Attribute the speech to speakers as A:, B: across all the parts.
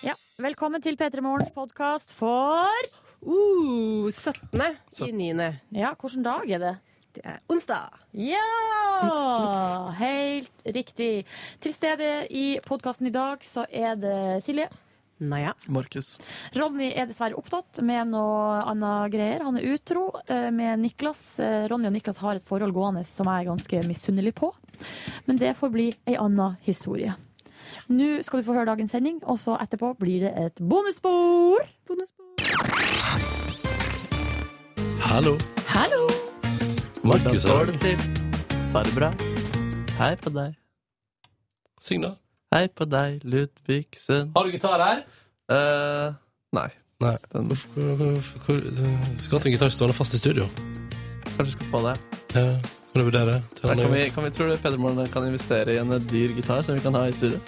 A: Ja, velkommen til P3 Morgens podkast for
B: Uh, 17. i 9.
A: Ja, hvilken dag er det?
B: Det er onsdag.
A: Ja! Helt riktig. Til stede i podkasten i dag så er det Silje.
B: Naja.
C: Markus.
A: Ronny er dessverre opptatt med noe annet greier. Han er utro eh, med Niklas. Eh, Ronny og Niklas har et forhold gående som jeg er ganske misunnelig på. Men det får bli ei anna historie. Nå skal du få høre dagens sending, og så etterpå blir det et bonusspor.
C: Hallo.
A: Hallo!
C: Hvordan
D: Markus
C: står
D: her.
C: det til? Bare bra. Hei på deg.
D: Syng, da.
C: Hei på deg, Ludvigsen.
D: Har du gitar her?
C: eh nei.
D: Nei.
C: Den,
D: Uff, hvor, hvor, hvor, skulle hatt en gitar stående fast i studio.
C: kanskje du skal få det.
D: Ja, kan du vurdere?
C: Nei, kan,
D: Til en annen
C: vi,
D: gang.
C: kan vi tro det Peder Morgen kan investere i en dyr gitar som vi kan ha i studio?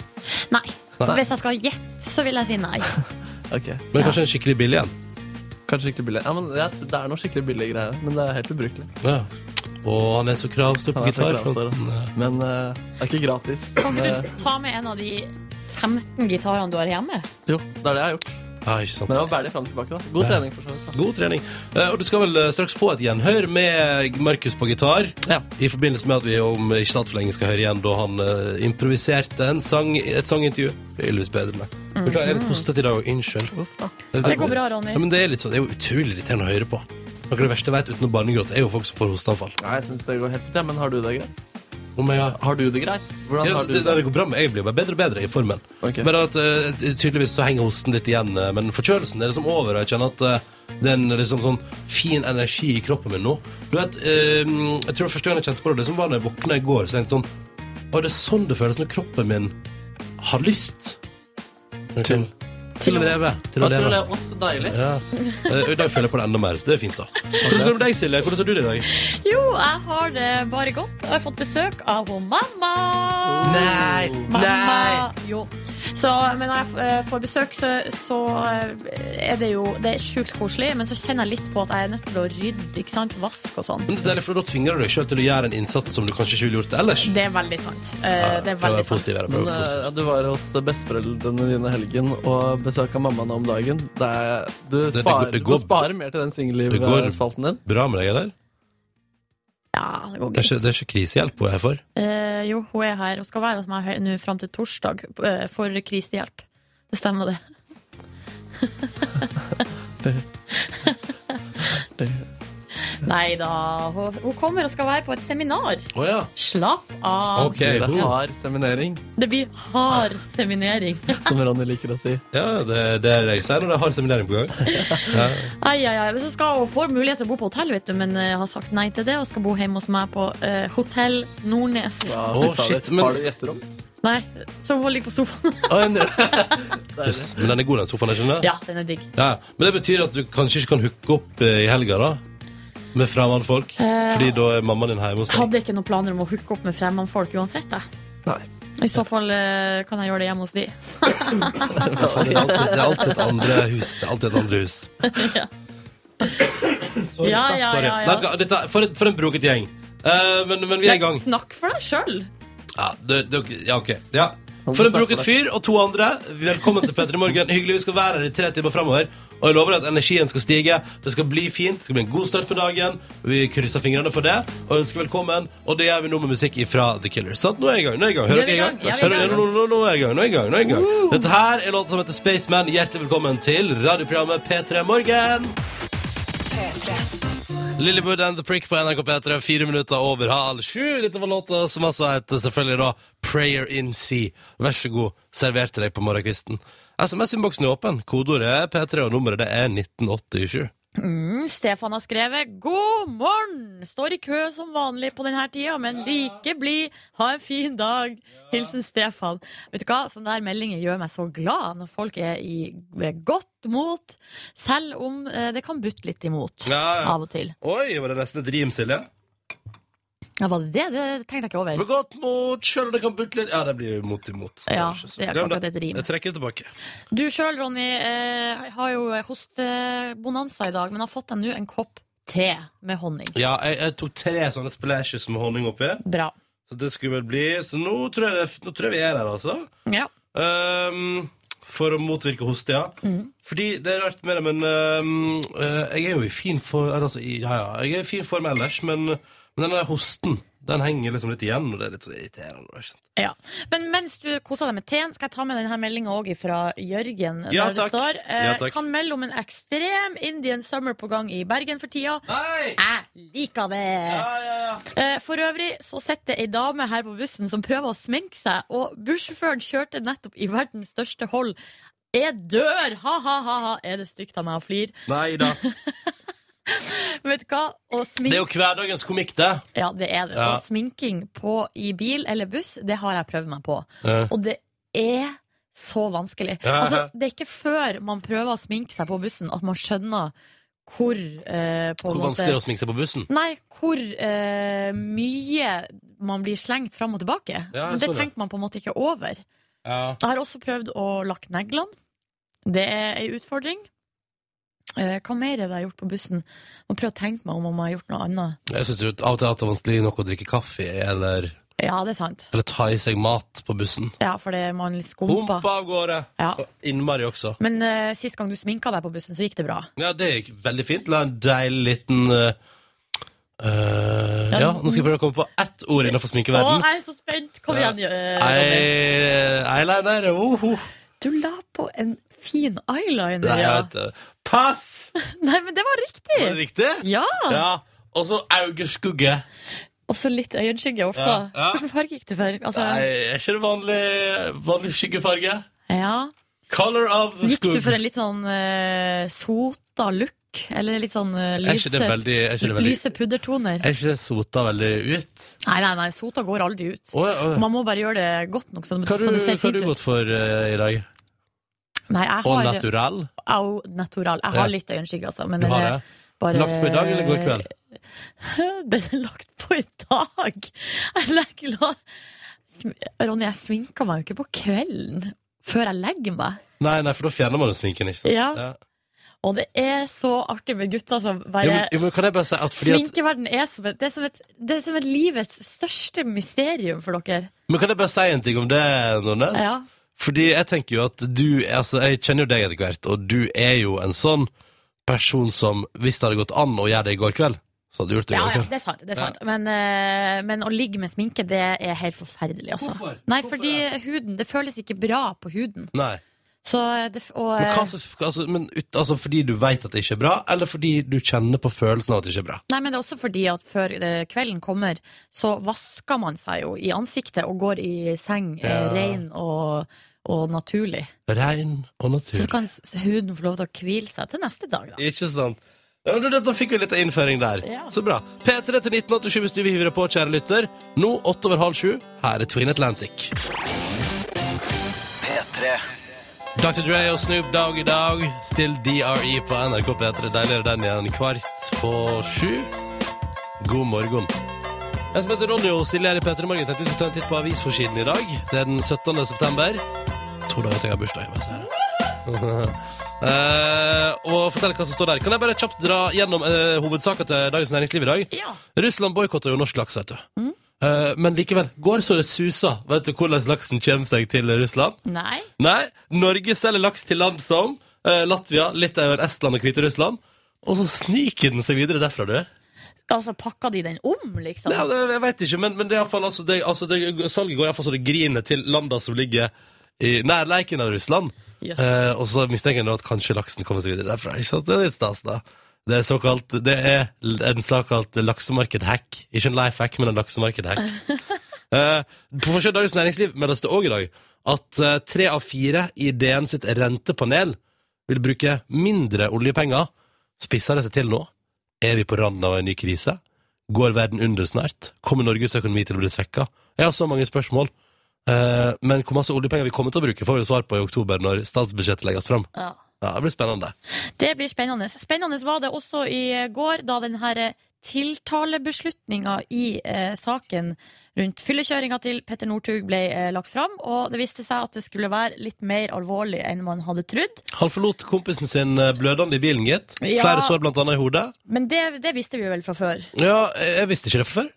E: Nei.
D: Nei.
E: Hvis jeg skal gjette, så vil jeg si nei.
C: Ok,
D: Men kanskje en skikkelig billig en?
C: Kanskje skikkelig billig. Ja, men det, er- det er noe skikkelig billig greier, men det er helt ubrukelig.
D: Ja. Å, han er så kravstor på
C: Han er så
D: gitar.
C: kravstor, Men eh, det er ikke gratis.
E: Kan
C: Men,
E: ikke
C: eh,
E: du ta med en av de 15 gitarene du har hjemme?
C: jo, det er det jeg har gjort.
D: Ja, ikke sant.
C: Men det var veldig fram og tilbake, da. God
D: Ja.
C: trening, for så vidt.
D: God trening. Eh, Og du skal vel eh, straks få et gjenhør med Markus på gitar.
C: da. Ja.
D: I forbindelse med at vi om ikke så altfor lenge skal høre igjen da han eh, improviserte en sang, et sangintervju. Det er Ylvis bedre.
C: Mhm.
D: Beklager, jeg er litt hostet i dag òg. Unnskyld.
C: Uff, da.
A: Det går bra, Ronny.
D: Ja, men det er litt sånn, det er jo utrolig irriterende å høre på. Noe av det verste jeg vet uten å barnegråte, er jo folk som får hosteanfall.
C: Nei, jeg syns det går helt fint, ja. men har du det greit?
D: Om jeg har...
C: Har du det greit? Hvordan
D: Ja,
C: har
D: altså,
C: du
D: det, det går bra med, jeg blir bare bedre og bedre i formen.
C: Ok.
D: Bare at eh, tydeligvis så henger hosten litt igjen, eh, men forkjølelsen er liksom over, og jeg kjenner at eh, det er en liksom sånn fin energi i kroppen min nå. Du vet, eh, jeg tror første gang jeg kjente på det, det som var når jeg våkna i går, så tenkte jeg sånn, å, det er sånn det føles når kroppen min har lyst.
C: Til-
D: Til å leve. Til å
C: Jeg tror det
D: leve.
C: er også deilig.
D: Ja. Eh, og I dag føler jeg på det enda mer, så det er fint da. Hvordan går det med deg, Silje? Hvordan ser du det i dag?
E: Jo, jeg har det bare godt. Jeg har fått besøk av hun mamma.
D: Nei,
E: Mamma. Jo. Så, men når jeg eh, får besøk, så, så eh, er det jo Det er sjukt koselig, men så kjenner jeg litt på at jeg er nødt til å rydde. Ikke sant? Vask og sånn.
D: Men det er deilig, for da tvinger du deg selv til å gjøre en innsats som du kanskje ikke ville gjort ellers.
E: Det er veldig sant. Eh, Det er veldig
D: være
E: sant.
D: positiv, være
C: Men
D: positiv.
C: eh, du var hos besteforeldrene dine i helgen og besøka mamma nå om dagen. Det er, du,
D: det
C: sparer,
D: går- det går-
C: du sparer mer til den
D: det går-
C: singelliv-spalten din.
D: Bra med deg, eller?
E: Ja, det går
D: Det er
E: greit.
D: ikke, det er ikke krisehjelp hun er her for.
E: Eh, jo, hun er her og skal være hos meg hø- nå fram til torsdag eh, for krisehjelp. Det stemmer, det. Nei da. Hun, hun kommer og skal være på et seminar.
D: Å ja.
E: Slapp av.
D: Ok.
C: Dere
D: boom.
C: har seminering,
E: Det blir hard seminering.
C: som Ronny liker å si.
D: ja det, det er det jeg sier når jeg har seminering på gang.
E: Ai, ai, ai. Men så skal hun få mulighet til å bo på hotell, vet du, men eh, har sagt nei til det og skal bo hjemme hos meg på eh, Hotell Nordnes.
C: Ja,
D: Å,
C: fy fader.
D: shit, men-
C: Har du gjesterom?
E: Nei, så hun ligger på sofaen.
C: Å, en- Deilig.
D: Yes. Men den er god, den sofaen, jeg skjønner.
E: ja, den er digg.
D: Ja. Men det betyr at du kanskje ikke kan hooke opp eh, i helga, da? Med fremmedfolk?
E: Eh,
D: Fordi da er mammaen din hjemme hos deg?
E: Hadde ikke noen planer om å hooke opp med fremmedfolk uansett, jeg.
C: Nei.
E: I så fall eh, kan jeg gjøre det hjemme hos de.
D: Det er alltid, det er alltid et andre hus. Det er alltid et andre hus.
E: Ja, ja,
D: Sorry.
E: ja,
D: Nei,
E: ja.
D: vet du hva, dette, for, et- for en broket gjeng. Eh, men, men vi er i gang.
E: Snakk for deg sjøl.
D: Ja, det, det, ja, ok. Ja. For en broket fyr og to andre, velkommen til Petter i morgen. Hyggelig vi skal være her i tre timer framover. Og jeg lover at energien skal stige. Det skal bli fint. Det skal bli en god start på dagen. Vi krysser fingrene for det og ønsker velkommen. Og det gjør vi nå med musikk ifra The Killers. Sant? Nå er jeg i gang. Nå er jeg i gang. Hører
E: Ja, vi er i
D: dere i gang?
E: gang. Ja, vi er i
D: Hører dere?
E: gang.
D: Nå, nå, nå er jeg i gang. Nå er jeg i gang. Nå er jeg i gang. Dette her er låta som heter Spaceman. Hjertelig velkommen til radioprogrammet P3 Morgen. Lillybud and The Prick på NRK P3, fire minutter over halv sju. Dette var låta som altså heter selvfølgelig da Prayer In Sea. Vær så god, servert til deg på morgenkvisten. SMS-innboksen er åpen. Kodeordet er P3, og nummeret det er 1987.
E: Stefan har skrevet 'God morgen'. Står i kø som vanlig på denne tida, men like blid. Ha en fin dag. Hilsen Stefan. Vet du hva, Sånne der meldinger gjør meg så glad når folk er i ved godt mot, selv om eh, det kan butte litt imot
D: Ja, ja.
E: av og til.
D: Oi, var det nesten et rim, Silje?
E: Ja, Var det det? Det tenkte jeg ikke over.
D: Med godt mot, sjøl om det kan butte litt Ja, det blir jo mot imot.
E: Ja,
D: ikke så-
E: det er
D: sånn. Glem
E: akkurat et rim.
D: Jeg trekker det tilbake.
E: Du sjøl, Ronny, eh, har jo hostebonanza i dag, men har fått deg nå en kopp te med honning.
D: Ja, jeg, jeg tok tre sånne splashes med honning oppi.
E: Bra.
D: Så det skulle vel bli Så nå tror jeg, det- nå tror jeg vi er her, altså.
E: Ja.
D: ehm, for å motvirke hoste, ja.
E: Mm.
D: Fordi det er rart med det, men ehm, eh, jeg er jo i fin form altså, i- Ja, ja, jeg er i fin form ellers, men, men den der hosten, den henger liksom litt igjen, og det er litt så irriterende. ikke sant?
E: Ja. Men mens du koser deg med teen, skal jeg ta med denne meldinga òg fra Jørgen.
D: Ja,
E: der det
D: takk.
E: står eh,
D: Ja, takk.
E: Kan melde om en ekstrem Indian summer på gang i Bergen for tida.
D: Hei!
E: Jeg liker det!
D: Ja, ja, ja.
E: Eh, For øvrig så sitter ei dame her på bussen som prøver å sminke seg, og bussjåføren kjørte nettopp i verdens største hold. Jeg dør! Ha-ha-ha! Er det stygt av meg å flire?
D: Nei da.
E: Men Vet du hva? Å
D: Det er
E: sminke
D: jo hverdagens komikk, det.
E: Ja, det er det.
D: Ja.
E: Og sminking på, i bil eller buss, det har jeg prøvd meg på.
D: Eh,
E: Og det er så vanskelig.
D: Ja.
E: Altså, det er ikke før man prøver å sminke seg på bussen, at man skjønner hvor eh, på en
D: Hvor
E: måte-
D: vanskelig det er å sminke seg på bussen.
E: Nei, hvor eh, mye man blir slengt fram og tilbake.
D: Ja, jeg
E: Men det
D: så det.
E: tenker man på en måte ikke over.
D: Ja.
E: Jeg har også prøvd å lakke neglene. Det er ei utfordring. Eh, hva mer er det jeg har gjort på bussen? Må prøve å tenke meg om om jeg har gjort noe annet.
D: Jeg syns av og til at det er vanskelig nok å drikke kaffe eller,
E: Ja, det er sant.
D: eller ta i seg mat på bussen.
E: Ja, for det er man skumpa.
D: Humpa av gårde.
E: Ja.
D: Så innmari også.
E: Men eh, sist gang du sminka deg på bussen, så gikk det bra.
D: Ja, det gikk veldig fint. La en deilig liten eh, eh,
E: Ja,
D: Ja, nå skal jeg prøve å komme på ett ord innenfor
E: Å,
D: sminkeverden.
E: jeg er så spent! Kom igjen, eh, Robin.
D: Ey- Eyeliner. Oh, oh.
E: Du la på en fin eyeliner,
D: Nei, jeg
E: ja.
D: vet det. Pass!
E: Nei, men det var riktig!
D: Var det riktig?
E: Ja!
D: Ja. Og så augeskugge.
E: Og så litt øyenskygge også.
D: Ja, ja.
E: Hvilken farge gikk du for? Altså,
D: Nei, er ikke det vanlig, vanlig skyggefarge?
E: ja.
D: Color of the
E: Gikk du
D: skugg.
E: for en litt sånn eh, sota look? Eller litt sånn eh,
D: Er ikke
E: lyse,
D: det veldig, er ikke det veldig
E: lyse puddertoner?
D: Er ikke det sota veldig ut?
E: Nei, nei, nei, sota går aldri ut.
D: Åja, åja.
E: Man må bare gjøre det godt nok, så,
D: Hva
E: så
D: har du,
E: det ser
D: hva har
E: fint
D: du
E: ut.
D: gått for eh, i dag?
E: Nei, jeg
D: Au
E: har
D: natural?
E: au natural. Jeg
D: Ja.
E: har litt øyenskygge, altså. Men eh,
D: Du
E: den
D: har
E: er
D: det?
E: bare
D: Lagt på i dag eller går i kveld?
E: Den er lagt på i dag! Jeg legger la... Sm- Ronny, jeg sminker meg jo ikke på kvelden før jeg legger meg.
D: Nei, nei, for da fjerner man jo sminken, ikke sant?
E: Ja. Og det er så artig med gutter som
D: Jo,
E: bare
D: men, jo, men kan jeg bare si at fordi at,
E: Sminkeverden er som et det, er som et det er som et livets største mysterium for dere.
D: Men kan jeg bare si en ting om det, Nordnes?
E: Ja.
D: Fordi jeg tenker jo at du Altså, jeg kjenner jo deg etter hvert, og du er jo en sånn person som Hvis det hadde gått an å gjøre det i går kveld, så hadde du gjort det i
E: Ja,
D: går
E: ja,
D: kveld.
E: det er sant. det er sant men, eh, men å ligge med sminke, det er helt forferdelig, altså.
D: Hvorfor?
E: Nei,
D: Hvorfor
E: fordi huden Det føles ikke bra på huden.
D: Nei.
E: Så eh, det, og,
D: Men, hva, slags- altså, men ut, altså, fordi du vet at det ikke er bra, eller fordi du kjenner på følelsen av at det ikke er bra?
E: Nei, men det er også fordi at før eh, kvelden kommer, så vasker man seg jo i ansiktet og går i seng eh,
D: Ja.
E: ren og, og naturlig.
D: Rein og
E: Så
D: natur.
E: kan s- huden få lov til å hvile seg til neste dag, da.
D: Ikke sant? Ja, men du, Da fikk vi litt av innføring der.
E: Ja.
D: Så bra. P3 til 1987 hvis du vil hive deg på, kjære lytter. Nå åtte over halv sju. Her er Twin Atlantic. Dr. Dre og Snoop Dogg i dag. Still DRE på NRK P3. Deiligere den igjen. Kvart på sju. God morgen. Jeg som heter Ronny og Silje her i P3 Morgen, tenkte vi skulle ta en titt på avisforsiden i dag. Det er den 17. september. To dager til jeg har bursdag. Jeg bare sier det. Eh, og fortell hva som står der. Kan jeg bare kjapt dra gjennom uh, hovedsaker til Dagens Næringsliv i dag?
E: Ja.
D: Russland boikotter jo norsk laks, vet du. Eh, men likevel går så det suser. Vet du hvordan laksen kommer seg til Russland?
E: Nei.
D: Nei, Norge selger laks til land som eh, Latvia, Litauen, Estland og Hviterussland. Og så sniker den seg videre derfra, du.
E: Altså, pakka de den om, liksom?
D: Nei, det, jeg vet ikke, men, men det er i hvert fall, altså, det, altså, det, salget går iallfall så det griner til landa som ligger i nærleiken av Russland.
E: Yes.
D: Eh, og så mistenker jeg nå at kanskje laksen kommer seg videre derfra. Ikke sant? Det er litt stas, da. Det er, såkalt, det er en såkalt laksemarked-hack. Ikke en life-hack, men en laksemarked-hack. Eh, på forsiden av Dagens Næringsliv meldes det òg i dag at eh, tre av fire i DN sitt rentepanel vil bruke mindre oljepenger. Spisser det seg til nå? Er vi på randen av en ny krise? Går verden under snart? Kommer Norges økonomi til å bli svekka? Jeg har så mange spørsmål. Eh, men hvor masse oljepenger vi kommer til å bruke, får vi svar på i oktober når statsbudsjettet legges fram.
E: Ja.
D: Ja, det blir spennende.
E: Det blir spennende. Spennende var det også i eh, går, da den her tiltalebeslutninga i eh, saken rundt fyllekjøringa til Petter Northug ble eh, lagt fram, og det viste seg at det skulle være litt mer alvorlig enn man hadde trodd.
D: Han forlot kompisen sin eh, blødende i bilen, gitt.
E: Ja.
D: Flere sår blant annet i hodet.
E: Men det, det visste vi vel fra før.
D: Ja, jeg jeg visste ikke det fra før.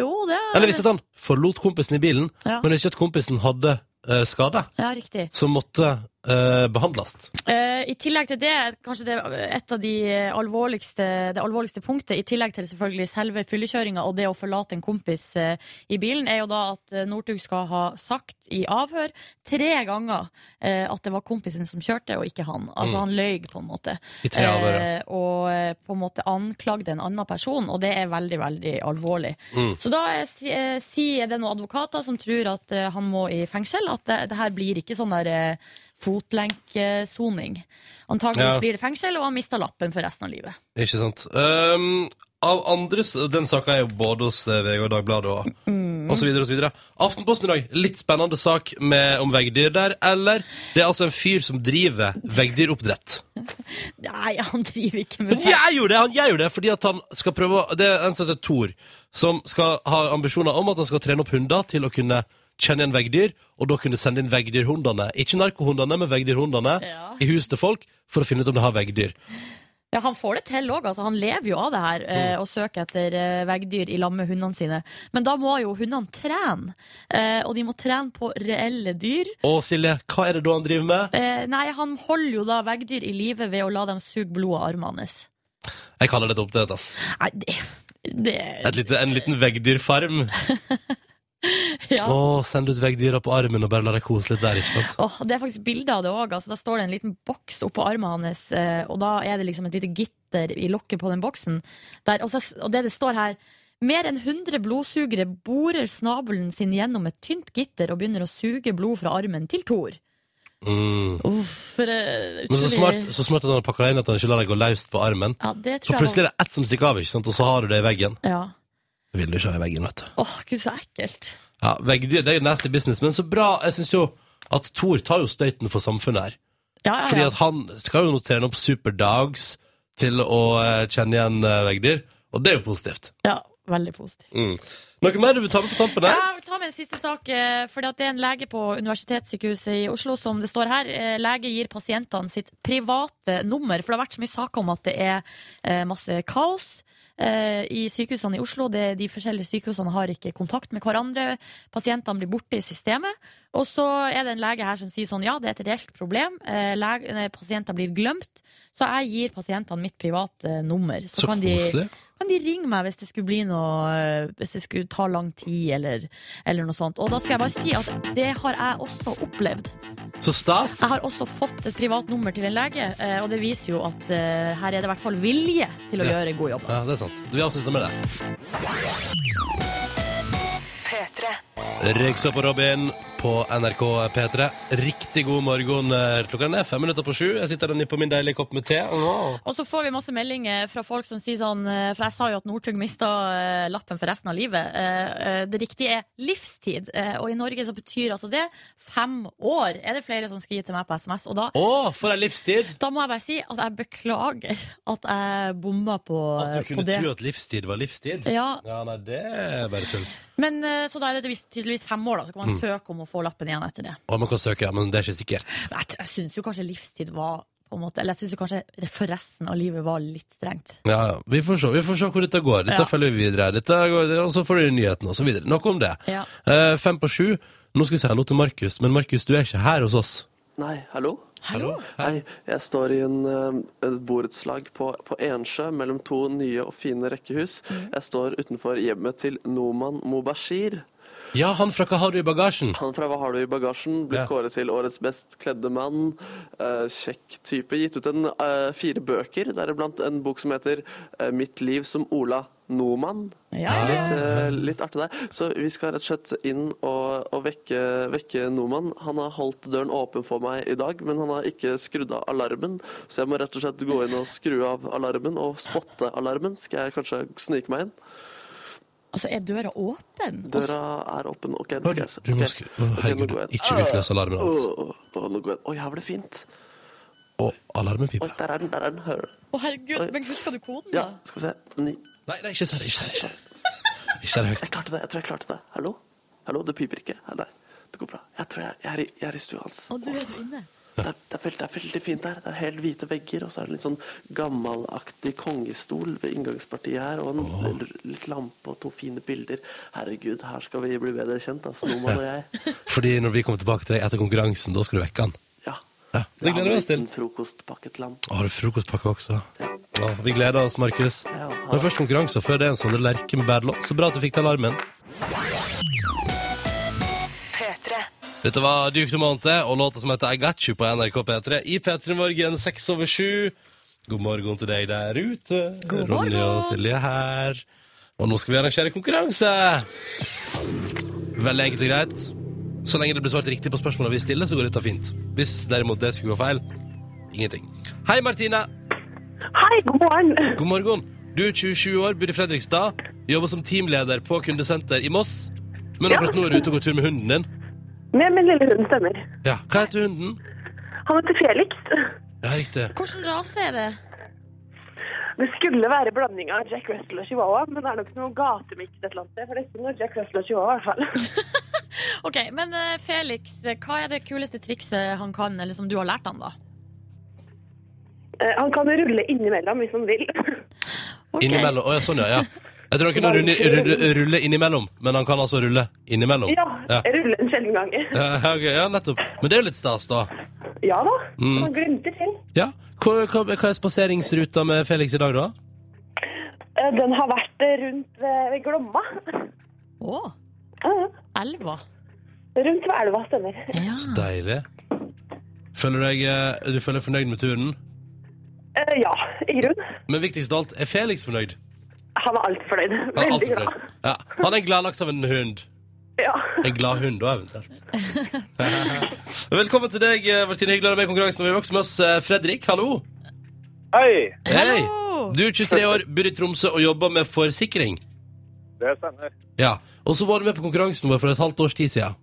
E: Jo, det
D: Eller jeg visste at han forlot kompisen i bilen,
E: Ja.
D: men ikke at kompisen hadde eh, eh, skade
E: Ja, riktig.
D: som måtte eh, behandles.
E: Eh, I tillegg til det, kanskje det er et av de alvorligste, det alvorligste punktet, i tillegg til selvfølgelig selve fyllekjøringa og det å forlate en kompis eh, i bilen, er jo da at eh, Northug skal ha sagt i avhør tre ganger eh, at det var kompisen som kjørte, og ikke han. Altså han løy, på en måte.
D: I tre av dere.
E: Eh, og eh, på en måte anklagde en annen person, og det er veldig, veldig alvorlig.
D: Mm.
E: Så da eh, si- eh, sier det noen advokater som tror at eh, han må i fengsel, at det, det her blir ikke sånn der eh, fotlenkesoning. Antakeligvis
D: Ja.
E: blir det fengsel, og han mister lappen for resten av livet.
D: Ikke sant. Ehm, av andre s- Den saka er jo både hos eh, VG og Dagbladet og, og så videre og så videre. Aftenposten i dag, litt spennende sak med, om veggdyr der. Eller det er altså en fyr som driver veggdyroppdrett.
E: Nei, han driver ikke
D: Men
E: med det.
D: jeg gjorde det, han gjør jo det fordi at han skal prøve å- Det er en som heter Thor, som skal ha ambisjoner om at han skal trene opp hunder til å kunne kjenne igjen veggdyr, og da kunne sende inn veggdyrhundene. Ikke narkohundene, men veggdyrhundene
E: Ja.
D: i hus til folk for å finne ut om de har veggdyr.
E: Ja, han får det til òg. Altså, han lever jo av det her eh,
D: Mm.
E: og søker etter eh, veggdyr i lag med hundene sine. Men da må jo hundene trene, eh, og de må trene på reelle dyr.
D: Og Silje, hva er det da han driver med?
E: Eh, nei, han holder jo da veggdyr i live ved å la dem suge blodet av armene hans.
D: Jeg kaller det et oppdrett, ass.
E: Nei, det, det
D: Et lite, en liten veggdyrfarm.
E: ja.
D: Å, send ut veggdyra på armen og bare la deg kose litt der, ikke sant?
E: Åh, det er faktisk bilder av det òg. Altså, da står det en liten boks oppå armen hans, eh, og da er det liksom et lite gitter i lokket på den boksen. Der, og, så, og det det står her Mer enn 100 blodsugere borer snabelen sin gjennom et tynt gitter og begynner å suge blod fra armen til Thor.
D: Mm.
E: Uff, for eh,
D: Men så
E: utrolig-
D: smart, så smart at han har pakka inn at han ikke lar deg gå løst på armen.
E: Ja, det
D: For
E: tror jeg
D: plutselig er det ett som stikker av, ikke sant? og så har du det i veggen.
E: var ja.
D: Det vil du ikke ha i veggen, vet du.
E: Åh, gud, så ekkelt.
D: Ja, veggdyr det er nasty business, men så bra. Jeg syns jo at Thor tar jo støyten for samfunnet her.
E: Ja, ja,
D: Fordi
E: ja.
D: at han skal jo notere opp superdogs til å eh, kjenne igjen eh, veggdyr, og det er jo positivt.
E: ja veldig positivt.
D: Mm. Noe mer du vil ta med på tampen
E: Ja,
D: der?
E: jeg vil ta med en siste sak, eh, fordi at det er en lege på Universitetssykehuset i Oslo som det står her. eh, Lege gir pasientene sitt private nummer, for det har vært så mye saker om at det er eh, masse kaos. eh, I sykehusene i Oslo det, De forskjellige sykehusene har ikke kontakt med hverandre. Pasientene blir borte i systemet. Og så er det en lege her som sier sånn Ja, det er et reelt problem. eh, Lege, eh, pasienter blir glemt. Så jeg gir pasientene mitt private eh, nummer. Så,
D: Så
E: kan de
D: koselig.
E: kan de ringe meg hvis det skulle bli noe eh, Hvis det skulle ta lang tid eller, eller noe sånt. Og da skal jeg bare si at det har jeg også opplevd.
D: Så stas.
E: Jeg har også fått et privat nummer til en lege, eh, og det viser jo at eh, her er det i hvert fall vilje til å
D: Ja.
E: gjøre en god jobb.
D: Ja, det er sant. Vi avslutter med det. Røyksopp og Robin på NRK P3. Riktig god morgen. eh, Klokka er fem minutter på sju. Jeg sitter der nede på min deilige kopp med te.
E: Og så får vi masse meldinger fra folk som sier sånn eh, For jeg sa jo at Northug mista eh, lappen for resten av livet. Eh, eh, Det riktige er livstid, eh, og i Norge så betyr altså det fem år, er det flere som skriver til meg på SMS. Og da
D: Å, for ei livstid!
E: Da må jeg bare si at jeg beklager at jeg bomma på,
D: At du
E: på
D: kunne
E: Eh, det.
D: tro at livstid var livstid.
E: Ja,
D: Ja, nei, det er bare tull.
E: men eh, Så da er det tydeligvis- tydeligvis fem år, da. Så kan
D: Mm.
E: man søke om å få lappen igjen etter det.
D: Å, man kan søke, ja, men det er ikke sikkert.
E: Men Jeg, jeg syns jo kanskje livstid var på en måte, Eller jeg syns kanskje for resten av livet var litt strengt.
D: Ja, ja. Vi får se, vi får se hvor dette går. Dette
E: Ja.
D: følger vi videre. Dette går, og så får du nyhetene og så videre. Nok om det.
E: Ja.
D: Eh, fem på sju. Nå skal vi si hallo til Markus, men Markus, du er ikke her hos oss.
F: Nei, hallo?
D: Hallo?
F: Hei, jeg står i en, eh, et borettslag på, på Ensjø mellom to nye og fine rekkehus. Jeg står utenfor hjemmet til Noman Mobashir.
D: Ja, han fra Hva har du i bagasjen?
F: Han fra Hva har du i bagasjen? Blitt
D: Ja.
F: kåret til årets best kledde mann. Eh, kjekk type. Gitt ut en, eh, fire bøker, deriblant en bok som heter eh, Mitt liv som Ola Noman.
E: Ja, ja,
F: Litt, eh, litt artig der. Så vi skal rett og slett inn og, og vekke, vekke Noman. Han har holdt døren åpen for meg i dag, men han har ikke skrudd av alarmen. Så jeg må rett og slett gå inn og skru av alarmen, og spotte alarmen. Skal jeg kanskje snike meg inn?
E: Altså, er døra åpen?
F: Døra er åpen. OK,
D: Å,
F: det skal jeg
D: Du må
F: ok.
D: skru Å,
F: Ok, nå
D: Herregud,
F: går jeg inn.
D: ikke utløs alarmen hans.
F: Åh, åh, nå går jeg- Oi, her var det fint.
D: Å, alarmen
F: Oi,
D: piper.
F: der er den, der er den. Hører du?
E: Å, herregud, men husker du koden, da?
F: Ja, skal vi se. Ni.
D: Nei, nei, ikke serr. Ikke serr. Ikke serr høyt.
F: Jeg klarte det, jeg tror jeg klarte det. Hallo? Hallo, det piper ikke? Nei, nei, det går bra. Jeg tror jeg, jeg, er, i, jeg er i stua hans.
E: Å, du er du inne.
F: Det er, det, er veldig, det er veldig fint der. Det er helt hvite vegger, og så er det litt sånn gammelaktig kongestol ved inngangspartiet her, og en l- litt lampe og to fine bilder. Herregud, her skal vi bli bedre kjent, altså, Noman og jeg.
D: Fordi når vi kommer tilbake til deg etter konkurransen, da skal du vekke han.
F: Ja.
D: Ja, det gleder vi oss til.
F: En frokostpakket lam.
D: Å, Har du frokostpakke også? Ja, vi gleder oss, Markus. Når det er først konkurranse, og før det er en sånn lerke med bad låt, så bra at du fikk til alarmen. Dette var Duke Dumante og låta som heter I Got You på NRK P3 i P3 Morgen 6 over 7. God morgen til deg der ute.
E: God
D: Ronny og
E: morgen.
D: Silje her. Og nå skal vi arrangere konkurranse. Veldig enkelt og greit. Så lenge det blir svart riktig på spørsmålene vi stiller, så går dette fint. Hvis derimot det skulle gå feil, ingenting. Hei, Martine.
G: Hei, god morgen.
D: God morgen. Du er 27 år, bor i Fredrikstad, jobber som teamleder på kundesenter i Moss. Men akkurat nå er du ute og går tur med hunden din.
G: Med min lille hund stemmer.
D: Ja, Hva heter hunden?
G: Han heter Felix.
D: Ja, riktig.
E: Hvilken rase er det?
G: Det skulle være blanding av Jack Russell og Chihuahua, men det er nok noe gatemiks et eller annet sted. For det er ikke noe Jack Russell og Chihuahua, i hvert fall.
E: Ok, Men eh, Felix, eh, hva er det kuleste trikset han kan, eller som du har lært han, da?
G: Eh, Han kan rulle innimellom hvis han vil.
E: Ok.
D: Innimellom. Å ja, sånn, ja. ja. Jeg tror han kunne rulle, rulle, rulle innimellom, men han kan altså rulle innimellom.
G: Ja,
D: Ja.
G: rulle en sjelden gang.
D: Ja, ok, ja, nettopp. Men det er jo litt stas, da.
G: Ja da,
D: Mm.
G: han glimter til.
D: Ja. Hva, hva, hva er spaseringsruta med Felix i dag, da?
G: Eh, Den har vært eh, rundt ved ved Glomma.
E: Å,
G: Ja, ja.
E: elva.
G: Rundt ved elva stemmer.
E: Ja.
D: Så deilig. Føler du deg eh, du føler deg fornøyd med turen?
G: Eh, Ja, i grunnen.
D: Men viktigst av alt, er Felix fornøyd?
G: Han er altfor fornøyd.
D: Han er
G: Veldig
D: alltid
G: glad.
D: fornøyd. Ja. Han er gladlaks av en hund.
G: Ja.
D: En glad hund, da, eventuelt. Velkommen til deg, eh, Martine. Hyggelig å ha deg med i konkurransen. Vi har også med oss eh, Fredrik. Hallo.
H: Hei,
D: Hei.
E: Hallo!
D: Du er 23 år, bor i Tromsø og jobber med forsikring.
H: det stemmer.
D: Ja, og så var du med på konkurransen vår for et halvt års tid siden.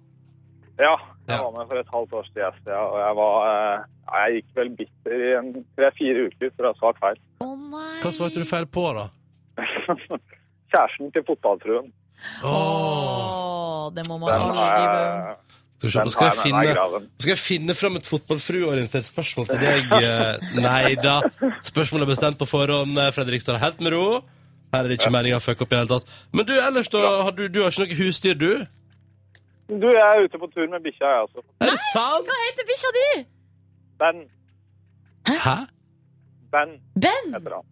H: Ja,
D: Ja.
H: jeg var med for et halvt års tid siden, og jeg var eh, ja, Jeg gikk vel bitter i en tre-fire uker for å ha svart feil.
E: Å nei.
D: Hva svarte du feil på, da?
H: Kjæresten til fotballfruen.
D: Åh,
E: Å, det må man
H: Den
E: aldri
H: har
E: glemme.
D: skal vi
H: jeg,
D: se,
H: den
D: nå skal
H: har
D: jeg
H: jeg med meg i
D: finne,
H: graven.
D: skal jeg finne fram et fotballfrueorientert spørsmål til deg. eh, Nei da. Spørsmålet er bestemt på forhånd. eh, Fredrik står helt med ro. Her er det ikke meninga å fucke opp i det hele tatt. Men du, ellers, da? Har du, du har ikke noe husdyr, du?
H: Du, jeg er ute på tur med bikkja, jeg også.
D: Er det sant?
E: Hva heter bikkja di?
H: Ben.
D: Hæ?
H: Ben
E: Ben?
H: heter han.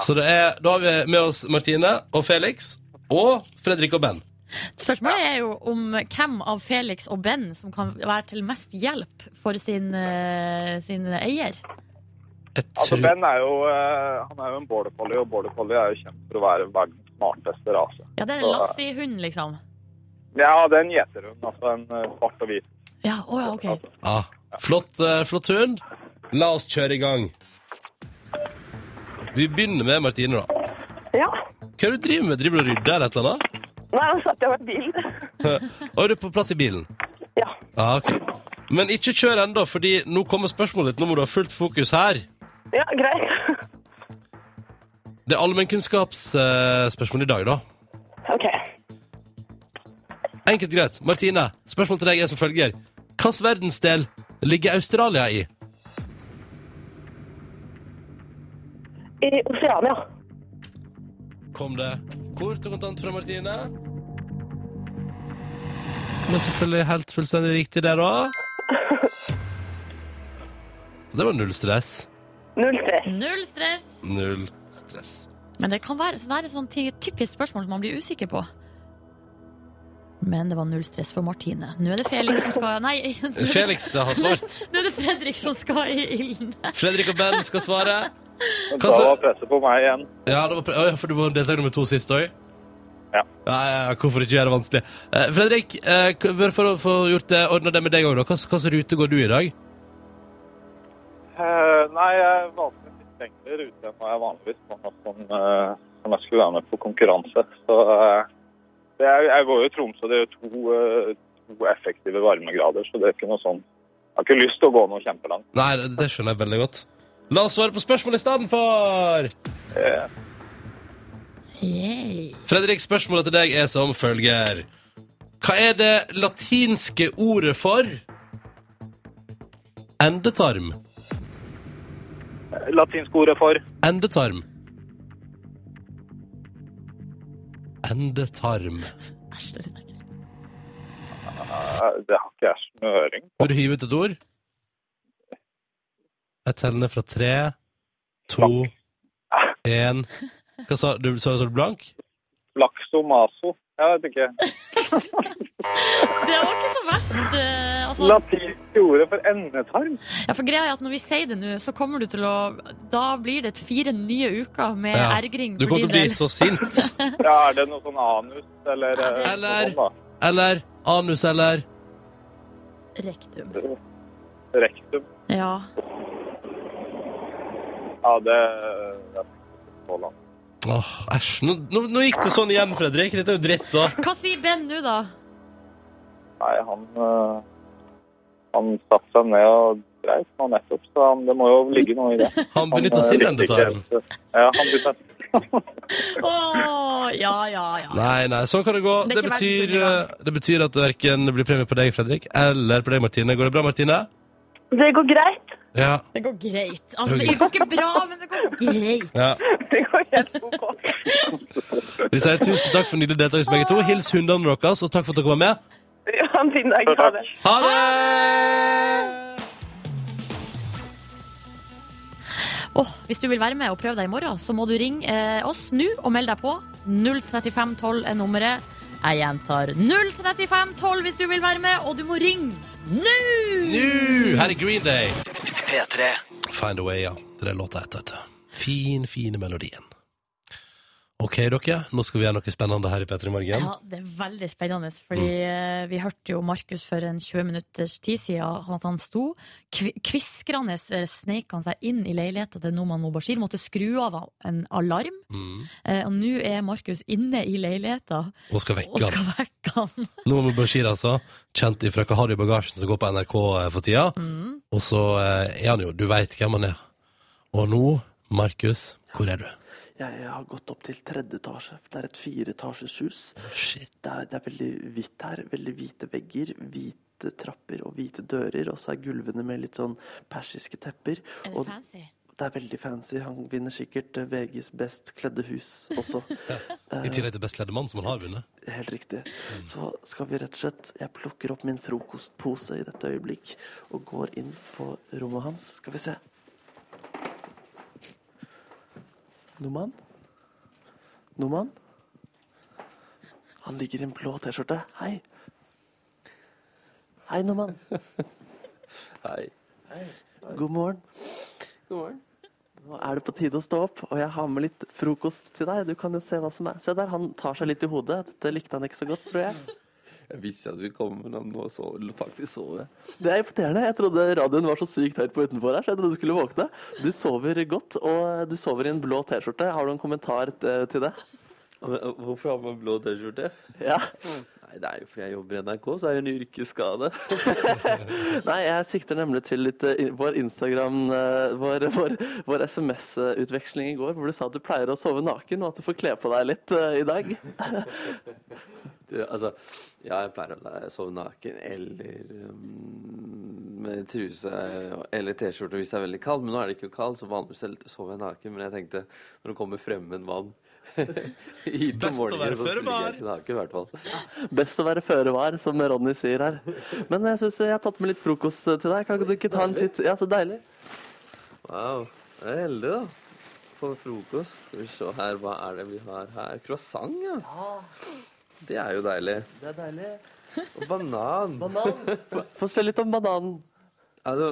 D: Så det er, da har vi med oss Martine og Felix og Fredrik og Ben.
E: Spørsmålet er jo om hvem av Felix og Ben som kan være til mest hjelp for sin, eh, sin eier.
D: Jeg
H: Altså,
D: tror-
H: Ben er jo, eh, han er jo en border collie, og border collie er jo kjent for å være verdens smarteste rase.
E: Ja, det er en Lassie-hund, liksom.
H: Ja, det er en gjeterhund, altså en eh, svart og hvit.
E: Ja, å ja, ok.
D: Ja. Flott, eh, flott hund. La oss kjøre i gang. Vi begynner med Martine, da.
G: ja.
D: Hva er det du driver med? Driver du og rydder eller et eller annet?
G: Nei, han satt jeg over bilen.
D: Og er du på plass i bilen?
G: Ja.
D: Ja, ok. Men ikke kjør ennå, fordi nå kommer spørsmålet ditt. Nå må du ha fullt fokus her.
G: Ja, greit.
D: Det er allmennkunnskapsspørsmål i dag, da.
G: OK.
D: Enkelt greit. Martine, spørsmålet til deg er som følger. Hvilken verdensdel ligger Australia i?
G: I Oseania.
D: Kom det kort og kontant fra Martine? Men selvfølgelig helt fullstendig riktig der òg. Det var null stress.
G: Null stress.
E: Null stress.
D: Null stress.
E: Men det kan være så det er et sånt ting- typisk spørsmål som man blir usikker på. Men det var null stress for Martine. Nå er det Felix som skal Nei,
D: Felix har svart.
E: nå er det Fredrik som skal i ilden.
D: Fredrik og Ben skal svare.
H: Men
D: Hva
H: da
D: så-
H: var presset på meg igjen.
D: Ja, det var pre Å, ja, for du var deltaker nummer to sist òg?
H: Ja.
D: Ja, ja, ja, hvorfor ikke gjøre det vanskelig? Eh, Fredrik, eh, k- bare for å få gjort det, ordna det med deg òg, da. Hvilken rute går du i dag?
H: Eh, nei, jeg valgte en litt lengre rute enn hva jeg vanligvis sånn at sånn, eh, som jeg skulle være med på konkurranse. Så eh, det er, jeg går jo i Tromsø, det er jo to, eh, to effektive varmegrader, så det er ikke noe sånn Jeg har ikke lyst til å gå noe kjempelangt.
D: Nei, det- det skjønner jeg veldig godt. La oss svare på spørsmålet i stedet for.
E: Yay.
D: Fredrik, spørsmålet til deg er som følger. Hva er det latinske ordet for Endetarm.
H: Latinsk ordet for
D: Endetarm. Endetarm.
E: Æsj, det er litt ekkelt.
H: eh, Det har ikke jeg snøring.
D: Vil du hive ut et ord? Jeg teller ned fra tre, to, én Hva sa du? Sa du blank?
H: Laksomaso? Jeg vet ikke.
E: Det var ikke så verst. eh, Altså,
H: Latinsk ordet for endetarm?
E: ja, for greia er at Når vi sier det nå, så kommer du til å Da blir det fire nye uker med
D: Ja.
E: ergring.
D: Du
E: for din
D: kommer til å bli
E: del.
D: så sint.
H: Ja, er det noe sånn anus, eller eh, noe
D: Eller-
H: sånt da?
D: Eller anus, eller
E: Rektum.
H: Rektum?
E: Ja.
H: Ja, det jeg tenker på langt.
D: Åh, æsj. Nå, nå, nå gikk det sånn igjen, Fredrik. Dette er jo dritt, da.
E: Hva sier Ben nå, da?
H: Nei, han eh, Han satte seg ned og dreit nå nettopp, så han, det må jo ligge noe i det.
D: Han benytta sin
H: eh, likte ikke
D: endetarm.
H: helt, eh, Ja, han benytta
E: Å, ja, ja, ja.
D: Nei, nei, sånn kan det gå.
E: Det
D: Det,
E: er ikke
D: betyr,
E: verdens
D: eh, det betyr at det verken blir premie på deg, Fredrik, eller på deg, Martine. Går det bra, Martine?
G: Det går greit.
D: Ja.
E: Det går greit. Altså, det går ikke bra, men det går greit.
D: ja.
G: Det går helt ok.
D: Vi sier tusen takk for nydelig deltakelse, begge to. Hils hundene deres, og takk for at dere var med.
G: Ja, en fin dag. Ha det.
D: Ha det!
E: Åh, hvis du vil være med og prøve deg i morgen, så må du ringe eh, oss nå og melde deg på. 03512 er nummeret. Jeg gjentar 03512 hvis du vil være med, og du må ringe nå!
D: Nu, her er Green Day. Find a way, ja. Det er låta etter, vet du. Fin, fine melodien. Ok, dere. Nå skal vi gjøre noe spennende her i P3
F: Hm.
D: Morgen.
E: Ja, det er veldig spennende, fordi eh, vi hørte jo Markus for en 20 minutters tid siden at han sto kvi- kviskrende eh, sneik han seg inn i leiligheten til Noman Mobashir, måtte skru av en alarm,
D: Mm.
E: eh, og nå er Markus inne i leiligheten
D: Og skal vekke
E: og
D: han.
E: skal vekke han.
D: Nå med Bashir, altså. Kjent ifra Hva har du i bagasjen, som går på NRK eh, for tida. Og så eh, er han jo Du veit hvem han er. Og nå, Markus, hvor er du?
F: Jeg har gått opp til tredje etasje. for Det er et fireetasjes hus.
D: Shit.
F: Det er, det er veldig hvitt her. Veldig hvite vegger, hvite trapper og hvite dører. Og så er gulvene med litt sånn persiske tepper.
E: Er det
F: Og
E: fancy?
F: det er veldig fancy. Han vinner sikkert eh, VGs best kledde hus også. Eh,
D: I tillegg til Best ledde mann, som han har vunnet.
F: Helt riktig. Så skal vi rett og slett Jeg plukker opp min frokostpose i dette øyeblikk og går inn på rommet hans. Skal vi se. Noman? Noman? Han ligger i en blå T-skjorte. Hei. Hei, Noman.
I: Hei.
F: God morgen.
I: God morgen.
F: Nå er det på tide å stå opp, og jeg har med litt frokost til deg. Du kan jo se hva som er. Se der, han tar seg litt i hodet. Dette likte han ikke så godt, tror jeg.
I: Jeg visste at du kom, men nå sov, faktisk sover jeg.
F: Det er imponerende. Jeg trodde radioen var så sykt høyt på utenfor her, så jeg trodde du skulle våkne. Du sover godt, og du sover i en blå T-skjorte. Har du en kommentar eh, til det?
I: Men eh, Hvorfor har man blå T-skjorte?
F: Ja.
I: Nei, Det er jo fordi jeg jobber i NRK, så er det en yrkesskade.
F: Nei, jeg sikter nemlig til litt eh, in- vår Instagram, eh, vår, vår, vår SMS-utveksling i går, hvor du sa at du pleier å sove naken, og at du får kle på deg litt eh, i dag.
I: Det- altså, ja, jeg pleier å la- sove naken eller um, med truse eller T-skjorte hvis det er veldig kaldt. Men nå er det ikke kaldt, så vanligvis sover jeg naken. Men jeg tenkte, når det kommer fremmed mann hit
D: Best å
I: om morgenen,
D: være
I: så
D: føre
I: stryker
D: var.
I: jeg ikke naken i hvert fall.
F: Best å være føre var, som Ronny sier her. Men jeg syns jeg har tatt med litt frokost eh, til deg. Kan ikke du ikke ta en titt? Ja, så deilig.
I: Wow, jeg er heldig da. For frokost, skal vi se her, hva er det vi har her? Croissant, ja. Det er jo deilig.
F: Det er deilig.
I: Og banan.
F: Banan. Få- Få se litt om bananen.
I: Altså,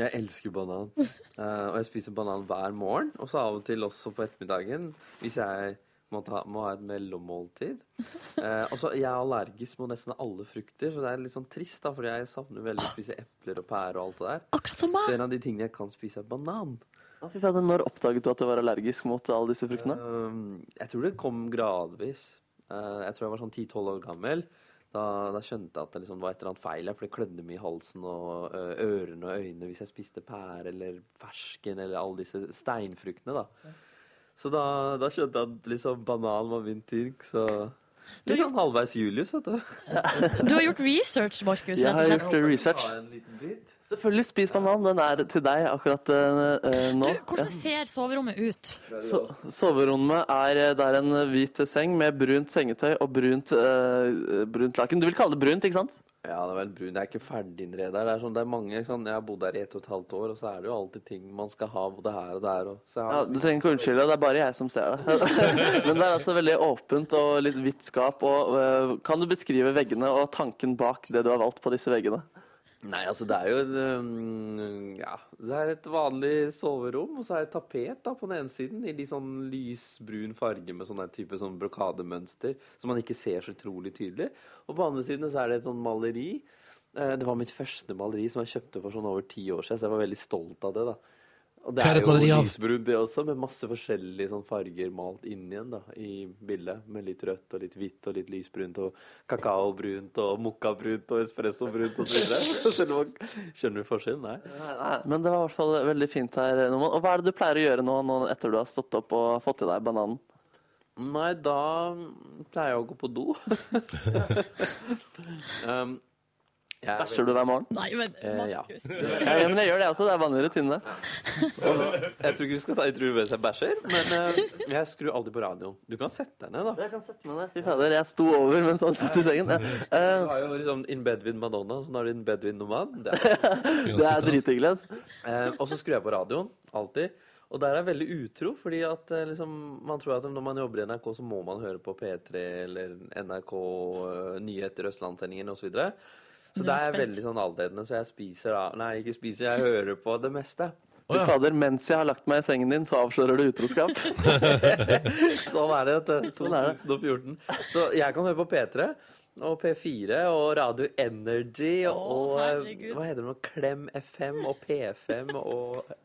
I: jeg elsker banan. Eh, og jeg spiser banan hver morgen, og så av og til også på ettermiddagen, hvis jeg må, ta, må ha et mellommåltid. Eh, og så Jeg er allergisk mot nesten alle frukter, så det er litt sånn trist, da, for jeg savner veldig å spise epler og pærer og alt det der.
E: Akkurat som
I: Så
E: meg!
I: en av de tingene jeg kan spise, er banan.
F: Ja, fy faen, Når oppdaget du at du var allergisk mot alle disse fruktene?
I: Um, jeg tror det kom gradvis. Eh, jeg tror jeg var sånn 10-12 år gammel. Da, da skjønte jeg at det liksom var et eller annet feil her, for det klødde mye i halsen og eh, ørene og øynene hvis jeg spiste pære eller fersken eller alle disse steinfruktene. da. Så da, da skjønte jeg at liksom banan var min ting. Så
J: Litt sånn halvveis Julius, vet du.
E: Du har gjort research, Markus.
F: Jeg
E: rett og
F: har
E: slett.
F: gjort research.
J: Ta en liten bit.
F: Selvfølgelig spis banan. Den er til deg akkurat eh,
E: Du,
F: nå. Eh, Ja.
E: hvordan ser soverommet ut?
F: So soverommet er eh, det er en hvit seng med brunt sengetøy og brunt, eh, brunt laken. Du vil kalle det brunt, ikke sant?
J: Ja, det er vel brun. Det er ikke ferdiginnredet. her. Det er sånn, det er mange, ikke sant? Jeg har bodd her i ett og et halvt år, og så er det jo alltid ting man skal ha både her og der. Og, så jeg
F: Ja,
J: har,
F: du trenger ikke unnskylde, det er bare jeg som ser det. Men det er altså veldig åpent og litt hvitt skap. Og, eh, kan du beskrive veggene og tanken bak det du har valgt på disse veggene?
J: Nei, altså det er jo et, um, ja, det er et vanlig soverom, og så er det tapet da, på den ene siden i litt sånn lysbrun farge med sånn der type sånn brokademønster som man ikke ser så utrolig tydelig. Og på andre siden så er det et sånn maleri. Eh, Det var mitt første maleri som jeg kjøpte for sånn over ti år siden, så jeg var veldig stolt av det. da. Og det
D: Hva er et
J: jo
D: maleri av?
J: lysbrunt det også, med masse forskjellige sånn farger malt inn igjen da, i bildet. Med litt rødt og litt hvitt og litt lysbrunt og kakaobrunt og mokkabrunt og espressobrunt og så videre. Selv om man skjønner forskjellen, nei.
F: Nei, nei, Men det var i hvert fall veldig fint her, Norman. Og hva er det du pleier å gjøre nå, nå etter du har stått opp og fått i deg bananen?
J: Nei, da pleier jeg å gå på do. um, jeg er
F: Bæsjer du hver morgen?
E: Nei, men
J: Eh, ja.
E: Markus.
F: Ja, ja, men jeg gjør det også, det er vanlig rutine.
J: Jeg tror ikke vi skal ta i tru mens jeg bæsjer, men eh, jeg skrur aldri på radioen. Du kan sette deg ned, da.
F: Jeg kan sette meg ned. Fy fader, jeg sto over mens han satt i sengen. Ja.
J: Du
F: Eh,
J: har jo liksom In bed with Madonna, så nå er du in bed with Noman. Det er
F: det er drithyggelig. ass.
J: Eh, og så skrur jeg på radioen, alltid. Og der er jeg veldig utro, fordi at eh, liksom, man tror at når man jobber i NRK, så må man høre på P3 eller NRK eh, Nyheter, Østlandssendingen osv. Så, videre. så
E: Nå er jeg
J: der er jeg
E: spent.
J: veldig sånn alledende, så jeg spiser da Nei, ikke spiser, jeg hører på det meste.
F: Fy fader, mens jeg har lagt meg i sengen din, så avslører du utroskap.
J: Sånn er det, vet du.
F: Sånn er det.
J: 2014. Så jeg kan høre på P3 og P4 og Radio Energy og,
E: Å,
J: eh,
E: herregud.
J: Hva heter det nå? Klem FM og P5 og
D: altså.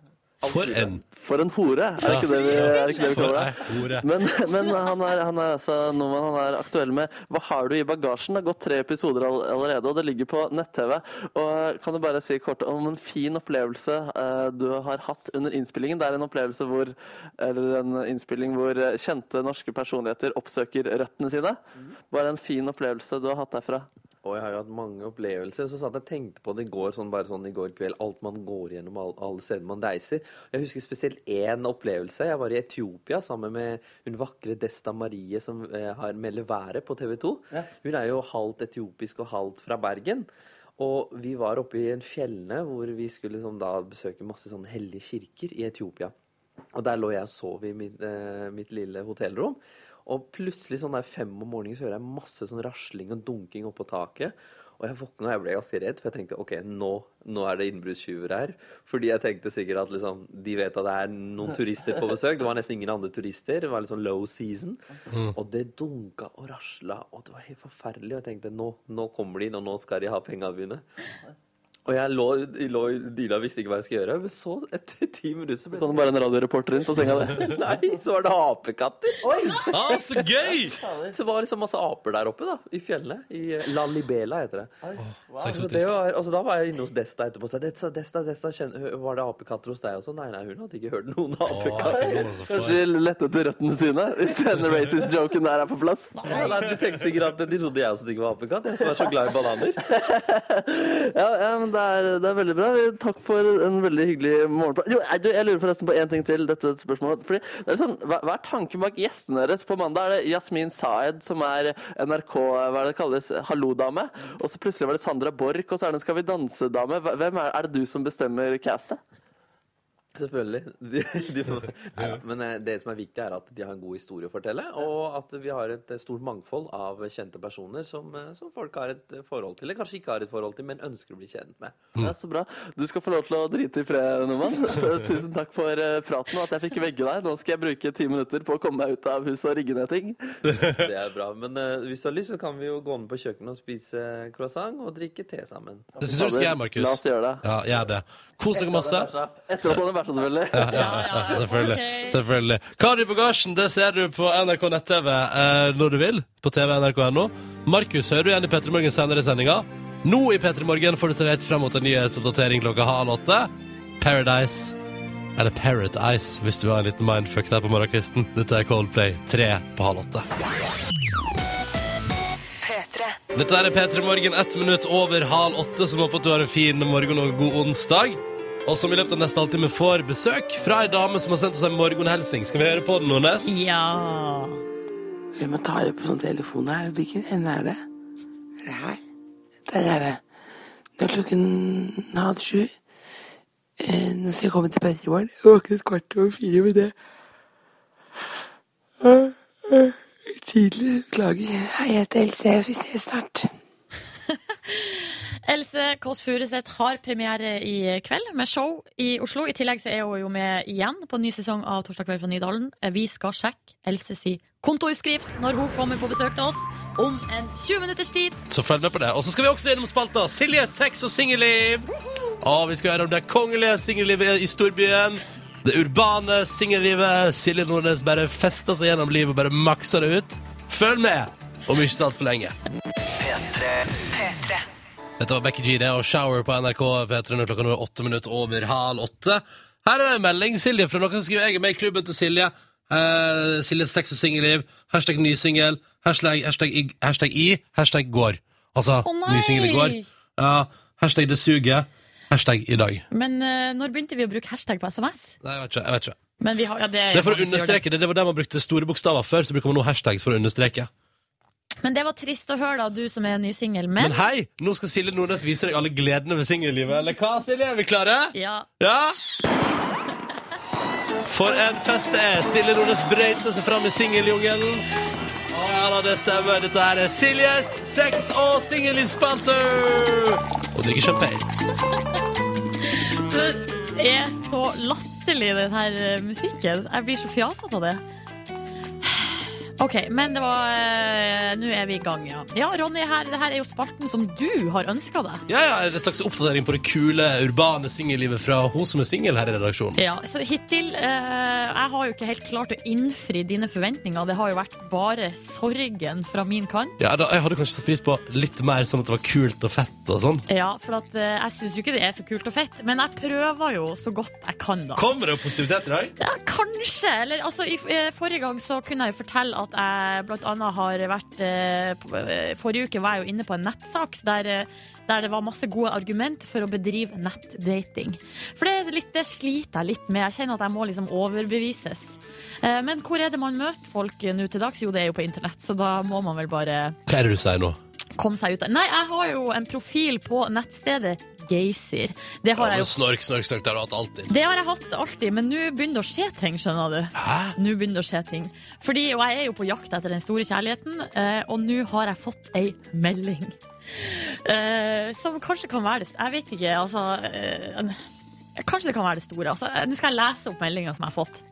D: For en
F: For en hore, er det ikke det vi, er det, ikke det vi
D: For
F: kaller det?
D: ei hore.
F: Men, men han, er, han er altså nordmann han er aktuell med Hva har du i bagasjen? Det har gått tre episoder all, allerede, og det ligger på nett-TV. Og kan du bare si kort om en fin opplevelse eh, du har hatt under innspillingen? Det er en opplevelse hvor Eller en innspilling hvor eh, kjente norske personligheter oppsøker røttene sine. Bare en fin opplevelse du har hatt derfra.
J: Og jeg har jo hatt mange opplevelser. Så satt jeg og tenkte på det i går, sånn, bare sånn i går kveld. Alt man går gjennom, alle, alle steder man reiser. Jeg husker spesielt én opplevelse. Jeg var i Etiopia sammen med hun vakre Desta Marie som eh, har melder været på TV 2. Hun er jo halvt etiopisk og halvt fra Bergen. Og vi var oppe i en fjellene hvor vi skulle sånn, da besøke masse sånn hellige kirker i Etiopia. Og der lå jeg og sov i mitt, eh, mitt lille hotellrom. Og plutselig sånn der fem om morgenen så hører jeg masse sånn rasling og dunking oppå taket. Og jeg våkna og jeg ble ganske redd, for jeg tenkte ok, nå, nå er det innbruddstyver her. Fordi jeg tenkte sikkert at liksom, de vet at det er noen turister på besøk. Det var nesten ingen andre turister. Det var litt sånn low season. Og det dunka og rasla, og det var helt forferdelig. Og jeg tenkte nå, nå kommer de inn, og nå skal de ha penga mine. Og jeg lå, jeg lå i dyna og visste ikke hva jeg skulle gjøre. Men så, etter ti minutter, så ble
F: Kan du bare en radioreporter inn på senga di?
J: Nei, så var det apekatter.
D: Ah, så gøy!
J: Så var det liksom masse aper der oppe, da. I fjellene. I eh, Lalibela heter det.
D: Så
J: Så det
D: eksotisk.
J: var, altså, da var jeg inne hos Desta etterpå og sa Desta, Desta, Desta kjenner, var det apekatter hos deg også? Nei, nei, hun hadde ikke hørt noen
D: Å,
J: apekatter.
D: ikke sant, altså, for-
F: Kanskje lette etter røttene sine, hvis denne racist-joken der er på plass?
J: Nei, nei, du tenkte sikkert at De trodde jeg også ikke var apekatt, jeg som er så glad i bananer.
F: Ja, ja men det er, det er veldig bra. Takk for en veldig hyggelig morgenprat. Jo, nei, du, jeg lurer forresten på én ting til dette spørsmålet. Fordi det er sånn, hva, hva er tanken bak gjestene deres? På mandag er det Yasmin Saed, som er NRK hva er det det kalles, hallo-dame. Og så plutselig var det Sandra Borch, og så er det en Skal vi danse-dame. Hva- Hvem er, er det du som bestemmer castet?
J: Selvfølgelig. De, de, nei, men eh, det som er viktig, er at de har en god historie å fortelle, og at vi har et eh, stort mangfold av kjente personer som, eh, som folk har et eh, forhold til, eller kanskje ikke har et forhold til, men ønsker å bli kjent med.
F: Ja, så bra. Du skal få lov til å drite i fred, Norman. Tusen takk for eh, praten og at jeg fikk vegge deg. Nå skal jeg bruke ti minutter på å komme meg ut av huset og rigge ned ting.
J: Det er bra. Men eh, hvis du har lyst, så kan vi jo gå ned på kjøkkenet og spise eh, croissant og drikke te sammen.
D: Det syns jeg du skal gjøre,
F: La oss
D: Markus.
F: gjøre det.
D: Ja, gjør det. Kos dere masse.
F: Etter at han har vært sånn, selvfølgelig.
D: Ja, selvfølgelig. selvfølgelig. Hva har du i bagasjen? Det ser du på NRK nett-TV eh, når du vil. På tv.nrk.no. Markus hører du igjen i P3 Morgen senere i sendinga. Nå i P3 Morgen får du servert frem mot en nyhetsoppdatering klokka halv åtte. Paradise. Eller Parrot Ice, hvis du har en liten mindfuck der på morgenkvisten. Dette er Coldplay 3 på halv åtte. Dette er P3 Morgen, ett minutt over halv åtte, som håper at du har en fin morgen og god onsdag. Og som i løpet av neste halvtime får besøk fra ei dame som har sendt oss en morgenhelsing. Skal vi høre på den, Nordnes?
E: Ja.
K: Jeg må ta opp på telefonen her. Hvilken ende er det? Er det her? Der er det. Nå er klokken halv sju. Eh, Nå skal jeg komme til Petter i morgen. Jeg våknet kvart over fire med det. Eh, eh, Tidlig. Beklager. Hei, jeg heter Else. Vi ses snart.
E: Else Kåss Furuseth har premiere i kveld med show i Oslo. I tillegg så er hun jo med igjen på en ny sesong av Torsdag kveld fra Nydalen. Vi skal sjekke Else si kontoutskrift når hun kommer på besøk til oss om en 20 minutters tid.
D: Så følg med på det. Og så skal vi også gjennom spalta Silje, sex og singelliv. Og vi skal høre om det kongelige singellivet i storbyen. Det urbane singellivet. Silje Nordnes bare fester seg gjennom livet og bare makser det ut. Følg med om ikke så altfor lenge. Dette var Becky G, det, og Shower på NRK P3 når klokka nå er åtte minutter over halv åtte. Her er det en melding, Silje, fra noen som skriver jeg er med i klubben til Silje. Eh, Siljes sex og singelliv. Hashtag ny singel. Hashtag, hashtag, i- hashtag i. Hashtag går. Altså,
E: nei!
D: ny singel i går. Ja, hashtag det suger. Hashtag i dag.
E: Men eh, når begynte vi å bruke hashtag på SMS?
D: Nei, jeg vet ikke. jeg vet ikke.
E: Men vi har, ja, det, er
D: Det er for
E: mange
D: å
E: som gjør det.
D: understreke det. Det var der man brukte store bokstaver før, så bruker man nå hashtags for å understreke.
E: Men det var trist å høre, da, du som er ny singel.
D: Men
E: Men,
D: hei, nå skal Silje Nordnes vise deg alle gledene ved singellivet. Eller hva, Silje? Er vi klare?
E: ja,
D: Ja! For en fest det er! Silje Nordnes brøyter seg fram i singeljungelen. Å ja da, det stemmer. Dette her er Siljes sex- og singellivsspalte! Og drikker champagne.
E: Det er så latterlig, den her eh, musikken. Jeg blir så fjasete av det. OK, men det var eh, Nå er vi i gang, ja. Ja, Ronny, her, det her er jo spalten som du har ønska deg.
D: Ja, ja, er det en slags oppdatering på det kule, urbane singellivet fra hun som er singel her i redaksjonen?
E: Ja, så Hittil eh, Jeg har jo ikke helt klart å innfri dine forventninger. Det har jo vært bare sorgen fra min kant.
D: Ja, da, Jeg hadde kanskje satt pris på litt mer sånn at det var kult og fett og sånn.
E: Ja, for at, eh, jeg syns jo ikke det er så kult og fett, men jeg prøver jo så godt jeg kan, da.
D: Kommer det positivitet i dag?
E: Ja, kanskje. Eller, altså, i, eh, forrige gang så kunne jeg jo fortelle at jeg blant annet har vært eh, på- eh, Forrige uke var jeg jo inne på en nettsak der, eh, der det var masse gode argument for å bedrive nettdating. For det, er litt, det sliter jeg litt med. Jeg kjenner at jeg må liksom overbevises. Eh, men hvor er det man møter folk nå til dags? Jo, det er jo på internett, så da må man vel bare
D: Hva er det du sier nå?
E: komme seg ut av Nei, jeg har jo en profil på nettstedet Geysir. Det har jeg jo.
D: Snork, snork, snork. Det har du hatt alltid.
E: Det har jeg hatt alltid, men nå begynner det å skje ting, skjønner du.
D: Hæ?
E: Nå begynner det å skje ting. Fordi, og jeg er jo på jakt etter den store kjærligheten, eh, og nå har jeg fått ei melding. Eh, som kanskje kan være det Jeg vet ikke, altså eh, Kanskje det kan være det store. Altså, Eh, nå skal jeg lese opp meldinga som jeg har fått.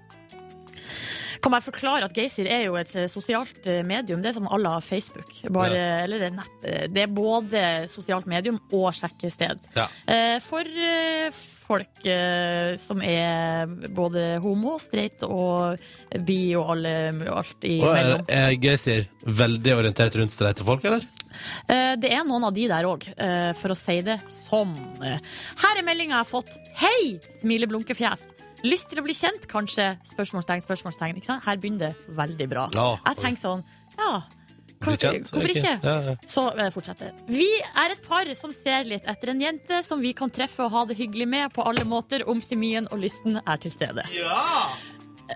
E: Kan bare forklare at Geysir er jo et eh, sosialt eh, medium. Det er som à la Facebook. Bare, Eller det er nett. eh, Det er både sosialt medium og sjekkested.
D: Ja.
E: Eh, For eh, folk eh, som er både homo, streit og bi og alle, alt
D: Og er,
E: imellom.
D: er Geysir veldig orientert rundt stedet til folk, eller?
E: Eh, Det er noen av de der òg, for å si det sånn. Her er meldinga jeg har fått. Hei! Smileblunkefjes. Lyst til å bli kjent, kanskje? Spørsmålstegn, spørsmålstegn. Ikke sant? Her begynner det veldig bra.
D: Ja.
E: Jeg tenker sånn, ja.
D: Bli kjent?
E: Hvorfor ikke?
D: Ja, ja.
E: Så eh, fortsetter Vi er et par som ser litt etter en jente som vi kan treffe og ha det hyggelig med på alle måter om kjemien og lysten er til stede.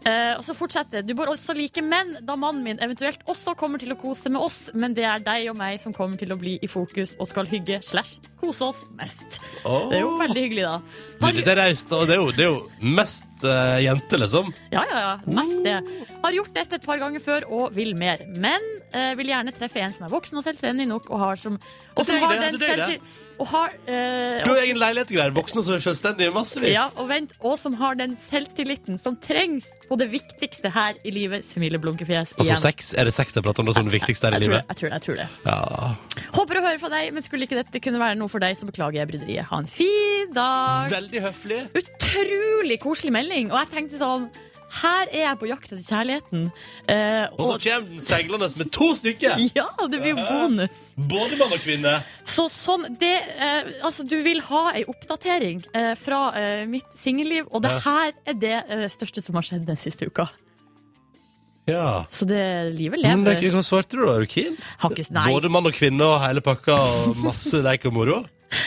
E: Eh, og så fortsetter Du bør også like menn, da mannen min eventuelt også kommer til å kose med oss, men det er deg og meg som kommer til å bli i fokus og skal hygge slash kose oss mest.
D: Åh.
E: Det er jo veldig hyggelig, da.
D: Du, dette er raust, og det er jo, det er jo mest eh, jente, liksom.
E: Ja, ja, ja. Mest det. Har gjort dette et par ganger før og vil mer. Men eh, vil gjerne treffe en som er voksen og selvstendig nok og har som Og
D: Det er
E: som har
D: det,
E: den
D: det er det.
E: selvtil- og har, eh,
D: Du har egen leilighet og greier. Voksne som er selvstendige, massevis.
E: ja, og vent, og som har den selvtilliten som trengs på det viktigste her i livet. Smileblunkefjes
D: Altså
E: igjen.
D: sex, Er det sex det er prat om da, som det viktigste her i
E: Jeg tror det,
D: livet?
E: jeg tror det. jeg tror det
D: Ja.
E: Håper å høre fra deg, men skulle ikke dette kunne være noe for deg, så beklager jeg bryderiet. Ha en fin dag!
D: Veldig høflig.
E: Utrolig koselig melding, og jeg tenkte sånn her er jeg på jakt etter kjærligheten. Eh,
D: Og så
E: og,
D: kommer den seilende med to stykker!
E: ja, det blir jo bonus.
D: Både mann og kvinne.
E: Så sånn, det, eh, altså, du vil ha ei oppdatering eh, fra eh, mitt singelliv, og det
D: Ja.
E: her er det eh, største som har skjedd den siste uka.
D: Ja.
E: Så det livet
D: Men det,
E: lever.
D: er ikke- hva svarte du da? Er du keen?
E: Har ikke, nei,
D: Både mann og kvinne og hele pakka og masse leik og moro?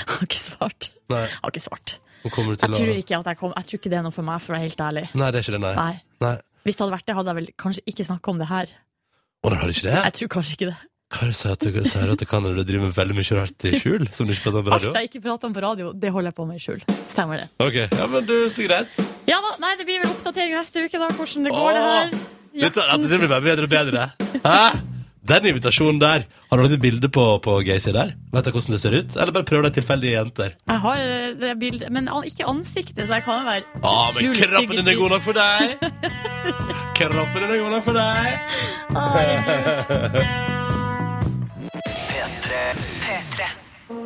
E: har ikke svart.
D: Nei.
E: Har ikke svart.
D: Nå kommer du
E: Jeg
D: til
E: tror
D: å
E: ikke at jeg kom Jeg tror ikke det er noe for meg, for å være helt ærlig.
D: Nei, det er ikke det, nei.
E: Nei.
D: Nei.
E: Hvis det hadde vært det, hadde jeg vel kanskje ikke snakka om det her.
D: Å, nei, har du ikke det?
E: Jeg tror kanskje ikke det.
D: Hva er det du sier at du sier at du kan når du driver med veldig mye rart i skjul? Som du ikke prater om på radio?
E: Alt jeg ikke prater om på radio, det holder jeg på med i skjul. Stemmer det.
D: Ok, ja, men du, så greit.
E: Ja da, nei, det blir vel oppdatering neste uke, da, hvordan det går, det her. Ja.
D: Dette, dette blir bare bedre og bedre. Hæ? Den invitasjonen der. Har du lagt et bilde på, på Gacy der? Vet du hvordan det ser ut? Eller bare prøv deg tilfeldige jenter?
E: Jeg har eh, det bildet, men an- ikke ansiktet, så jeg kan jo være
D: Ja, men
E: Utrolig stygge
D: kroppen din er god nok for deg. Kroppen din er god nok for deg.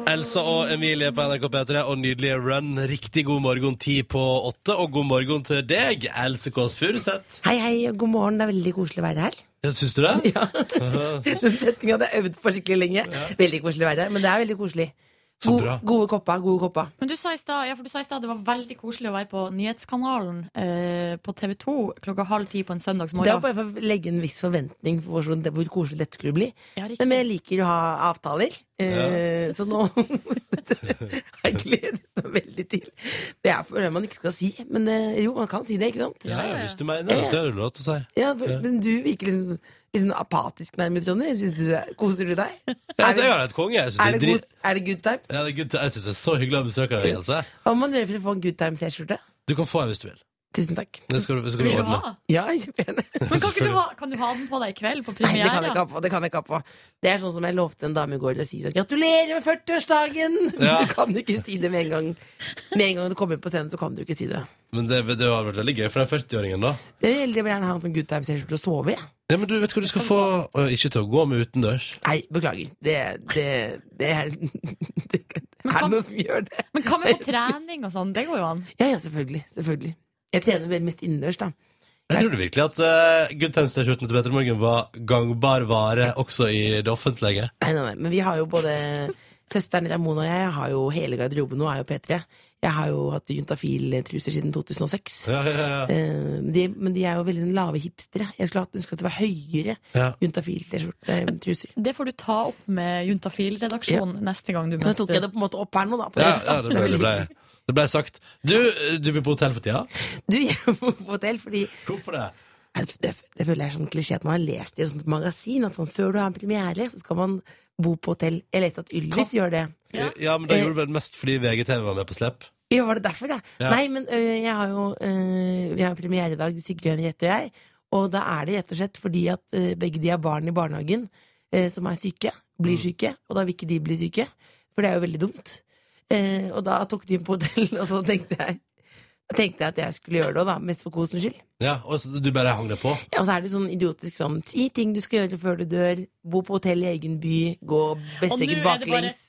D: Elsa og Emilie på NRK P3 og nydelige Run. Riktig god morgen ti på åtte, og god morgen til deg, Else Kåss Furuseth.
L: Hei, hei, og god morgen. Det er veldig koselig å være her.
D: Ja, Syns du det?
L: Ja. Den setninga hadde jeg øvd på skikkelig lenge. Veldig koselig å være her, men det er veldig koselig.
D: Så bra.
L: gode kopper, gode kopper.
E: Men du sa i stad ja, for du sa i stad det var veldig koselig å være på Nyhetskanalen eh, på TV 2 klokka halv ti på en
L: Det var
E: søndagsmorgen.
L: bare for å legge en viss forventning på hvor, sånn- det- hvor koselig dette skulle bli.
E: Ja, riktig.
L: Men jeg liker å ha avtaler, eh, så nå har jeg gledet meg veldig til. Det er for det man ikke skal si, men eh, jo, man kan si det, ikke sant?
D: Ja, ja, hvis du mener det, så er det lov til å si.
L: Ja, men du virker liksom, liksom apatisk nærmest, Ronny. Synes du det, koser du deg?
D: Ja,
L: Er
D: altså, jeg
L: det,
D: har et konge. Jeg
L: er
D: syns det
L: det,
D: er dritt.
L: god, er det good times?
D: Ja, det er good time. Jeg synes det er så hyggelig å besøke deg, Else.
L: Hva må man gjøre for å få en good times-T-skjorte?
D: Du kan få en hvis du vil.
L: Tusen takk.
D: Det skal, du- det skal
E: Vil
D: vi
E: du
D: ordne.
E: ha?
L: Ja, kjempegjerne.
E: Men kan, ikke du ha, kan du ha den på deg i kveld, på
L: Nei, det kan
E: premiere?
L: jeg ikke ha på. Det kan jeg ikke ha på. Det er sånn som jeg lovte en dame i går å si sånn Gratulerer med 40-årsdagen!
D: Ja.
L: Du kan ikke si det med en gang. Med en gang du kommer på scenen, så kan du ikke si det.
D: Men det, det hadde vært veldig gøy for den 40-åringen, da.
L: Det vil jeg gjerne ha en sånn good times-T-skjorte å sove i.
D: Ja, men du vet hva du skal få øh, Ikke til å gå med utendørs.
L: Nei, beklager. Det, det, det, er- det,
E: Men
L: er
E: kan-
L: noe som gjør det.
E: Men hva med på trening og sånn? Det går jo an.
L: Ja, ja, selvfølgelig. Selvfølgelig. Jeg trener vel mest innendørs, da.
D: Jeg trodde virkelig at uh, Good Times-T-skjorten til Petter Morgen var gangbar vare også i det offentlige.
L: Nei, nei, nei. Men vi har jo både Søsteren til Mona og jeg har jo hele garderoben nå, er jo P3. Jeg har jo hatt juntafil-truser siden 2006.
D: Ja, ja, ja.
L: Eh, de, men de er jo veldig sånn lave hipstere. Jeg skulle hatt ønsket at det var høyere eh,
D: Ja.
L: juntafil-T-skjorte-truser.
E: Det får du ta opp med Juntafil-redaksjonen neste gang du
L: Nå tok jeg
E: møter
L: det på en måte opp her nå, da. på
D: Ja,
L: lufta.
D: ja, det ble, det ble, det ble sagt. Du, øh, du bor på hotell for tida?
L: Du, jeg må på hotell, fordi
D: Hvorfor det?
L: det, det, det føler jeg er sånn klisjé at man har lest i et sånt magasin at sånn, før du har en premiere, så skal man bo på hotell. Jeg leste at Ylvis gjør det.
D: Ja, men da gjorde du vel mest fordi VGTV var med på slepp?
L: Ja, var det derfor, ja?
D: Ja.
L: Nei, men ø, jeg har jo ø, Vi har premiere i dag, Sigrid Henriette og jeg. Og da er det rett og slett fordi at ø, begge de har barn i barnehagen ø, som er syke. Blir
E: Mm.
L: syke. Og da vil ikke de bli syke. For det er jo veldig dumt. Eh, og da tok de inn på hotell, og så tenkte jeg da tenkte jeg at jeg skulle gjøre det òg, da. Mest for kosens skyld.
D: Ja, og så Du bare hang det på?
L: Ja, og så er det sånn idiotisk sånn ti ting du skal gjøre før du dør. Bo på hotell i egen by. Gå
E: Og nå
L: besteget
E: er det bare
L: baklengs.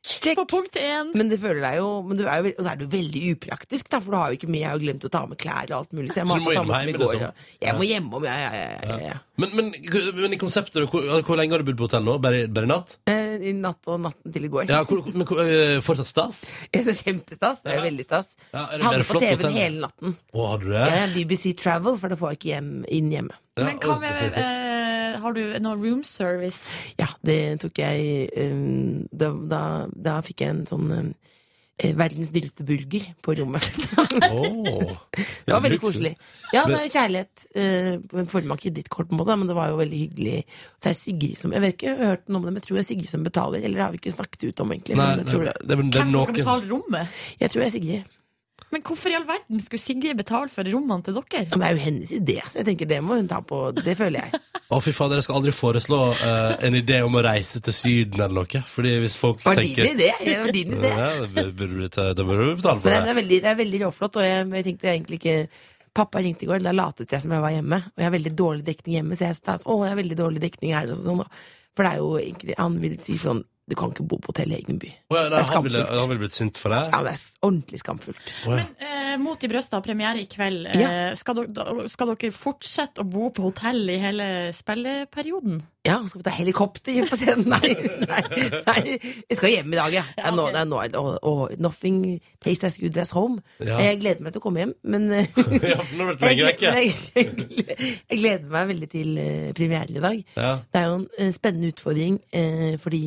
E: check på punkt én.
L: Men det føler deg jo, men du er jo veld- Og så er det jo veldig upraktisk, da, for du har jo ikke med Jeg har jo glemt å ta med klær og alt mulig. Så jeg
D: Så
L: må ha
D: du må
L: på samme
D: hjem
L: som i
D: hjemme,
L: går.
D: liksom?
L: og- Jeg må hjemom, ja, ja, ja. ja, ja.
D: Men, men, men i konseptet, hvor, altså, hvor lenge har du bodd på hotell nå? Bare, bare i natt?
L: Eh, I natt og natten til i går.
D: Ja, hvor, men, hvor, øh, fortsatt stas?
L: Det er kjempestas. Det er jo
D: Ja.
L: veldig stas.
D: Ja, er det
L: Hadde
D: mer
L: på
D: flott
L: TV-en
D: hotell?
L: hele natten.
D: Å, har du det?
L: Ja, BBC Travel, for det får jeg ikke hjem, inn hjemme.
E: Men hva med eh, Har du noe room service?
L: Ja, det tok jeg um, da, da, da fikk jeg en sånn um, eh, Verdens dyreste burger på rommet. det
D: Åh.
L: var veldig koselig. Ja, det er kjærlighet. eh, på en Forma kredittkort, på en måte, men det var jo veldig hyggelig. Så er det Sigrid som Jeg vet ikke, jeg har hørt noe om det, men jeg tror det er Sigrid som betaler. Eller det har vi ikke snakket ut om, egentlig.
D: Nei,
L: men
D: nei,
L: jeg, tror det.
D: det, det, det er
E: Hvem som skal
D: noen
E: betale rommet?
L: jeg tror det er Sigrid.
E: Men hvorfor i all verden skulle Sigrid betale for rommene til dere?
L: Men det er jo hennes idé, så jeg tenker det må hun ta på. Det føler jeg.
D: Å, fy faen, dere skal aldri foreslå eh, en idé om å reise til Syden eller noe. Fordi hvis folk
L: Var din
D: tenker
L: idé? Det var din idé.
D: Ja, det burde du ta- Da burde du betale for
L: Men det
D: det.
L: er veldig, det er veldig råflott, og jeg, jeg tenkte egentlig ikke Pappa ringte i går, da latet jeg som jeg var hjemme. Og jeg har veldig dårlig dekning hjemme, så jeg sa at, å, jeg har veldig dårlig dekning her. Og sånn, og- for det er jo egentlig Han vil si sånn Du kan ikke bo på hotell i egen by.
D: Å, ja, nei,
L: Det er
D: han, ville,
L: skamfullt.
D: han ville blitt sint for deg?
L: Ja, det er s- ordentlig skamfullt.
D: Å, ja.
E: Eh, eh, Mot i brøstet, premiere i kveld. Eh, skal, dere- da- skal dere fortsette å bo på hotell i hele spilleperioden?
L: Ja, skal vi ta helikopter på scenen? Nei, nei, nei. Jeg skal hjem i dag, jeg. Ja, nå, det er nå, og, og nothing tastes as good as home.
D: Ja.
L: Jeg gleder meg til å komme hjem, men eh,
D: Ja, for nå har det vært lenge
L: jeg,
D: vekke.
L: jeg, jeg gleder meg veldig til eh, premieren i dag.
D: Ja.
L: Det er jo en eh, spennende utfordring, eh, fordi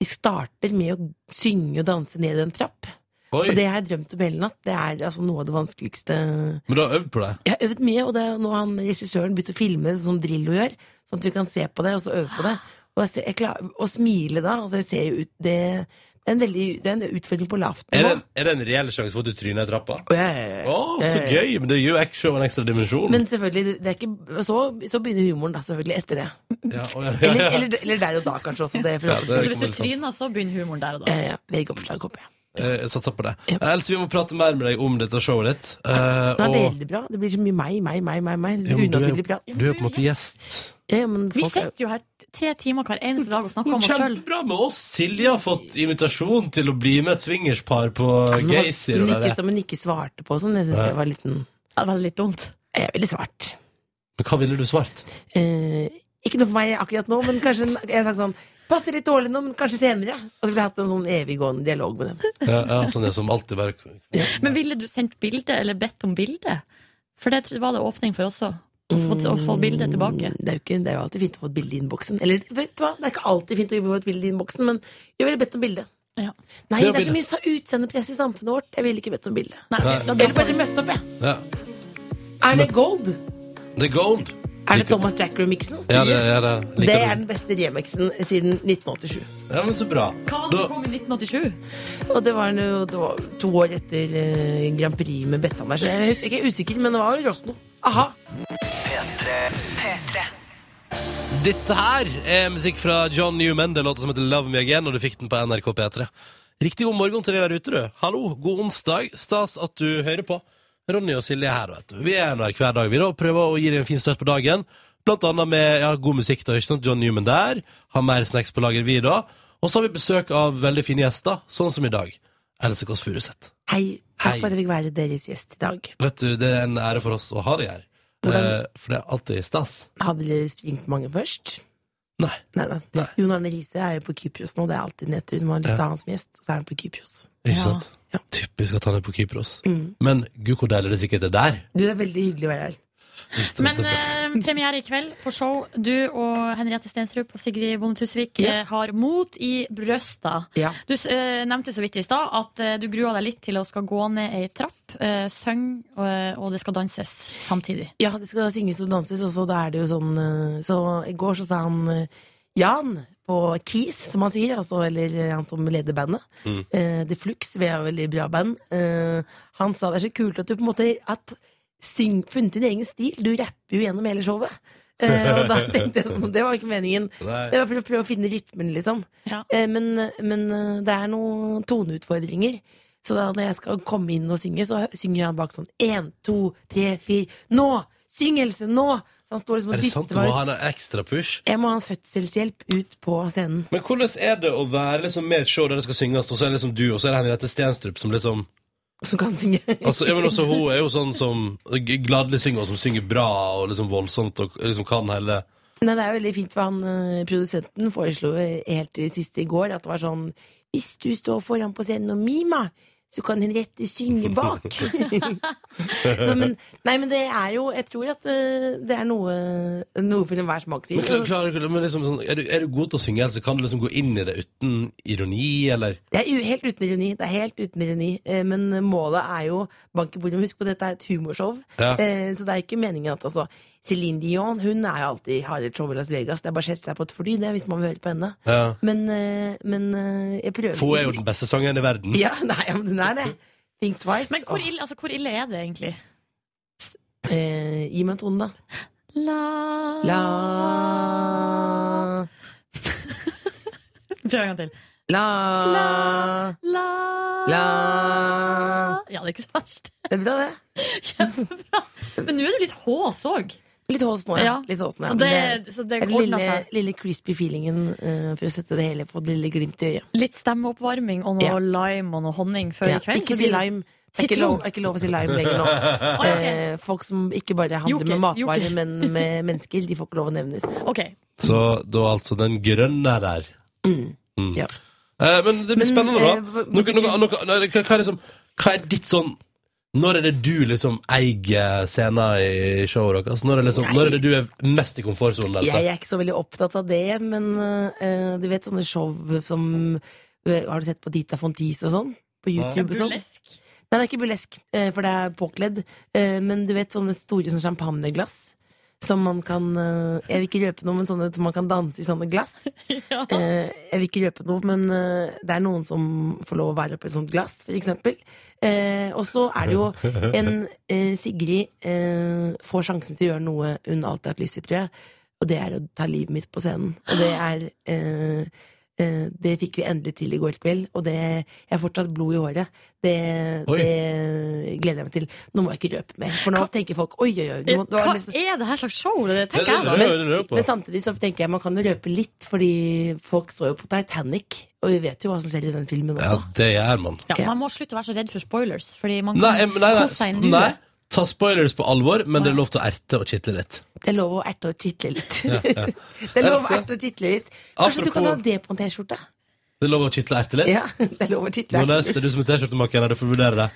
L: vi starter med å synge og danse ned en trapp.
D: Oi.
L: Og det har jeg drømt om hele natt. Det er altså noe av det vanskeligste
D: Men du har øvd på det?
L: Jeg har øvd mye, og det er jo nå han regissøren begynte å filme det som Drillo gjør, sånn at vi kan se på det og så øve på det. Og jeg ser, jeg klarer, å smile da, altså jeg ser jo ut Det, det er en veldig det er en utfordring på lavt
D: Er
L: nivå.
D: det, er det en reell sjanse for at du tryner i trappa?
L: Og jeg-
D: Å, så gøy! Men det gir jo ekstra, en ekstra dimensjon.
L: Eh, Men selvfølgelig, det er ikke, så, så begynner humoren da selvfølgelig etter det.
D: Ja, å, ja, ja,
L: Eller,
D: ja.
L: eller, eller der og da, kanskje også. Det, for,
D: Ja, det er
E: Så hvis du
D: kommer litt
E: tryner, så begynner humoren der og da.
L: Eh, ja, Veggeoppslag håper jeg.
D: Eh, Jeg satser på det. Eh, Else, vi må prate mer med deg om dette showet ditt. Eh,
L: Det er
D: og-
L: veldig bra. Det blir så mye meg, meg, meg, meg. meg.
D: Ja, men du, er,
L: Unaturlig prat.
D: jo- du er jo på en måte gjest.
L: Ja, men
E: Vi
L: folk er-
E: sitter jo her t- tre timer hver eneste dag og snakker om oss sjøl.
D: Kjempebra med oss! Silje har fått invitasjon til å bli med et swingerspar på
L: Men
D: Geysir. og
L: hun
D: det
L: ikke
D: der.
L: som hun ikke svarte på og sånn. Jeg syns det var litt en-
E: Det var litt dumt.
L: Jeg er veldig svart.
D: Men hva ville du svart?
L: Eh, ikke noe for meg akkurat nå, men kanskje en- jeg har sagt sånn Passer litt dårlig nå, men kanskje senere. Og så ville jeg hatt en sånn eviggående dialog med dem.
D: Ja, ja, sånn det som alltid bare
E: Men ville du sendt bilde, eller bedt om bilde? For det tr- var det åpning for også. Å få, å få bildet tilbake.
L: Mm, Det er, jo ikke, det er jo alltid fint å få et bilde i innboksen. Eller vet du hva, det er ikke alltid fint å få et bilde i innboksen, men jeg ville bedt om bilde.
E: Ja.
L: Nei,
D: Ja,
L: det er så
D: bilde.
L: mye sa- utseendepress i samfunnet vårt. Jeg ville ikke bedt om bilde.
E: Nei, da
L: Jeg ville bare møtt opp, jeg.
D: Ja.
L: Er det gold?
D: The Gold.
L: Er det Thomas Jack-remixen?
D: Ja, det, ja, det, liker
L: Det er
D: du.
L: den beste remixen siden 1987.
D: Ja, men så bra.
E: Hva var det
D: Da,
E: som kom i 1987?
L: Og det var, noe, det var to år etter eh, Grand Prix med Bettan der, så jeg husker ikke jeg er usikker, men det var rått noe. Aha!
D: dette her er musikk fra John Newman. Det låter som heter Love Me Again, og du fikk den på NRK P3. Riktig god morgen til deg der ute, du. Hallo, god onsdag. Stas at du hører på. Ronny og Silje er her, vet du. Vi er her hver dag, vi da, og prøver å gi deg en fin start på dagen. Blant annet med ja, god musikk, da, ikke sant? John Newman der. Har mer snacks på lager, vi da. Og så har vi besøk av veldig fine gjester, sånn som i dag. Else Kåss Furuseth.
L: Hei,
D: Hei.
L: takk for at jeg fikk være deres gjest i dag.
D: Vet du, det er en ære for oss å ha deg her. Eh, for det er alltid stas.
L: Hadde dere ringt mange først?
D: Nei.
L: Nei, nei.
D: Nei.
L: Jon Arne Riise er jo på Kypros nå, det er alltid nedtur. Hun har lyst til å ha han som gjest, så er han på Kypros.
D: Ikke
E: Ja.
D: sant?
L: Ja.
D: Typisk at han er på Kypros. Men gud, hvor deilig det sikkert er der.
L: Du, det er veldig hyggelig å være her.
D: Hvis det-
E: Men eh, premiere i kveld på show. Du og Henriette Stenstrup og Sigrid Bonde Tusvik eh, har mot i brøsta.
L: Ja.
E: Du eh, nevnte så vidt i stad at eh, du grua deg litt til å skal gå ned ei trapp, uh, synge, og- og det skal danses samtidig.
L: Ja, det skal synges og danses, og så da er det jo sånn eh, Så i går så sa han eh, Jan på Keys, som han sier, altså, eller eh, han som leder bandet. Eh, The Flux, vi er jo veldig bra band. Eh, han sa det er så kult at du på en måte at syng, funnet din egen stil. Du rapper jo gjennom hele showet. Eh, og da tenkte jeg sånn, det var ikke meningen.
D: Nei.
L: Det var for å prøve å finne rytmen, liksom.
E: Ja.
L: Eh, Men, men eh, det er noen toneutfordringer. Så da når jeg skal komme inn og synge, så hø- synger han bak sånn én, to, tre, fire Nå! Syng, Else! Nå! Så han står liksom
D: Er
L: og
D: det sant? Du
L: dytter
D: må
L: meg
D: ha
L: ut.
D: en ekstra push.
L: Jeg må ha en fødselshjelp ut på scenen.
D: Men hvordan er det å være liksom med et show der det skal synges, og så er det liksom du, og så er det Henriette Stenstrup som liksom
L: Som kan synge.
D: altså, jeg mener, også, Hun er jo sånn som g- gladelig synger, og som synger bra og liksom voldsomt, og liksom kan hele
L: Nei, det er veldig fint, for han eh, produsenten foreslo eh, helt til sist i går at det var sånn Hvis du står foran på scenen og mimer, så kan Henriette synge bak. så, men, nei, men det er jo Jeg tror at eh, det er noe, noe for enhver smak
D: Men,
L: sier.
D: klar, klar, men liksom sånn, er, du, er du god til å synge, så kan du liksom gå inn i det uten ironi, eller
L: Det er u- helt uten ironi. Det er helt uten ironi. Eh, Men målet er jo bank i bordet. Men Husk på dette er et humorshow.
D: Ja.
L: Eh, Så det er ikke meningen at altså Céline Dion hun er jo alltid har et show i Las Vegas. Det er bare å sette seg på et fly, det, hvis man vil høre på henne.
D: Ja.
L: Men, eh, men eh, jeg prøver
D: For hun er jo den beste sangeren i verden.
L: Ja, nei, ja, men den er det. Think twice.
E: Men hvor
L: Åh,
E: ille, altså, hvor ille er det egentlig?
L: eh, gi meg en tone, da.
E: La,
L: La
E: Prøv en gang til.
L: La
E: La. La,
L: La
E: Ja, det er ikke så verst.
L: Det er bra, det.
E: Kjempebra. Men nå er du litt hås òg.
L: Litt hås nå, ja.
E: Ja.
L: Litt hås nå, ja.
E: Så
L: Men det-
E: det, altså. så det
L: Den
E: ordna
L: lille,
E: seg.
L: lille crispy feelingen eh, for å sette det hele på et lille glimt i øyet.
E: Litt stemmeoppvarming og noe
L: Ja.
E: lime og noe honning før
L: Ja,
E: i kveld.
L: ikke
E: så
L: si
E: blir det-
L: lime. Det er ikke lov, det er ikke lov å si lime lenger nå.
E: Oi, ok.
L: Eh, folk som ikke bare handler
E: Joker,
L: med matvarer,
E: joker.
L: men med mennesker, de får ikke lov å nevnes.
E: Ok.
D: Så da altså den grønne der. Mm.
L: Ja.
D: Eh, men det blir
L: Men,
D: spennende, da.
L: eh, hva-
D: Noe, noe, noe, nei, hva, hva, er liksom, hva er ditt sånn Når er det du liksom eier scenen i showet deres? Når, er liksom, når er det du er mest i komfortsonen? Else?
L: Jeg er ikke så veldig opptatt av det, men eh, du vet sånne show som eh, Har du sett på Dita Fontis og sånn? På YouTube og sånn?
E: Burlesk.
L: Nei, det er ikke burlesk, eh, for det er påkledd. Eh, Men du vet sånne store sånne champagneglass? Som man kan eh, Jeg vil ikke røpe noe, men sånne som man kan danse i sånne glass.
E: Ja.
L: Eh, Jeg vil ikke røpe noe, men eh, det er noen som får lov å være oppi et sånt glass, for eksempel. Eh, Og så er det jo en eh, Sigrid eh, får sjansen til å gjøre noe hun alltid har hatt lyst til, tror jeg. Og det er å ta livet mitt på scenen. Og det er eh, eh, Det fikk vi endelig til i går kveld, og det Jeg har fortsatt blod i håret. Det,
D: Oi.
L: det gleder jeg meg til. Nå må jeg ikke røpe mer, for nå tenker folk oi, oi, oi. Nå, det
E: Hva
L: var liksom,
E: er det her slags show? Det tenker jeg, da.
D: det- det- det- det-
L: men samtidig så tenker jeg man kan jo røpe litt, fordi folk står jo på Titanic, og vi vet jo hva som skjer i den filmen
D: Ja,
L: også.
D: det gjør man.
E: Ja, man må slutte å være så redd for spoilers, fordi man
D: Nei,
E: kan
D: em, nei,
E: kose seg i
D: nei,
E: nuet.
D: nei. Ta spoilers på alvor, men det er lov til å erte og kitle litt.
L: Det er lov å erte og title litt. det er lov å
D: Else?
L: erte og title litt. Kanskje du kan ha
D: Apropos-
L: det på en T-skjorte?
D: Det er lov å kitle og erte litt?
L: Ja, det er lov å title.
D: Nå leste du som er T-skjortemaker, du får vurdere det.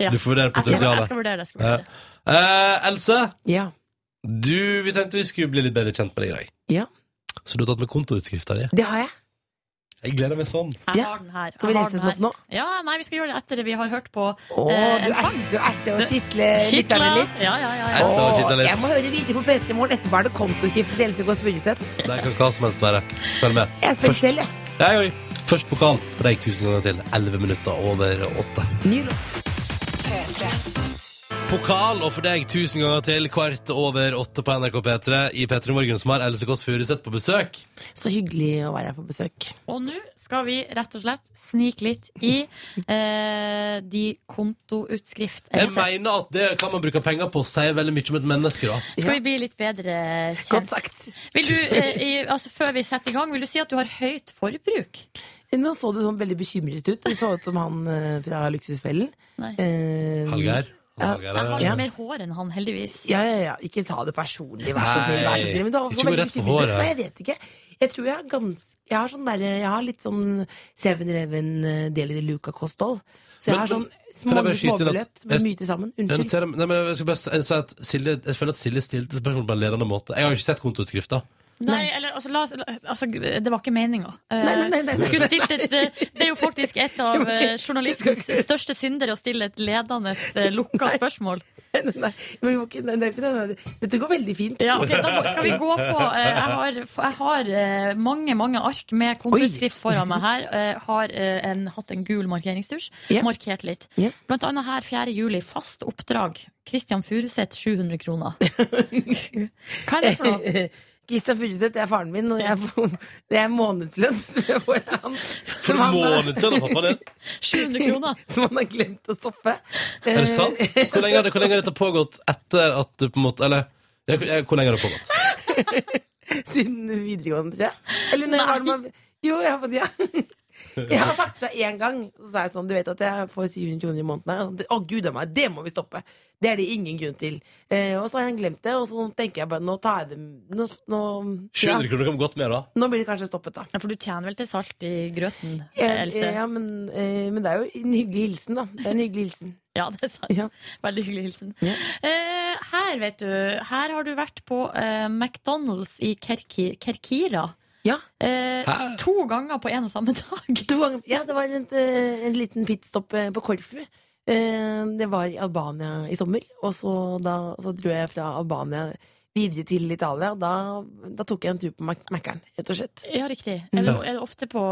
E: Ja.
D: Du får vurdere
E: Jeg skal, jeg
D: potensialet.
E: skal vurdere det. Jeg skal
D: Ja.
E: vurdere det.
D: Eh, Else,
L: Ja.
D: du, vi tenkte vi skulle bli litt bedre kjent med deg i dag.
L: Ja.
D: Så du har tatt med kontoutskrifta di.
L: Det har jeg.
D: Jeg gleder meg sånn.
L: Ja.
E: Jeg har den her.
L: Skal vi
E: Jeg har
L: lese
E: den
L: den
E: her.
L: opp nå?
E: Ja, nei, vi skal gjøre det etter vi har hørt på
L: Å,
E: eh,
L: du,
E: en
L: er,
E: sang.
L: du erte og
E: Det-
L: title Eh, lytterne
E: Kitla.
L: litt.
E: Ja, ja, ja, ja.
D: Erte og kitle
L: Å,
D: litt.
L: jeg må høre videre på P3 Morgen. Etterpå er det kontoskiftet til Else Kåss Furuseth.
D: Det kan hva som helst være. Følg med.
L: Jeg er spent
D: Først,
L: selv, jeg.
D: Nei, oi. Først pokal for deg tusen ganger til. 11 minutter over åtte.
L: Ny låt.
D: Pokal og for deg tusen ganger til kvart over åtte på NRK P3 i P3 Morgen som har Else Kåss Furuseth på besøk.
L: Så hyggelig å være her på besøk.
E: Og nå skal vi rett og slett snike litt i eh, de kontoutskrift...
D: Jeg mener at det kan man bruke penger på, sier veldig mye om et menneske, da.
E: Skal vi bli litt bedre
L: Godt
E: kjent?
L: sagt.
E: Vil du, eh, i, altså, før vi setter i gang, vil du si at du har høyt forbruk?
L: Nå så du sånn veldig bekymret ut. Du så ut som han eh, fra Luksusfellen.
E: Nei.
L: Eh,
D: Hallgeir.
L: Ja.
D: Hallgeir,
E: Jeg
D: ja,
E: har
D: ja.
E: litt mer hår enn han, heldigvis.
L: Ja, ja, ja. Ikke ta det personlig, vær så
D: Nei.
L: snill. Vær så snill. Men du har
D: Ikke
L: fått
D: gå
L: veldig
D: rett på
L: bekymret ut.
D: håret.
L: Nei, jeg vet ikke. Jeg tror jeg har ganske Jeg har sånn derre Jeg har litt sånn 7-Eleven-del i det Luca-kosthold. Så jeg
D: Men-
L: har sånn
D: men- kan jeg
L: små
D: bare skyte inn at-
L: småbeløp som er mye til sammen.
D: Jeg,
L: Unnskyld.
D: noterer, nei, men jeg, skal bare s- si at Silje, jeg føler at Silje stilte spørsmål på en ledende måte. Jeg har jo ikke sett kontoutskrifta.
E: Nei, eller altså, la, oss- la, altså Det var ikke meninga. Eh,
L: Nei, nei, nei, nei.
E: Skulle stilt et eh, Det er jo faktisk et av
L: Jo, ok.
E: eh, journalistens største syndere å stille et ledende, eh, lukka spørsmål.
L: Nei, nei, men vi må ikke- nei, nei, nei, nei. Dette går veldig fint.
E: Ja, ok, da må- skal vi gå på eh, Jeg har, jeg har eh, mange mange ark med kontoutskrift foran meg her. Eh, Har eh, en, hatt en gul markeringstusj.
L: Ja.
E: Markert litt.
L: Ja.
E: Blant annet her 4. juli. Fast oppdrag. Christian Furuseth 700 kroner. Hva er det for noe?
L: Kristian Furuseth det er faren min, og jeg får, det er månedslønn som jeg får av han.
D: For
L: Som
D: en
L: han da-
D: måned siden av pappaen din!
E: 700 kroner?
L: Som han har glemt å stoppe. Eh,
D: Er det sant? Hvor lenge har det, hvor lenge har dette pågått etter at du på en måte Eller ja, hvor- ja, hvor lenge har det pågått?
L: Siden videregående, tror jeg. Eller når var det man Jo, jeg har fått ja. Jeg har sagt fra én gang, så sa jeg sånn Du vet at jeg får 700 kroner i måneden her? Og sånn, Å, gud a meg, det må vi stoppe! Det er det ingen grunn til. Eh, og så har han glemt det, og så tenker jeg bare Nå tar jeg det Nå, nå,
D: 700 kroner kan godt med, da.
L: nå blir det kanskje stoppet, da.
E: Ja, for du tjener vel til salt i grøten,
L: Ja,
E: Else?
L: ja, men, eh, men det er jo en hyggelig hilsen, da. Det er en hyggelig hilsen.
E: Ja, det er sant.
L: Ja.
E: Veldig hyggelig hilsen.
L: Ja.
E: Eh, her, vet du, her har du vært på eh, McDonald's i Kerki, Kerkira.
L: Ja.
E: Eh,
D: Hæ?
E: to ganger på en og samme dag.
L: To ganger, ja, det var en, eh, en liten pitstop eh, på Korfu. Eh, Det var i Albania i sommer, og så, da, så dro jeg fra Albania videre til Italia. Og da, da tok jeg en tur på Mac- Mækkern, rett og slett.
E: Ja, riktig. Er det, er det ofte på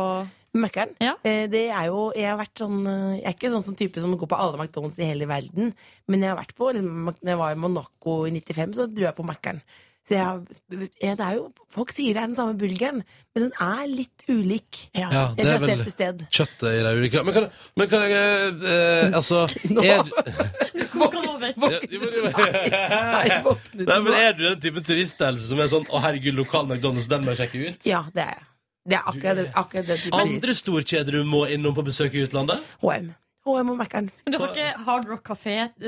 L: Mækkern.
E: Ja.
L: Eh, Det er jo, jeg har vært sånn eh, Jeg er ikke sånn som type som går på alle McDonald's i hele verden, men jeg har vært på liksom, Mac- Når jeg var i Monaco i 95, så dro jeg på Mækkern. Så jeg, har- eh, det er jo, Folk sier det er den samme burgeren, men den er litt ulik.
D: Ja, det
L: Fra sted
D: er vel
L: til sted.
D: kjøttet i de ulike Men kan, men kan jeg eh, eh, Altså er,
E: Kok han over.
D: Ja, jo, men-
L: Nei, våknet
D: Nei, men
L: nå.
D: Er du den type turistelse som er sånn 'Å, herregud, lokal McDonald's, den må jeg sjekke ut'?
L: Ja, det er jeg. Det er akkurat, det- akkurat den typen
D: Andre storkjeder du må innom på besøk i utlandet?
L: HM. HM og Mækkern.
E: Men du har ikke Hard Rock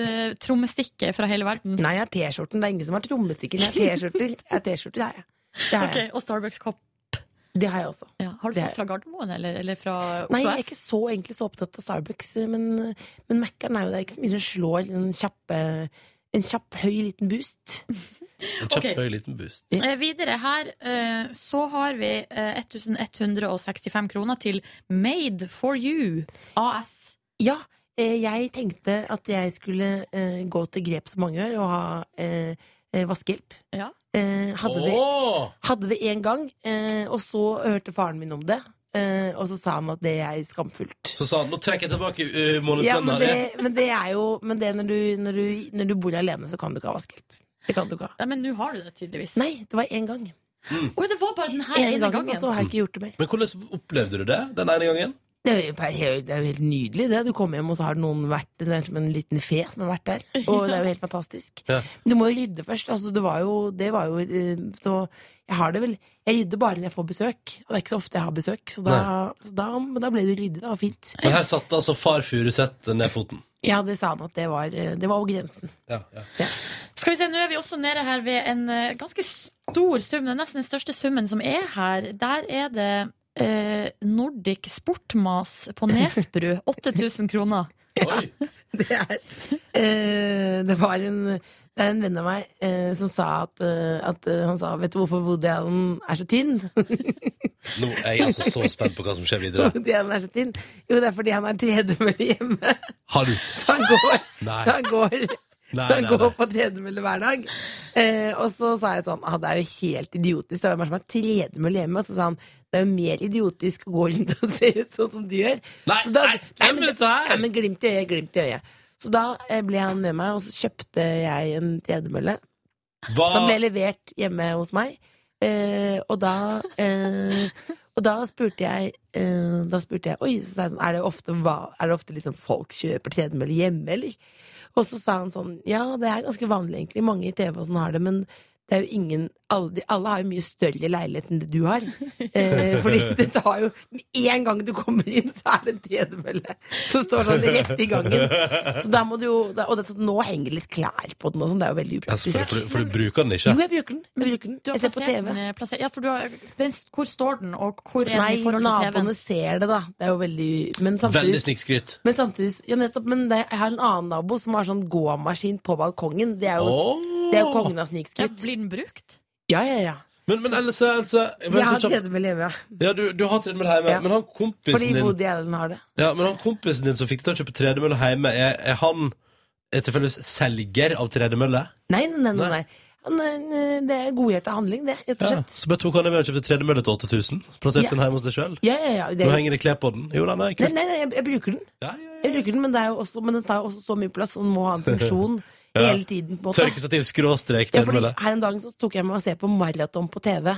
E: Café-trommestikke fra hele verden?
L: Nei, jeg har T-skjorten. Det er ingen som har trommestikker. Jeg har T-skjorter, Jeg har T-skjorter, jeg. Det har jeg.
E: Ok, og Starbucks-kopp.
L: Det har jeg også.
E: Har du
L: Det
E: fått fra Gardermoen eller, eller fra Oslo
L: Nei, jeg
E: S?
L: er ikke så, egentlig så opptatt av Starbucks, men, men Mækkern er jo det er ikke så mye som slår en kjapp, eh, en kjapp høy liten boost.
D: En kjapp
E: Ok.
D: høy liten boost.
E: Eh, videre her eh, så har vi eh, 1165 kroner til Made for you AS.
L: Ja, eh, jeg tenkte at jeg skulle eh, gå til grep som mange gjør, og ha eh, eh, vaskehjelp. Eh, hadde,
D: det,
L: hadde det en gang, eh, og så hørte faren min om det. Eh, og så sa han at det er skamfullt.
D: Så sa han nå trekker jeg tilbake uh,
L: Ja, men
D: månedslønna
L: det,
D: di.
L: men det er jo Men det når du, når, du, når du bor alene, så kan du ikke ha vaskehjelp. Det kan du ikke ha.
E: Nei, men nå har du det tydeligvis.
L: Nei, det var én gang.
E: Oi, det var bare den her
L: En
E: ene
L: gang, altså.
E: gangen.
L: og så har jeg ikke gjort det mer.
D: Men hvordan opplevde du det den ene gangen?
L: Det er, jo bare helt, det er jo helt nydelig, det. Du kommer hjem, og så har noen vært Det er som en liten fe som har vært der. Og det er jo helt fantastisk.
D: Ja.
L: Men du må jo rydde først. Altså, det var jo Det var jo eh, Så jeg har det vel Jeg rydder bare når jeg får besøk, og det er ikke så ofte jeg har besøk, så da, så da, men da ble det ryddet. Det var fint.
D: Men her satt altså far Furuseth ned foten.
L: Ja, det sa han at det var, eh, det var over grensen.
D: Ja, ja.
E: Skal vi se, Nå er vi også nede her ved en eh, ganske stor sum. Det er nesten den største summen som er her. Der er det eh, Nordic Sportmas på Nesbru. 8000 kroner.
L: Eh, det var en det er en venn av meg eh, som sa at, eh, at eh, Han sa 'Vet du hvorfor Woody Allen er så tynn?'
D: Nå er jeg altså så spent på hva som skjer videre.
L: Woody Allen er så tynn Jo, det er fordi han er tredemølle hjemme.
D: Har du?
L: Så han går,
D: Nei.
L: så han går,
D: Nei,
L: så han
D: nei,
L: går
D: nei.
L: på tredemølle hver dag. Eh, og så sa jeg sånn ah, 'Det er jo helt idiotisk. Det er jo hvem som har tredemølle hjemme?' Og så sa han 'Det er jo mer idiotisk å gå rundt og se ut sånn som du gjør'.
D: Nei,
L: Så da-
D: nei, hvem
L: men
D: er
L: det-
D: dette her?
L: Nei, men glimt i øyet, glimt i øyet. Så da eh, ble han med meg, og så kjøpte jeg en tredemølle.
D: Hva?
L: Som ble levert hjemme hos meg. Eh, og da eh, Og da spurte jeg eh, Da spurte jeg Oi, så sa jeg sånn, er det ofte, hva- er det ofte liksom folk kjøper tredemølle hjemme, eller? Og så sa han sånn Ja, det er ganske vanlig, egentlig. Mange i TV og sånn har det, men det er jo ingen alle, de, alle har jo mye større leilighet enn det du har. Eh, fordi det tar jo Med en gang du kommer inn, så er det en tredemølle som står sånn rett i gangen. Så da må du jo da, Og det, er sånn, nå henger det litt klær på den og sånn. Det er jo veldig
D: Altså,
L: upraktisk.
D: for, for, for du bruker den
L: Jo,
D: ikke?
L: jeg bruker den. Jeg, bruker den.
E: Du har
L: jeg ser på
E: plassert
L: TV.
E: Den, eh, plasser- ja, for du har, den, hvor står den, og hvor er
L: Nei,
E: den i forhold til TV-en?
L: naboene ser det, da. Det er jo veldig Men
D: Veldig
L: samtidig,
D: snikskryt.
L: men samtidig ja, nettopp, men det, jeg har en annen nabo som har sånn gåmaskin på balkongen. Det er jo,
D: Åh!
L: det er jo kongen
E: Ja,
L: av snikskritt.
E: blir den brukt?
L: Ja, ja, ja.
D: Men, men Else, Else
L: Jeg
D: men så
L: har
D: kjapt-
L: tredemølle hjemme, ja.
D: ja, du, du har tredemølle hjemme,
L: Ja.
D: men han
L: Fordi
D: kompisen din
L: Woody Allen har det.
D: Ja, men han kompisen din som fikk deg til å kjøpe tredemølle hjemme, er, er han er tilfeldigvis selger av tredemølle?
L: Nei, nei, nei. nei, nei. Han, er en- eh, det er godhjerta handling, det, rett og
D: Ja.
L: slett.
D: Så bare tok han med og kjøpte tredemølle til 8000? Plasserte
L: Ja.
D: den hjemme hos deg sjøl?
L: Ja, ja, ja. Det
D: Nå
L: er,
D: henger det klær på den? Jo da,
L: nei,
D: nei, kult.
L: nei, nei, jeg, jeg bruker den.
D: Ja, ja, ja.
L: Jeg bruker den, Men, det er jo også, men den tar jo også så mye plass, og den må ha en funksjon hele tiden. på en måte.
D: Tørkestativ skråstrek
L: Ja, fordi
D: tredemølle.
L: her en dag så tok jeg meg og se på maraton på TV.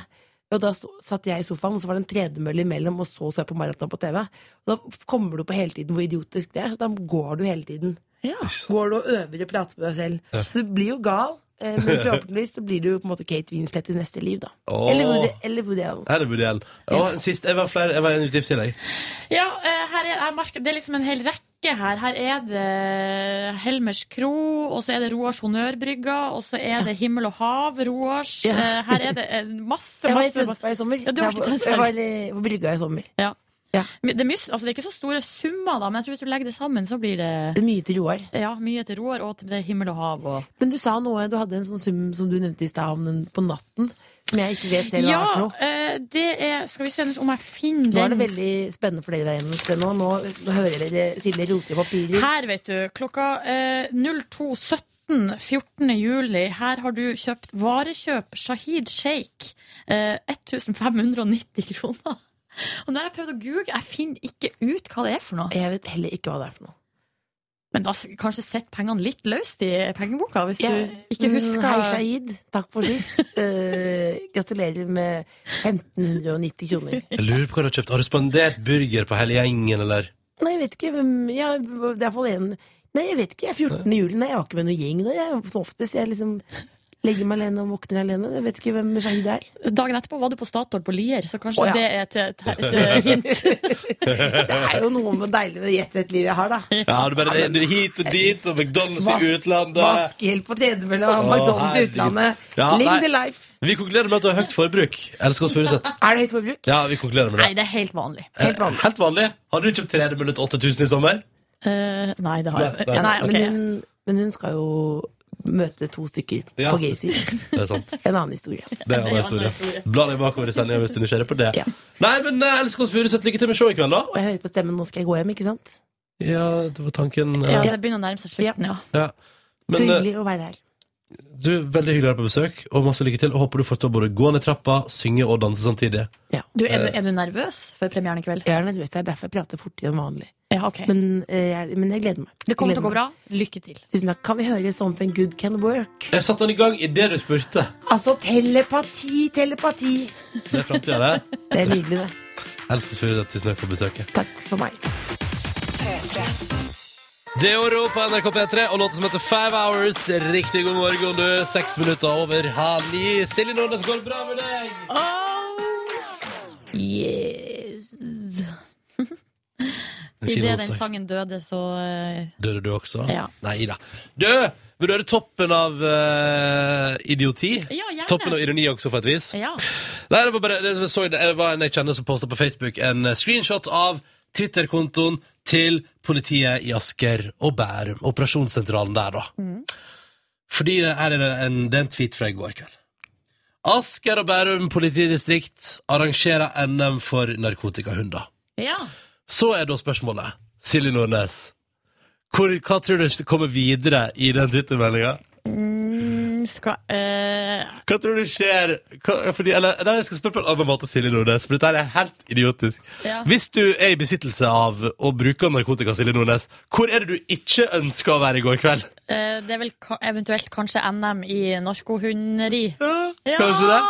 L: Og da så, satt jeg i sofaen, og så var det en tredemølle imellom, og så så jeg på maraton på TV. Og da kommer du på hele tiden hvor idiotisk det er, så da går du hele tiden. Går du og øver og prater med deg selv. Så du blir jo gal, eh, men forhåpentligvis så blir du jo på en måte Kate Winslet i neste liv, da.
D: Åh.
L: Eller Woody, eller Woody Allen.
D: Her er Woody Allen. Å, en sist, jeg var flere, jeg var en utgift til deg.
E: Ja, eh, her er, jeg merker, det er liksom en hel rekke her. Her er det Helmers Kro, og så er det Roars Honnørbrygga, og så er det Himmel og Hav, Roars.
L: Ja.
E: Eh, Her er det eh, masse,
L: Jeg var i
E: masse
L: Tønsberg i sommer.
E: Ja, du var i
L: Jeg var-
E: Tønsberg.
L: Jeg var i- på brygga i sommer.
E: det er, mye, altså det er ikke så store summer, da, men jeg tror hvis du legger det sammen, så blir det
L: Det er mye til Roar.
E: ja, mye til Roar og til det Himmel og Hav. Og...
L: Men du sa noe, du hadde en sånn sum som du nevnte i stad om den på natten, som jeg ikke vet selv hva er for
E: Ja,
L: noe.
E: eh, det er Skal vi se om jeg finner
L: Nå er det
E: den.
L: veldig spennende for dere der hjemme. Se Nå, nå, nå hører dere Silje rote i papirer.
E: Her, vet du, klokka eh, 02.17 14. juli, her har du kjøpt varekjøp Shahid Sheikh. Eh, 1590 kroner. Og når jeg prøvd å google, jeg finner ikke ut hva det er for noe.
L: Jeg vet heller ikke hva det er for noe.
E: Men da s- kanskje sett pengene litt løst i pengeboka, hvis
L: Jeg-
E: du ikke
L: Mm,
E: husker
L: Hei, Shahid. Takk for sist. Eh, gratulerer med 1590 kroner.
D: Jeg lurer på hva du har kjøpt. Har du spandert burger på hele gjengen, eller?
L: Nei, jeg vet ikke. hvem- Ja, det er iallfall en Nei, jeg vet ikke. Jeg er 14. juli. Nei, jeg var ikke med noen gjeng. da. Jeg, som oftest, jeg liksom Legger meg alene og våkner alene. Jeg vet ikke hvem Shahid er.
E: Dagen etterpå var du på Statoil på Lier, så kanskje
L: Å, ja.
E: det er et, et, et hint.
L: Det er jo noe med deilig ved å gjette et liv jeg har, da.
D: Ja, du bare det er hit og dit, og McDonald's i
L: Vask-
D: utlandet.
L: Vaskehjelp på tredemølla og
D: Å,
L: McDonald's i
D: herregud.
L: utlandet.
D: Ja,
L: Live
D: nei.
L: the life.
D: Vi konkluderer med at du har høyt forbruk. Elsker oss Furuseth.
L: Er det høyt forbruk?
D: Ja, vi konkluderer med
E: Nei,
D: det.
E: det er helt vanlig.
D: Helt vanlig. Helt vanlig. Har du kjøpt tredemølle til 8000 i sommer?
E: Eh, nei, det har jeg
D: Nei, nei.
E: Nei, ok.
L: Men, hun, men hun skal jo møte to stykker
D: Ja.
L: på Gacy.
D: Det er sant.
L: En annen historie.
D: Det er en annen historie. Bla deg bakover i sendinga hvis du er nysgjerrig på det. Nei, men eh, Elsker oss Furuseth, lykke til med showet i kveld, da.
L: Og jeg hører på stemmen, nå skal jeg gå hjem, ikke sant?
D: Ja, det var tanken.
E: Ja,
D: eh,
E: det begynner å nærme seg slutten, ja.
D: Ja.
L: Så
D: Men eh,
L: hyggelig å være her.
D: du, veldig hyggelig å være på besøk, og masse lykke til. Og håper du får til å både gå ned trappa, synge og danse samtidig.
E: Du, er, du, er du nervøs for premieren i kveld?
L: Jeg er nervøs, det er derfor jeg prater fortere enn vanlig.
E: Ja, ok.
L: Men, eh, jeg, men jeg gleder meg.
E: Det kommer til
L: Jeg gleder
E: å gå
L: meg.
E: bra. Lykke til.
L: Tusen takk. Kan vi høre 'Something Good Can Work'?
D: Jeg satte den i gang idet du spurte.
L: Altså telepati, telepati!
D: Det er framtida, det.
L: Det er nydelig, det.
D: Elsker oss Furuseth, tusen takk for besøket.
L: Takk for meg.
D: Det er Oro på NRK P3 og låten som heter Five Hours. Riktig god morgen, du. Seks minutter over halv ni. Silje Nordnes, går det bra med deg?
E: Yes.
D: En fin
E: Idet den
D: onsdag.
E: sangen døde, så eh,
D: Dør du også?
E: Ja.
D: Nei da. Du, vil du høre toppen av eh, idioti?
E: Ja, gjerne.
D: Toppen av ironi også, for et vis.
E: Ja.
D: Nei, det var bare det, jeg så, det var en jeg kjenner som posta på Facebook en eh, screenshot av Twitter-kontoen til politiet i Asker og Bærum. Operasjonssentralen der, da. Fordi her er det en, det er en tweet fra i går kveld. Asker og Bærum politidistrikt arrangerer NM for narkotikahunder.
E: Ja.
D: Så er da spørsmålet, Silje Nordnes, hvor, hva tror du kommer videre i den Twitter-meldinga?
E: Mm, Skal eh,
D: Hva tror du skjer hva, fordi, eller, nei, Jeg skal spørre på en annen måte, Silje Nordnes, for dette her er helt idiotisk.
E: Ja.
D: Hvis du er i besittelse av og bruker narkotika, Silje Nordnes, hvor er det du ikke ønsker å være i går kveld?
E: eh, Det er vel ka eventuelt kanskje NM i narkohunderi. Ja.
D: Kanskje det?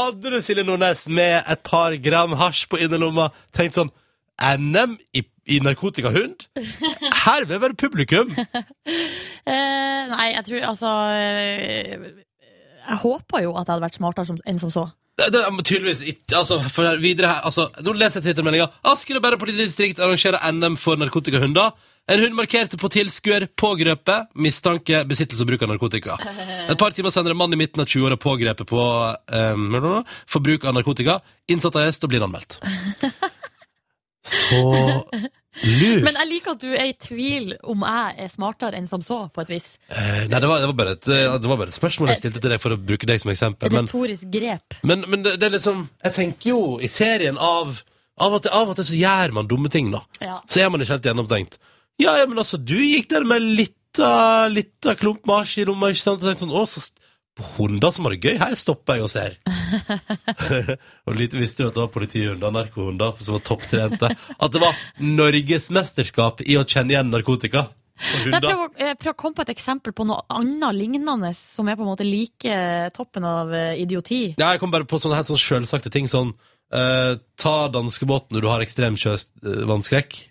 D: Hadde du, Silje Nordnes, med et par gram hasj på innerlomma, tenkt sånn NM i, i narkotikahund? Her vil jeg være publikum!
E: Eh, nei, jeg tror altså eh, Jeg håper jo at jeg hadde vært smartere som, enn som så.
D: Det, det, men tydeligvis ikke altså, for her- videre her, altså, Nå leser jeg Twitter-meldinga. Asker og Bærum politidistrikt arrangerer NM for narkotikahunder. En hund markerte på tilskuer pågrepet. Mistanke besittelse og bruk av narkotika. Et par timer senere mann i midten av 20-åra pågrepet på eh, for bruk av narkotika. Innsatt arrest og blir anmeldt. Så lurt.
E: Men jeg liker at du er i tvil om jeg er smartere enn som så, på et vis.
D: Eh, Nei, det var, det, var bare et, eh, det var bare et spørsmål jeg stilte til deg for å bruke deg som eksempel. Men,
E: Retorisk grep.
D: Men, men det, det er liksom Jeg tenker jo i serien av Av og til, av og til så gjør man dumme ting, da.
E: Ja.
D: Så er man ikke helt gjennomtenkt. Ja, ja, men altså, du gikk der med litta, litta klump med hasj i lomma, ikke sant? Og tenkte sånn, å, så st- hunder som har det gøy, her stopper jeg og ser. og lite visste du at det var politihunder, narkohunder, som var topptrente. At det var norgesmesterskap i å kjenne igjen narkotika. Og
E: Jeg
D: hunder.
E: prøver, å- eh, prøver å komme på et eksempel på noe annet lignende som er på en måte like toppen av eh, idioti.
D: Ja, jeg kom bare på sånne helt sånn selvsagte ting, sånn, eh, ta danskebåten når du har ekstrem sjøvannskrekk.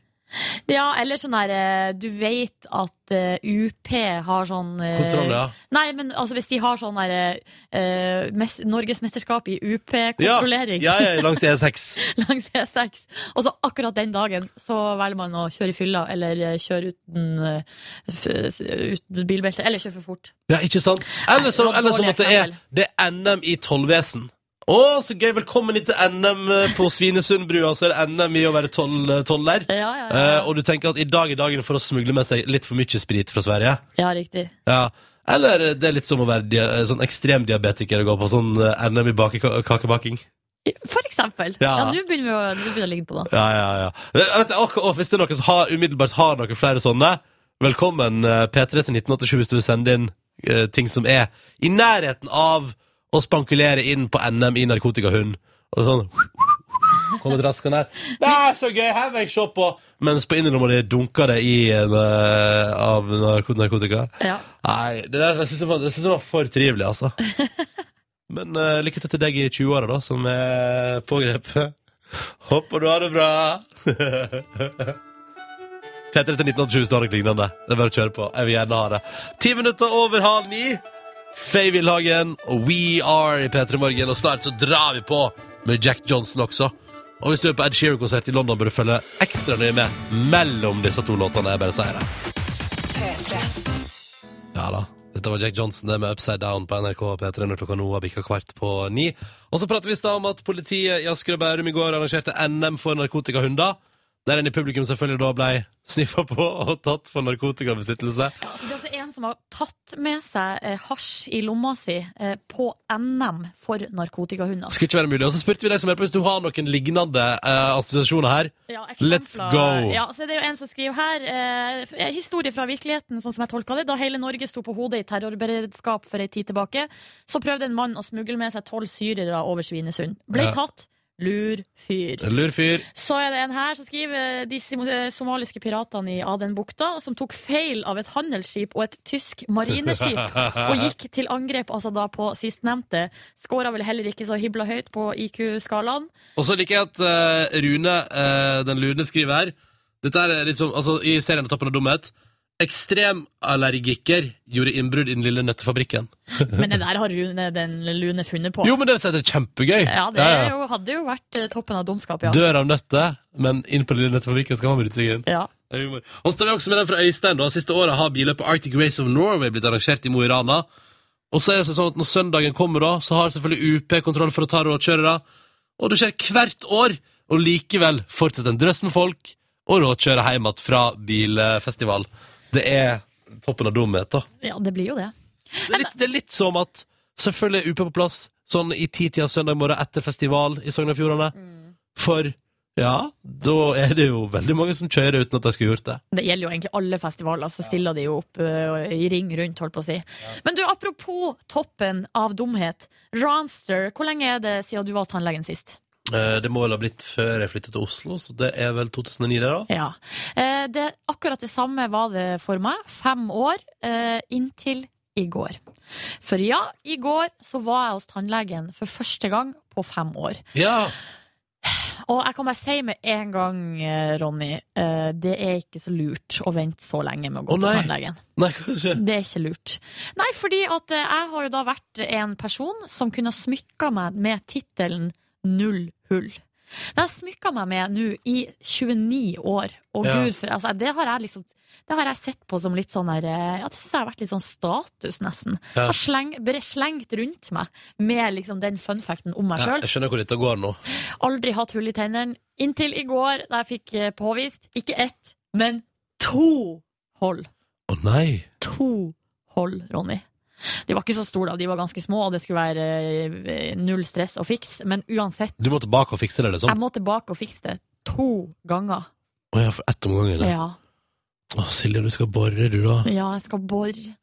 E: Ja, eller sånn der eh, Du vet at eh, UP har sånn eh,
D: Kontroll, ja.
E: Nei, men altså hvis de har sånn der eh, mes Norgesmesterskap i UP-kontrollering
D: Ja, ja, ja, langs E E6.
E: langs E6, og så akkurat den dagen så velger man å kjøre i fylla eller eh, kjøre uten, eh, f uten bilbelte, eller kjøre for fort.
D: Ja, ikke sant? Eller
E: Nei,
D: som,
E: det var
D: eller som
E: dårlig
D: at det er,
E: eksempel.
D: det er NM i tollvesen. Å, så gøy! Velkommen hit til NM på Svinesundbrua, så er det NM i å være toll, eh, toller.
E: Ja, ja, ja.
D: Eh, og du tenker at i dag er dagen for å smugle med seg litt for mye sprit fra Sverige.
E: ja riktig.
D: Ja. Eller eh, det er litt som å være dia sånn ekstremdiabetiker og gå på sånn eh, NM i bakeka- kakebaking.
E: For eksempel.
D: Ja.
E: Ja, nå begynner vi å, nå begynner det å ligne på noe.
D: Ja, ja, ja. Eh, Vet du, og, og hvis det er noen som har, umiddelbart har noen flere sånne, velkommen eh, P3 til 1987 hvis du vil sende inn eh, ting som er i nærheten av å spankulere inn på NM i narkotikahund. Og sånn Kommer traskene her. Det er så gøy! Her vil jeg se på! Mens på innerlomma di dunker det i en, eh, av narko- narkotika.
E: Ja.
D: Nei, det der jeg synes jeg var, jeg synes det var for trivelig, altså. Men eh, lykke til til deg i 20-åra, da, som er pågrepet. Håper du har det bra. P3 til 1987 står nok lignende. Det er bare å kjøre på. Jeg vil gjerne ha det. Ti minutter over halv ni. Faye Wilhagen og We Are i P3 Morgen, og snart så drar vi på med Jack Johnson også. Og hvis du er på Ed Sheeran-konsert i London, bør du følge ekstra nøye med mellom disse to låtene. Jeg bare sier det. Ja da. Dette var Jack Johnson det med Upside Down på NRK P3 når klokka nå har bikka kvart på ni. Og så prater vi i stad om at politiet i Asker og Bærum i går arrangerte NM for narkotikahunder. Der en i publikum selvfølgelig da ble sniffa på og tatt for narkotikabesittelse.
E: Altså, det er altså en som har tatt med seg eh, hasj i lomma si eh, på NM for narkotikahunder.
D: Skulle ikke være mulig. Og så spurte vi deg som hører på hvis du har noen lignende eh, assosiasjoner her.
E: Ja, eksempler.
D: Let's go!
E: Ja, så det er jo en som skriver her eh, Historie fra virkeligheten, sånn som jeg tolka det. Da hele Norge sto på hodet i terrorberedskap for ei tid tilbake, så prøvde en mann å smugle med seg tolv syrere over Svinesund. Ble
D: Ja.
E: tatt. Lur fyr.
D: Lur fyr.
E: Så er det en her som skriver de simo- eh, somaliske piratene i Adenbukta som tok feil av et handelsskip og et tysk marineskip og gikk til angrep altså da på sistnevnte. Skåra vel heller ikke så hibla høyt på IQ-skalaen.
D: Og så liker jeg at eh, Rune, eh, den lune, skriver her Dette er litt som, altså i serien på Toppen av dumhet Ekstremallergiker gjorde innbrudd i den lille nøttefabrikken
E: Men det der har Rune, den lune funnet på.
D: Jo, men det vil si at det er kjempegøy
E: Ja, det
D: Ja, ja.
E: er jo, hadde jo vært eh, toppen av dumskap, ja.
D: Dør av nøtte, men inn på den lille nøttefabrikken skal man bryte seg inn
E: Ja.
D: Det er humor. Og så tar vi også med den fra Øystein da Siste året har billøpet Arctic Race of Norway blitt arrangert i Mo i Rana Og så er det sånn at når søndagen kommer da Så har selvfølgelig UP kontroll for å ta rådkjørere Og det skjer hvert år Og likevel fortsetter en drøss med folk Og rådkjører hjem igjen fra bilfestival Det er toppen av dumhet da
E: ja, det blir jo det.
D: det er, litt, det er litt som at Selvfølgelig er UP på plass Sånn i titida søndag morgen etter festival I Sognefjordene
E: Mm.
D: For ja, da er det jo veldig mange som kjører Uten at de skulle gjort det
E: Det gjelder jo egentlig alle festivaler, så stiller de jo opp ø, i ring rundt, holdt på å si. Men du, apropos toppen av dumhet. Ranster, hvor lenge er det siden du var hos tannlegen sist?
D: Eh, Det må vel ha blitt før jeg flyttet til Oslo, så det er vel 2009 det, da?
E: Ja. Eh, det, akkurat det samme var det for meg. Fem år eh, inntil i går. For ja, i går så var jeg hos tannlegen for første gang på fem år.
D: Ja.
E: Og jeg kan bare si med en gang, eh, Ronny, eh, det er ikke så lurt å vente så lenge med å gå
D: Å,
E: til
D: nei.
E: tannlegen.
D: Nei, kanskje.
E: Det er ikke lurt. Nei, fordi at eh, jeg har jo da vært en person som kunne ha smykka meg med tittelen Null hull. Den har jeg smykka meg med nå i 29 år, og
M: Ja.
E: gud for altså, Det har jeg liksom Det har jeg sett på som litt sånn der eh, Ja, det syns jeg har vært litt sånn status, nesten.
D: Ja.
E: Har sleng, bare slengt rundt meg med liksom den funfacten om meg
D: Ja,
E: sjøl.
D: jeg skjønner hvor dette går nå.
E: Aldri hatt hull i tennene inntil i går, da jeg fikk eh, påvist ikke ett, men to hold.
D: Å nei.
E: To hold, Ronny. De var ikke så store, da. De var ganske små, og det skulle være eh, null stress å fikse. Men uansett,
D: Du må tilbake og fikse det, liksom?
E: jeg må tilbake og fikse det to ganger.
D: Å ja, for ett om gangen? eller?
E: Ja.
D: Å, Silje, du skal bore, du, da.
E: ja, jeg skal bore.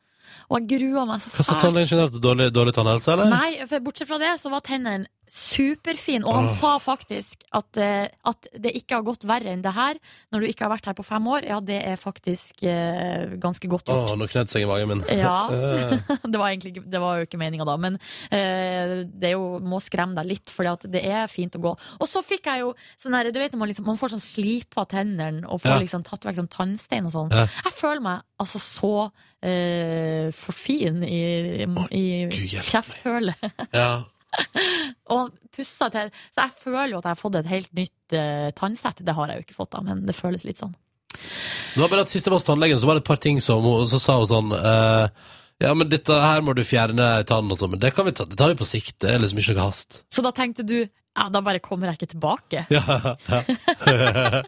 E: Og jeg gruer meg så
D: Hva sa tannlegen generelt? Dårlig, dårlig tannhelse, eller?
E: Nei, for bortsett fra det så var tennene superfine. Og han
D: Åh.
E: sa faktisk at, eh, at det ikke har gått verre enn det her når du ikke har vært her på fem år. Ja, det er faktisk eh, ganske godt
D: Å,
E: gjort.
D: nå knedde seg i magen min.
E: Ja.
D: Eh,
E: det, var egentlig, ikke- det var jo ikke meninga da, men eh, det er jo, må skremme deg litt, for det er fint å gå. Og så fikk jeg jo sånn her, du vet når man, liksom, man får sånn slipa tennene og får
M: Ja.
E: liksom tatt vekk sånn tannstein og sånn.
M: Ja.
E: Jeg føler meg altså så eh, for fin i, i kjefthølet.
D: ja.
E: og pussa til. Så jeg føler jo at jeg har fått et helt nytt eh, tannsett. Det har jeg jo ikke fått, da, men det føles litt sånn.
D: Det var bare at Sist jeg var hos tannlegen, så var det et par ting som hun Så sa hun sånn eh, Ja, men dette her må du fjerne tannen og sånn, men det kan vi ta Det tar vi på sikt. Det er liksom ikke noe hast.
E: Så da tenkte du ja, da bare kommer jeg ikke tilbake.
D: Ja. ja. det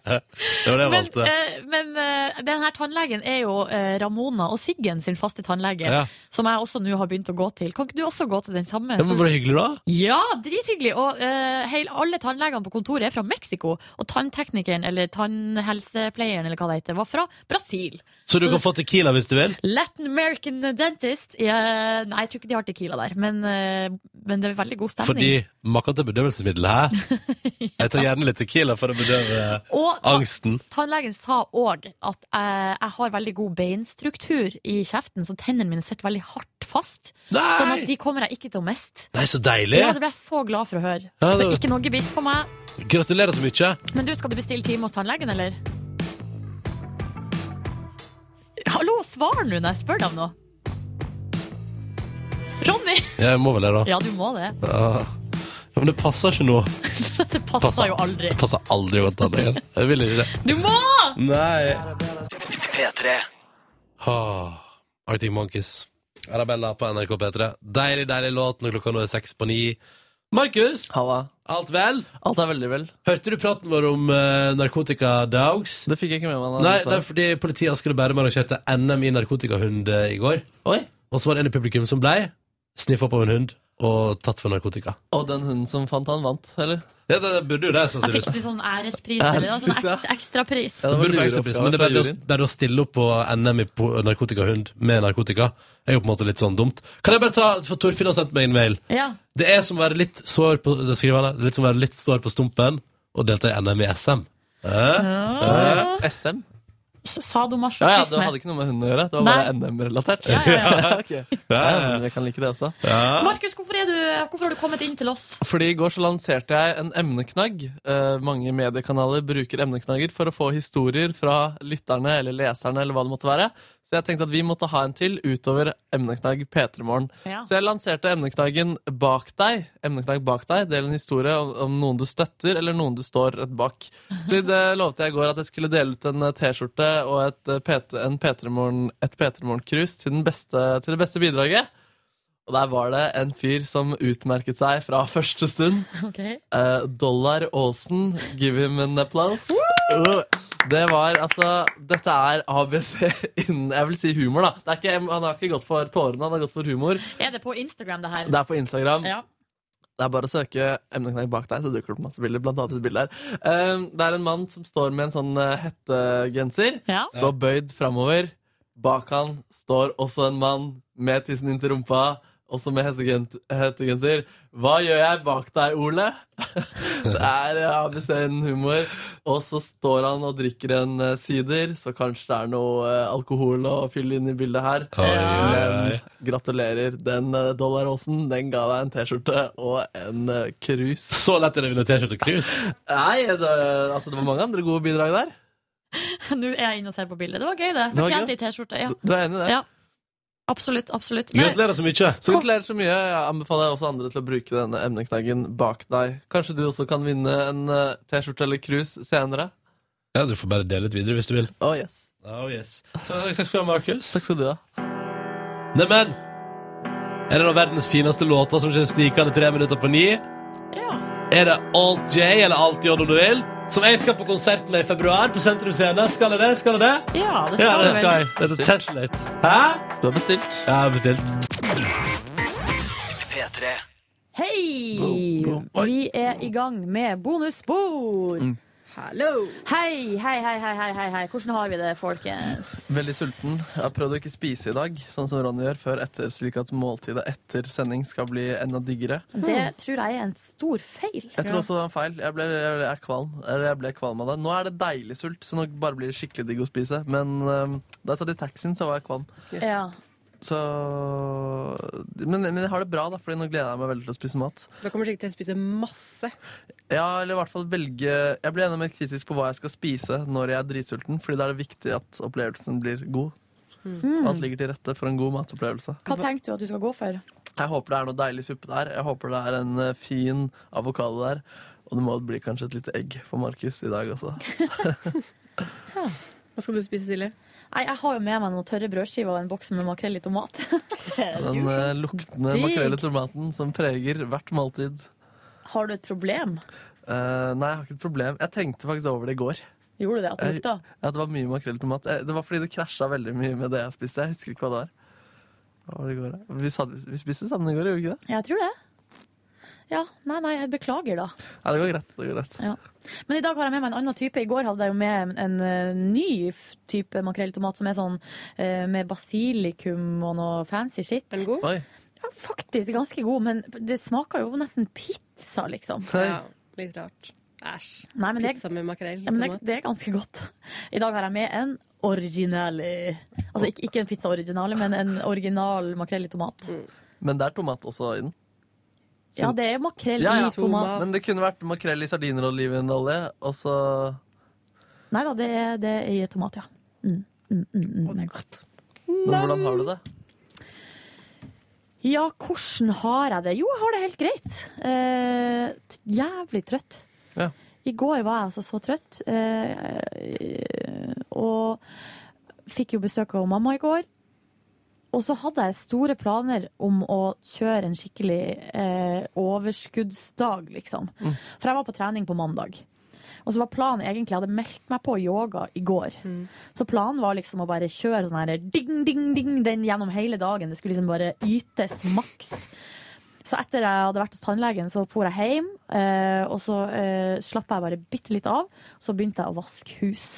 D: var det jeg
E: Men,
D: valgte.
E: eh, men eh, den her tannlegen er jo eh, Ramona og Siggen sin faste tannlege,
D: Ja.
E: som jeg også nå har begynt å gå til. Kan ikke du også gå til den samme?
D: Ja, men Var det hyggelig, da?
E: Ja, drithyggelig! Og eh, heil, alle tannlegene på kontoret er fra Mexico. Og tannteknikeren, eller tannhelsepleieren, eller hva det heter, var fra Brasil.
D: Så du kan få tequila hvis du vil?
E: Latin American Dentist eh, Nei, jeg tror ikke de har Tequila der, men, eh, men det er veldig god stemning.
D: Fordi maken til bedøvelsesmiddel, hæ? Jeg tar gjerne litt tequila for å bedøve
E: Og ta-
D: angsten.
E: Tannlegen sa òg at eh, jeg har veldig god beinstruktur i kjeften, så tennene mine sitter veldig hardt fast.
D: Nei!
E: Sånn at de kommer jeg ikke til å miste.
D: Nei, så deilig!
E: Ja, det ble jeg så glad for å høre.
D: Ja, det-
E: Så ikke noe gebiss på meg.
D: Gratulerer så mye.
E: Men du, skal du bestille time hos tannlegen, eller? Hallo, svar nå når jeg spør deg om noe. Ronny!
D: Jeg må vel det, da.
E: Ja, du må det.
D: Ja. Men det passer ikke nå.
E: Det passer jo aldri.
D: Det passer aldri godt an igjen. Jeg vil ikke det.
E: Du må!
D: Nei. P3. Ah, Arctic Monkeys. Arabella på NRK P3. Deilig, deilig låt når klokka nå er seks på ni. Markus! Alt vel?
C: Alt er veldig vel.
D: Hørte du praten vår om uh, narkotikadags?
C: Det fikk jeg ikke med meg. da,
D: Nei,
C: dessverre.
D: det er fordi politiet i Asker og Bærum arrangerte NM i narkotikahund eh, i går.
C: Oi.
D: Og så var det en i publikum som blei sniffa på en hund og tatt for narkotika.
C: Og den hunden som fant han, vant, eller?
D: Ja, det, det burde jo det,
E: Jeg fikk
D: sannsynligvis.
E: litt sånn ærespris, eller noe sånn
C: Ærespris, ja.
E: ekstra, ekstra pris.
C: Ja, det var
D: Burde få
C: lureoppgave
D: ekstrapris, men det er
C: fra
D: bare, å-
C: juryen.
D: bare å stille opp på NM i po- narkotikahund med narkotika er jo på en måte litt sånn dumt. Kan jeg bare ta, for Torfinn har sendt meg en mail.
E: Ja.
D: Det er som å være litt sår på det skriver han her, litt som å være litt sår på stumpen og delta i NM i SM. Eh?
E: Ja. S-
C: SM? Ja, ja, Det
E: Sadomasochisme.
C: hadde ikke noe med hunden å gjøre. Det var
E: Nei.
C: bare NM-relatert.
E: Ja, ja,
C: Ok. Ja, men vi kan like det også.
E: Markus, hvorfor, er du- hvorfor har du kommet inn til oss?
C: Fordi i går så lanserte jeg en emneknagg. Eh, mange mediekanaler bruker emneknagger for å få historier fra lytterne eller leserne eller hva det måtte være. Så jeg tenkte at vi måtte ha en til utover emneknagg P3 Morgen.
E: Ja.
C: Så jeg lanserte emneknaggen Bak deg. Emneknagg bak deg. Del en historie om, om noen du støtter, eller noen du står rett bak. Så det lovte jeg i går at jeg skulle dele ut en eh, T-skjorte og et, eh, P3 en P3 Morgen- et P3 Morgen-krus til, den beste- til det beste bidraget. Og der var det en fyr som utmerket seg fra første stund.
E: Ok.
C: Eh, Dollar Aasen, give him an applause. Uh, Det var altså Dette er ABC innen Jeg vil si humor, da. Det er ikke, han har ikke gått for tårene, han har gått for humor.
E: Er det på Instagram, det her?
C: Det er på Instagram.
E: Ja.
C: Det er bare å søke emneknagg bak deg, så dukker det opp masse bilder. Blant annet et bilde her. Eh, Det er en mann som står med en sånn eh, hettegenser.
E: Ja.
C: Står bøyd framover. Bak han står også en mann med tissen inntil rumpa, også med hestegent- hettegenser. Hva gjør jeg bak deg, Ole? det er eh, ABC-en humor. Og så står han og drikker en eh, sider, så kanskje det er noe eh, alkohol å fylle inn i bildet her.
D: Oi, oi, oi.
C: Men gratulerer. Den eh, dollaråsen, den ga deg en T-skjorte og en eh, krus.
D: Så lett er det å vinne T-skjorte og krus.
C: Nei, det, altså, det var mange andre gode bidrag der.
E: Nå er jeg inne og ser på bildet. Det var gøy, det.
C: Det var
E: Fortjente
C: gøy.
E: ei T-skjorte. Ja.
C: Du, du er enig i det?
E: ja. Absolutt. Absolutt. Men-
D: Gratulerer så mye.
C: Så gratulerer så mye. Jeg anbefaler også andre til å bruke denne emneknaggen bak deg. Kanskje du også kan vinne en eh, T-skjorte eller krus senere.
D: Ja, du får bare dele ut videre hvis du vil.
C: Oh, yes.
D: Oh, yes. Takk skal du ha, Markus.
C: Takk skal du ha.
D: Neimen, er det noen av verdens fineste låter som kommer snikende tre minutter på ni? Er det Alt J eller Alt J om du vil? Som jeg skal på konsert med i februar på Sentrum Scene. Skal jeg det? Skal jeg det?
E: Ja, det
D: Ja,
E: skal
D: det
E: du
D: skal
E: vel.
D: jeg. Dette test litt. Hæ?
C: Du har bestilt.
D: Jeg har bestilt.
A: Hei! Vi er i gang med bonusbord.
C: Mm.
B: Hallo!
A: Hei, hei, hei, hei, hei, hei, hei. Hvordan har vi det, folkens?
C: Veldig sulten. Jeg har prøvd å ikke spise i dag, sånn som Ronny gjør, før etter, slik at måltidet etter sending skal bli enda diggere.
A: Det tror jeg er en stor feil.
C: Mm. Jeg tror også det var en feil. Jeg ble, jeg er kvalm. Eller jeg ble kvalm av det. Nå er det deilig sult, så nå bare blir det skikkelig digg å spise. Men øhm, da jeg satt i taxien, så var jeg kvalm.
A: Ja.
C: Så men, men jeg har det bra, da, Fordi nå gleder jeg meg veldig til å spise mat.
B: Du kommer sikkert til å spise masse.
C: Ja, eller i hvert fall velge Jeg blir enda mer kritisk på hva jeg skal spise når jeg er dritsulten, Fordi da er det viktig at opplevelsen blir god. Alt ligger til rette for en god matopplevelse.
A: Hva tenker du at du skal gå for?
C: Jeg håper det er noe deilig suppe der. Jeg håper det er en eh, fin avokado der. Og det må bli kanskje et lite egg for Markus i dag også.
B: Hva skal du spise, Silje?
A: Nei, jeg har jo med meg noen tørre brødskiver og en boks med makrell i tomat.
C: Den eh, luktende
A: Digg.
C: makrell i tomaten som preger hvert måltid.
A: Har du et problem?
C: Eh, nei, jeg har ikke et problem. Jeg tenkte faktisk over det i går.
A: Gjorde du det? At du
C: Jeg-
A: lukta?
C: At det var mye makrell i tomat. Eh, Det var fordi det krasja veldig mye med det jeg spiste. Jeg husker ikke hva det var. Hva var det i går, da? Vi, satt, vi spiste sammen i går, gjorde vi ikke det?
A: Jeg tror det. Ja, nei, nei, jeg beklager da.
C: Nei, det går greit. Det går greit.
A: Men i dag har jeg med meg en annen type. I går hadde jeg jo med en, en eh, ny f- type makrelltomat som er sånn eh, med basilikum og noe fancy shit.
B: Er den god?
C: Oi.
A: Ja, faktisk ganske god, men det smaker jo nesten pizza, liksom.
B: Ja, litt rart. Æsj.
A: Nei, men det,
B: Pizza med makrell.
A: ja, men det,
B: tomat.
A: det er ganske godt. I dag har jeg med en originale. Altså ikke, ikke en pizza originale, men en original makrell i tomat.
C: Mm. Men det er tomat også i den.
A: Ja, det er makrell
C: Ja, ja.
A: i tomat.
C: Men det kunne vært makrell i sardiner og olivenolje, og så
A: Nei da, det er, det er i tomat, ja. Mm, mm, mm, mm.
C: Men hvordan har du det?
E: Ja, hvordan har jeg det? Jo, jeg har det helt greit. Eh, t- jævlig trøtt.
C: Ja.
E: I går var jeg altså så trøtt. eh, og fikk jo besøk av mamma i går. Og så hadde jeg store planer om å kjøre en skikkelig eh, overskuddsdag, liksom. For jeg var på trening på mandag. Og så var planen egentlig, jeg hadde meldt meg på yoga i går. Så planen var liksom å bare kjøre sånn her ding, ding, ding den gjennom hele dagen. Det skulle liksom bare ytes maks. Så etter jeg hadde vært hos tannlegen, så for jeg hjem, eh, og så eh, slapp jeg bare bitte litt av. Så begynte jeg å vaske hus.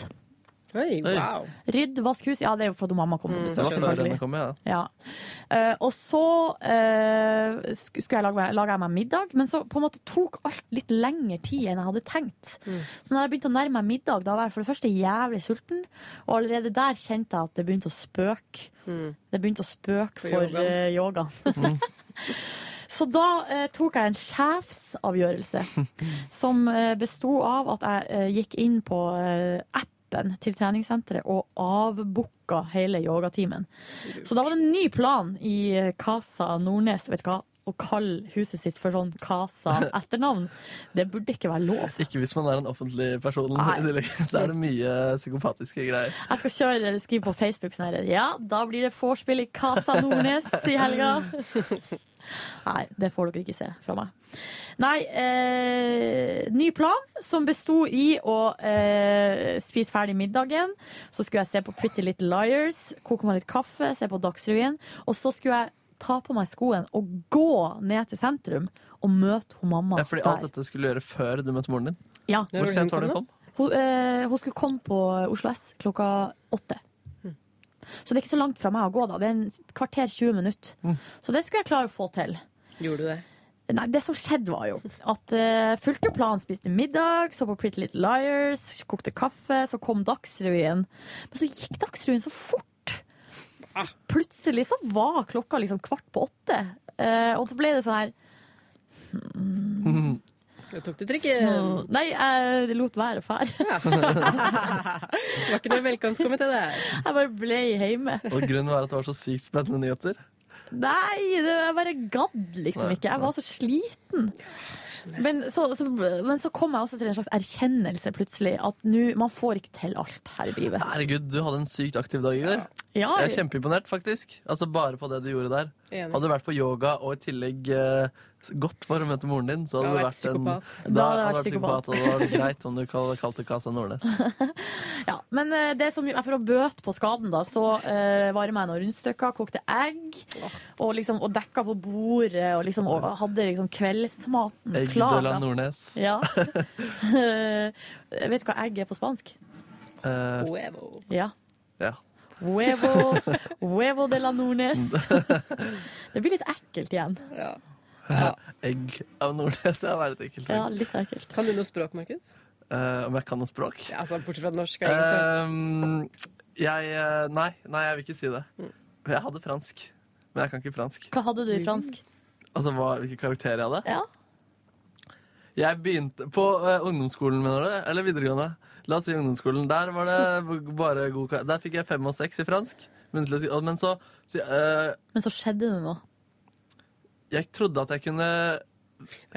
L: Oi, wow.
E: Rydde, vaske hus. Ja, det er jo fordi mamma kom på
C: Mm,
E: besøk,
C: det var før denne
E: selvfølgelig.
C: kom, ja.
E: Ja. Eh, og så eh, sk- skulle jeg lage, meg- laga jeg meg middag, men så på en måte tok alt litt lengre tid enn jeg hadde tenkt.
C: Mm.
E: Så når jeg begynte å nærme meg middag, da var jeg for det første jævlig sulten, og allerede der kjente jeg at det begynte å spøke. Det begynte å spøke
L: Mm. For
E: for
L: yogaen. Mm.
E: eh, yogaen. Så da eh, tok jeg en sjefsavgjørelse som eh, besto av at jeg eh, gikk inn på eh, appen til treningssenteret og avbooka hele yogatimen. Så da var det en ny plan i eh, Casa Nordnes, vet du hva, å kalle huset sitt for sånn Casa etternavn. Det burde ikke være lov.
C: Ikke hvis man er en offentlig person.
E: Nei.
C: i tillegg. Da er det mye psykopatiske greier.
E: Jeg skal kjøre, skrive på Facebook sånn her Ja, da blir det vorspiel i Casa Nordnes i helga. Nei, det får dere ikke se fra meg. Nei, eh, ny plan som besto i å eh, spise ferdig middagen. Så skulle jeg se på Pretty Little Liars, koke meg litt kaffe, se på Dagsrevyen. Og så skulle jeg ta på meg skoen og gå ned til sentrum og møte hun mamma
C: Ja, fordi alt
E: der.
C: dette skulle du gjøre før du møtte moren din.
E: Ja.
L: Når
C: Hvor
L: hun
C: sent var det
L: kom
C: hun kom?
E: Hun, eh, hun skulle komme på Oslo S klokka åtte. Så det er ikke så langt fra meg å gå, da. Det er en kvarter 20 minutter. Så det skulle jeg klare å få til.
L: Gjorde du det?
E: Nei, det som skjedde var jo at eh, fulgte planen, spiste middag, så på Pretty Little Liars, kokte kaffe, så kom Dagsrevyen. Men så gikk Dagsrevyen så fort! Så plutselig så var klokka liksom kvart på åtte. Eh, og så ble det sånn her
L: Da tok du trikken.
E: Nei, jeg lot være å fære.
L: Var ikke det velkomstkomité der?
E: Jeg bare ble hjemme.
C: Og grunnen var at det var så sykt spennende nyheter.
E: Nei, det, jeg bare gadd liksom
C: Nei,
E: ikke. Jeg var så sliten. Men så, så, men så kom jeg også til en slags erkjennelse plutselig. At nå, man får ikke til alt her i livet.
C: Herregud, du hadde en sykt aktiv dag i går.
E: Ja,
C: Jeg er kjempeimponert, faktisk. Altså Bare på det du gjorde der.
L: Enig.
C: Hadde du vært på yoga og i tillegg eh, gått for å møte moren din, så hadde du vært en
L: psykopat.
E: Da hadde jeg
C: hadde
E: vært
C: du
E: psykopat.
C: Og det var greit om du kal- kalte Casa Nordnes.
E: ja. Men eh, det som, for å bøte på skaden, da, så uh, varma jeg noen rundstykker, kokte egg og, liksom, og dekka på bordet og, liksom, og hadde liksom kveldsmaten
C: Egg
E: klar.
C: de la
E: da.
C: Nordnes.
E: Ja. Eh, vet du hva egg er på spansk?
C: Eh,
L: Huevo.
E: Ja.
C: ja.
E: Huevo, huevo de la Nordnes. Det blir litt ekkelt igjen.
L: Ja.
C: Egg av Nordnes. Ja, det er litt ekkelt.
E: Ja, litt ekkelt.
L: Kan du noe språk, Markus?
C: Eh, om jeg kan noe språk?
L: Ja, altså, bortsett fra norsk. og engelsk,
C: Ehm, jeg eh, Nei, nei, jeg vil ikke si det. Jeg hadde fransk, men jeg kan ikke fransk.
E: Hva hadde du i fransk?
C: Altså hva, hvilke karakterer jeg hadde.
E: Ja.
C: Jeg begynte på eh, ungdomsskolen, mener du? Eller videregående? La oss si ungdomsskolen. Der var det b- bare god kar- Der fikk jeg fem og seks i fransk. Muntlig, og- men så eh,
E: Men så skjedde det noe.
C: Jeg trodde at jeg kunne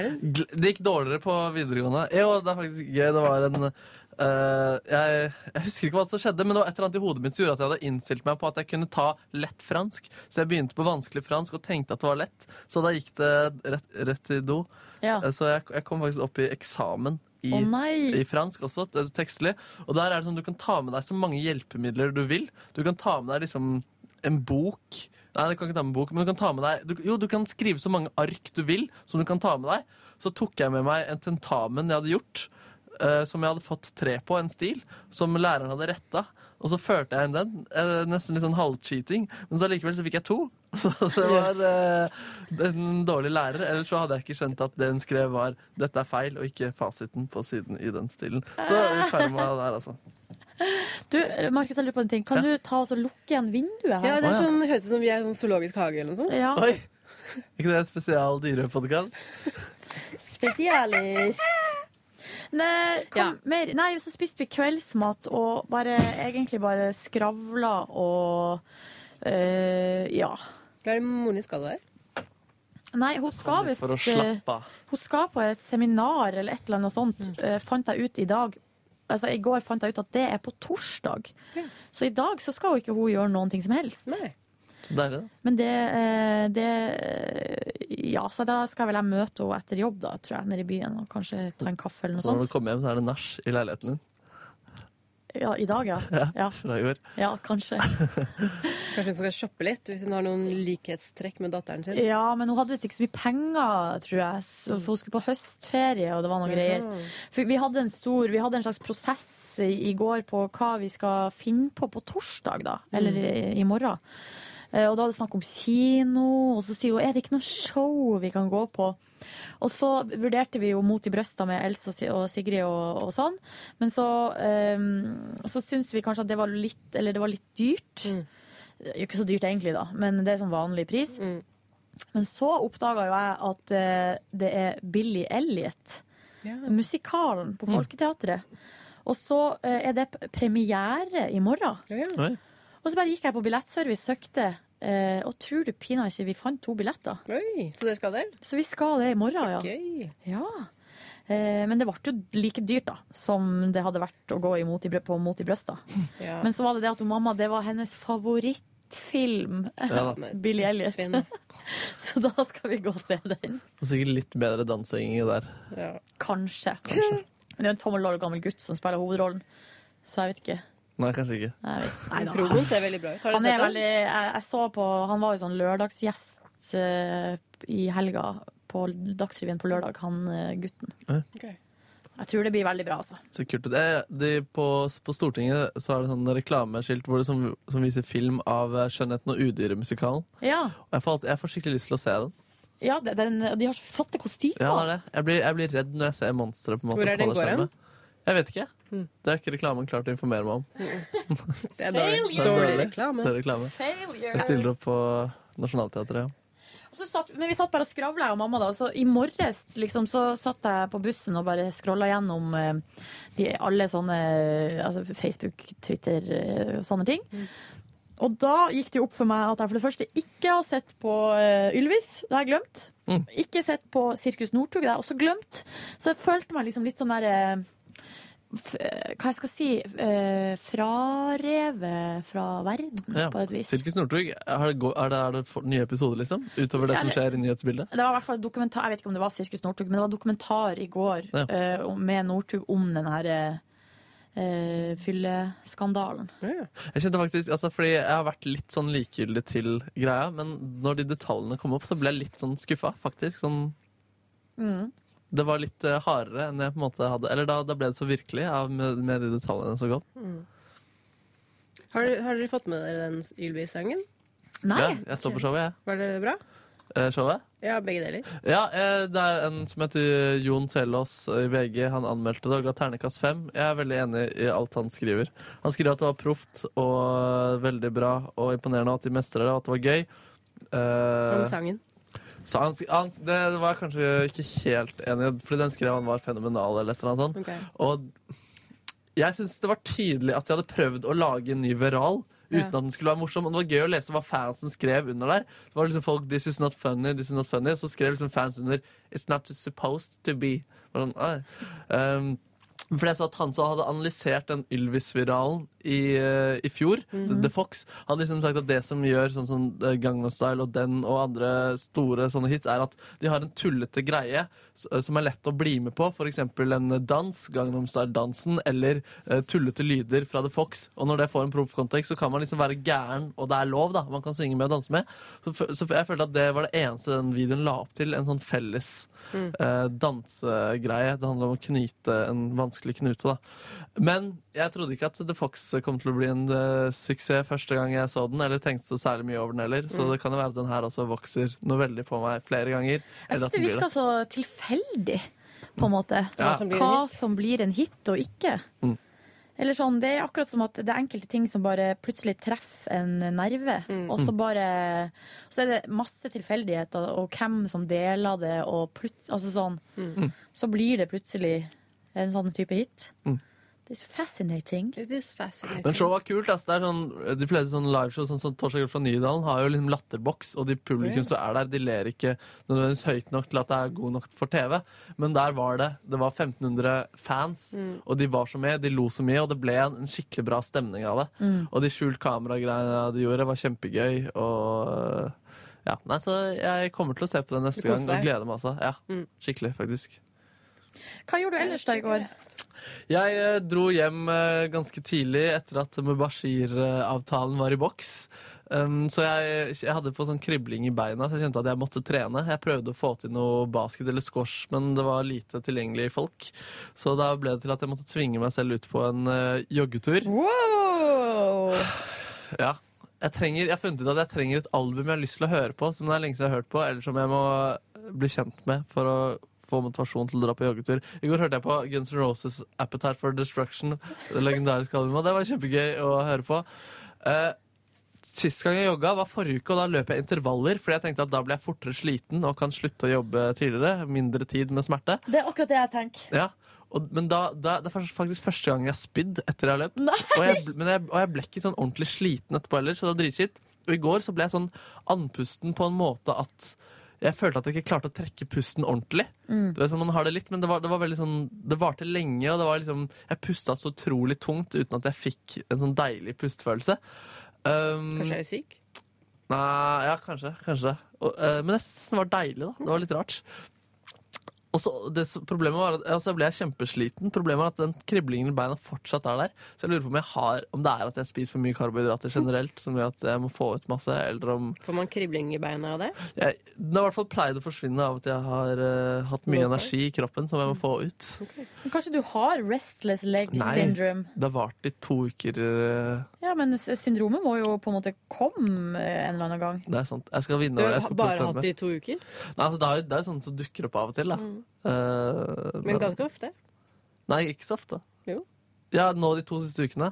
L: Er
C: Gl- Det gikk dårligere på videregående. Jo, det er faktisk gøy. Det var en eh, jeg, jeg husker ikke hva som skjedde, men det var et eller annet i hodet mitt som gjorde at jeg hadde innstilt meg på at jeg kunne ta lett fransk. Så jeg begynte på vanskelig fransk og tenkte at det var lett. Så da gikk det rett, rett i do.
E: Ja.
C: Eh, Så jeg, jeg kom faktisk opp i eksamen i,
E: Å nei!
C: i fransk også, t- tekstlig. Og der er det sånn du kan ta med deg så mange hjelpemidler du vil. Du kan ta med deg liksom en bok. Nei, du kan ikke ta med bok, men du kan ta med deg du, Jo, du kan skrive så mange ark du vil som du kan ta med deg. Så tok jeg med meg en tentamen jeg hadde gjort, eh, som jeg hadde fått tre på, en stil, som læreren hadde retta. Og så førte jeg inn den. Eh, nesten litt sånn halvcheating. Men så allikevel så fikk jeg to. Så det var eh, en dårlig lærer. Ellers så hadde jeg ikke skjønt at det hun skrev, var 'dette er feil', og ikke fasiten på siden i den stilen. Så karma der, altså.
E: Du, Markus, jeg lurer på en ting. Kan du ta og så lukke igjen vinduet
L: da. Ja,
E: her?
L: det
C: Å,
L: er
C: ja.
L: sånn, høres ut som vi er i en sånn zoologisk hage eller noe sånt.
E: Ja.
C: Oi! Ikke det en spesial dyrepodkast?
E: Spesialis. Nei, kom, mer. Nei, så spiste vi kveldsmat og bare, egentlig bare skravla og eh, Ja.
L: Hva er det moren din skal der?
E: Nei, hun skal visst
C: for å
E: eh,
C: slappe av.
E: Hun skal på et seminar eller et eller annet sånt, eh, fant jeg ut i dag. Altså, I går fant jeg ut at det er på torsdag. Så i dag så skal jo ikke hun gjøre noen ting som helst.
C: Så deilig, da.
E: Men det, eh, det eh, Ja, så da skal vel jeg møte henne etter jobb, da, tror jeg, nede i byen. Og kanskje ta en kaffe eller noe
C: Så når du
E: sånt.
C: kommer hjem, så er det nach i leiligheten din.
E: Ja, I dag, ja. Ja,
C: fra i går.
E: ja kanskje.
L: Kanskje hun skal shoppe litt, hvis hun har noen likhetstrekk med datteren sin.
E: Ja, men hun hadde visst ikke så mye penger, tror jeg. Så, for hun skulle på høstferie, og det var noen greier.
L: Jaha.
E: For vi hadde en stor Vi hadde en slags prosess i, i går på hva vi skal finne på på torsdag, da. Eller
L: Mm.
E: i, i morgen. Eh, Og da var det snakk om kino, og så sier hun er det ikke noe show vi kan gå på. Og så vurderte vi jo Mot i brøsta med Else og Si- og Sigrid og, og sånn. Men så, um, så syns vi kanskje at det var litt, eller det var litt dyrt. Det er jo ikke så dyrt egentlig, da, men det er sånn vanlig pris. Men så oppdaga jo jeg at eh, det er Billy Elliot, musikalen på
N: Mm.
E: Folketeatret. Og så eh, er det p- premiere i morgen.
C: Oi.
E: Og så bare gikk jeg på billettservice, søkte, eh, og tror du pinadø ikke vi fant to billetter.
L: Så det skal det?
E: Så vi skal det i morgen, ja.
L: Gøy.
E: ja. Eh, Men det ble jo like dyrt da, som det hadde vært å gå i mot i, brø- på Mot i brøsta.
L: Ja.
E: Men så var det det at hun mamma, det var hennes favorittfilm.
C: Ja da.
E: Billy Elliot. så da skal vi gå og se den.
C: Og sikkert litt bedre dansing der.
E: Kanskje. Men det er en tommel år gammel gutt som spiller hovedrollen. Så jeg vet ikke.
C: Nei, kanskje ikke.
E: Nei, jeg vet. Nei, da.
L: Promoen ser veldig bra ut. Har
E: Han,
L: du
E: er
L: sett
E: veldig,
L: den?
E: jeg, jeg så på, han var jo sånn lørdagsgjest eh, i helga på Dagsrevyen på lørdag, han eh, gutten.
L: Ok.
E: Jeg tror det blir veldig bra, altså.
C: Så kult. Det er, de på, på Stortinget så er det sånn reklameskilt hvor det som, som viser film av eh, 'Skjønnheten og udyret'-musikalen.
E: Ja,
C: Og jeg får, alltid, jeg får skikkelig lyst til å se den.
E: ja det- den, De har så flotte kostymer.
C: Ja, det er det. Jeg, blir, jeg blir redd når jeg ser monstre. på en måte.
L: Hvor er
C: på
L: den går
C: skjermen.
L: hen?
C: Jeg vet ikke. Det har ikke reklamen klart å informere meg om.
L: Det er dårlig,
C: Det er
L: dårlig
C: dårlig.
L: reklame.
C: Det er reklame.
E: Failure.
C: Jeg stiller opp på Nationaltheatret. ja.
E: Og Så satt, men vi satt bare og skravla, jeg og mamma. da, så I morges liksom, så satt jeg på bussen og bare scrolla gjennom eh, de, alle sånne eh, altså Facebook, Twitter eh, og sånne ting. Og da gikk det jo opp for meg at jeg for det første ikke har sett på eh, Ylvis. Det har jeg glemt.
C: Mm.
E: Ikke sett på Sirkus Nordtug. Det har jeg også glemt. Så jeg følte meg liksom litt sånn der eh, f, eh, Hva jeg skal si eh, Frarevet fra verden,
C: Ja.
E: på et vis.
C: Sirkus Nordtug, er det, gå- er det, er det for, nye episoder, liksom? Utover det
E: Ja,
C: som
E: det-
C: skjer i nyhetsbildet?
E: Det var i hvert fall dokumentar, Jeg vet ikke om det var Sirkus Northug, men det var dokumentar i går
C: Ja.
E: eh, om- med Northug om den her eh, fylleskandalen.
C: Jeg kjente faktisk, altså fordi jeg har vært litt sånn likegyldig til greia, men når de detaljene kom opp, så ble jeg litt sånn skuffa, faktisk. Sånn,
E: Mm.
C: det var litt eh, hardere enn jeg på en måte hadde Eller da, da ble det så virkelig av, med, med de detaljene som kom.
L: Har, du- har dere fått med dere den Ylby-sangen?
E: Nei!
C: Ja, jeg så på showet, jeg.
L: Var det bra?
C: Eh, showet.
L: Ja, begge deler.
C: Ja, eh, det er en som heter Jon Selås i VG. Han anmeldte det og ga ternekast fem. Jeg er veldig enig i alt han skriver. Han skriver at det var proft og veldig bra og imponerende, og at de mestrer det, og at det var gøy.
L: Om
C: Eh,
L: sangen.
C: Så han, han, det var jeg kanskje ikke helt enig i, fordi den skrev han var fenomenal. eller et eller annet sånt.
L: Ok.
C: Og jeg syns det var tydelig at de hadde prøvd å lage en ny Veral. Uten
L: Ja.
C: at den skulle være morsom. Og det var gøy å lese hva fansen skrev under der. Det var liksom folk, this is not funny, this is not funny. Så skrev liksom fans under It's not supposed to be. Og Sånn, «Ai». um, for jeg så at Han som hadde analysert den Ylvis-viralen i, eh, i fjor, The Fox, hadde liksom sagt at det som gjør sånn som eh, Gangnam Style og den og andre store sånne hits, er at de har en tullete greie s- eh, som er lett å bli med på. F.eks. en dans, Gangnam Style-dansen, eller eh, tullete lyder fra The Fox. Og når det får en proffkontekst, så kan man liksom være gæren, og det er lov, da. Man kan synge med og danse med. Så, f- så jeg følte at det var det eneste den videoen la opp til, en sånn felles eh, dansegreie. Det handler om å knyte en vanskelig knute, da. Men jeg trodde ikke at The Fox kom til å bli en eh, suksess første gang jeg så den, eller tenkte så særlig mye over den heller. Så det kan jo være at den her også vokser noe veldig på meg flere ganger.
E: Mm. Jeg syns
C: Eller
E: det
C: at den blir
E: virka
C: det.
E: så tilfeldig, på en måte.
C: Ja. Hva
L: som blir en
E: Hva som blir en hit og ikke.
C: Mm.
E: Eller sånn, Det er akkurat som at det er enkelte ting som bare plutselig treffer en nerve. Og
C: Mm.
E: så bare Så er det masse tilfeldigheter, og hvem som deler det, Mm.
C: Mm. Mm.
E: og plutselig Altså sånn. Så blir det plutselig en sånn type hit. It's fascinating.
G: It is fascinating.
C: Men showet var kult. ass. Det er sånn, de fleste sånne liveshow sånn som Torsdag kveld fra Nydalen har jo liksom latterboks, og de publikum som er der, de ler ikke nødvendigvis høyt nok til at det er god nok for TV. Men der var det. Det var 1500 fans,
G: Mm.
C: og de var så mye, de lo så mye, og det ble en en skikkelig bra stemning av det.
G: Mm.
C: Og de skjult kamera-greiene de gjorde, var kjempegøy. og... Ja, nei, så Jeg kommer til å se på det neste
O: Du
C: gang
O: koser
C: og
O: deg.
C: gleder meg. altså. Ja,
O: Mm.
C: Skikkelig, faktisk.
O: Hva gjorde du ellers da i går?
C: Jeg eh, dro hjem eh, ganske tidlig etter at Mubashir-avtalen var i boks. Um, så jeg, jeg hadde på sånn kribling i beina, så jeg kjente at jeg måtte trene. Jeg prøvde å få til noe basket eller squash, men det var lite tilgjengelige folk. Så da ble det til at jeg måtte tvinge meg selv ut på en eh, joggetur. Ja. Jeg, trenger, jeg har funnet ut at jeg trenger et album jeg har lyst til å høre på, som det er lenge siden jeg har hørt på, eller som jeg må eh, bli kjent med for å få motivasjon til å dra på joggetur. I går hørte jeg på Guns N' Roses' Appetite for Destruction, det legendariske albumet, og det var kjempegøy å høre på. Eh, Sist gang jeg jogga, var forrige uke, og da løp jeg intervaller, fordi jeg tenkte at da blir jeg fortere sliten og kan slutte å jobbe tidligere. Mindre tid med smerte.
E: Det er akkurat det jeg tenker.
C: Ja, og, men da, da, det er faktisk- faktisk første gang jeg har spydd etter jeg har løpt. Og jeg, bl- men jeg, og jeg ble ikke sånn ordentlig sliten etterpå heller, så det var dritskitt. Og i går så ble jeg sånn andpusten på en måte at jeg følte at jeg ikke klarte å trekke pusten ordentlig.
P: Mm.
C: Du vet, sånn, man har det litt, men det var, det var veldig sånn Det varte lenge, og det var liksom Jeg pusta så utrolig tungt uten at jeg fikk en sånn deilig pustefølelse. Um,
G: Kanskje jeg er syk?
C: Nei, ja, kanskje. kanskje. Og, eh, men jeg synes den var deilig, da. Det var litt rart. Og så, det, som- problemet var at altså, Jeg ble kjempesliten. Problemet var at den kriblingen i beina fortsatt er der. Så jeg lurer på om, jeg har, om det er at jeg spiser for mye karbohydrater generelt, som gjør at jeg må få ut masse, eller om
G: Får man kribling i beina av det?
C: jeg, Den har i hvert fall pleid å forsvinne av at jeg har eh, hatt mye energi i kroppen som jeg må få ut.
E: Men Kanskje du har restless leg
C: Nei,
E: syndrome?
C: det har vart i to uker. eh,
E: Ja, men s- syndromet må jo på en måte komme eh, en eller annen gang.
C: Det er sant. Jeg skal
E: Du
C: vinne.
E: har
C: over- jeg skal
E: bare
C: prøve å
E: hatt
C: trene
E: det i
C: mer.
G: To uker?
C: Nei, altså, det er jo det er jo sånt som dukker opp av og til. Da.
G: Mm.
C: Eh,
G: Men ganske ofte.
C: Nei, ikke så ofte.
G: Jo.
C: Ja, nå de to siste ukene.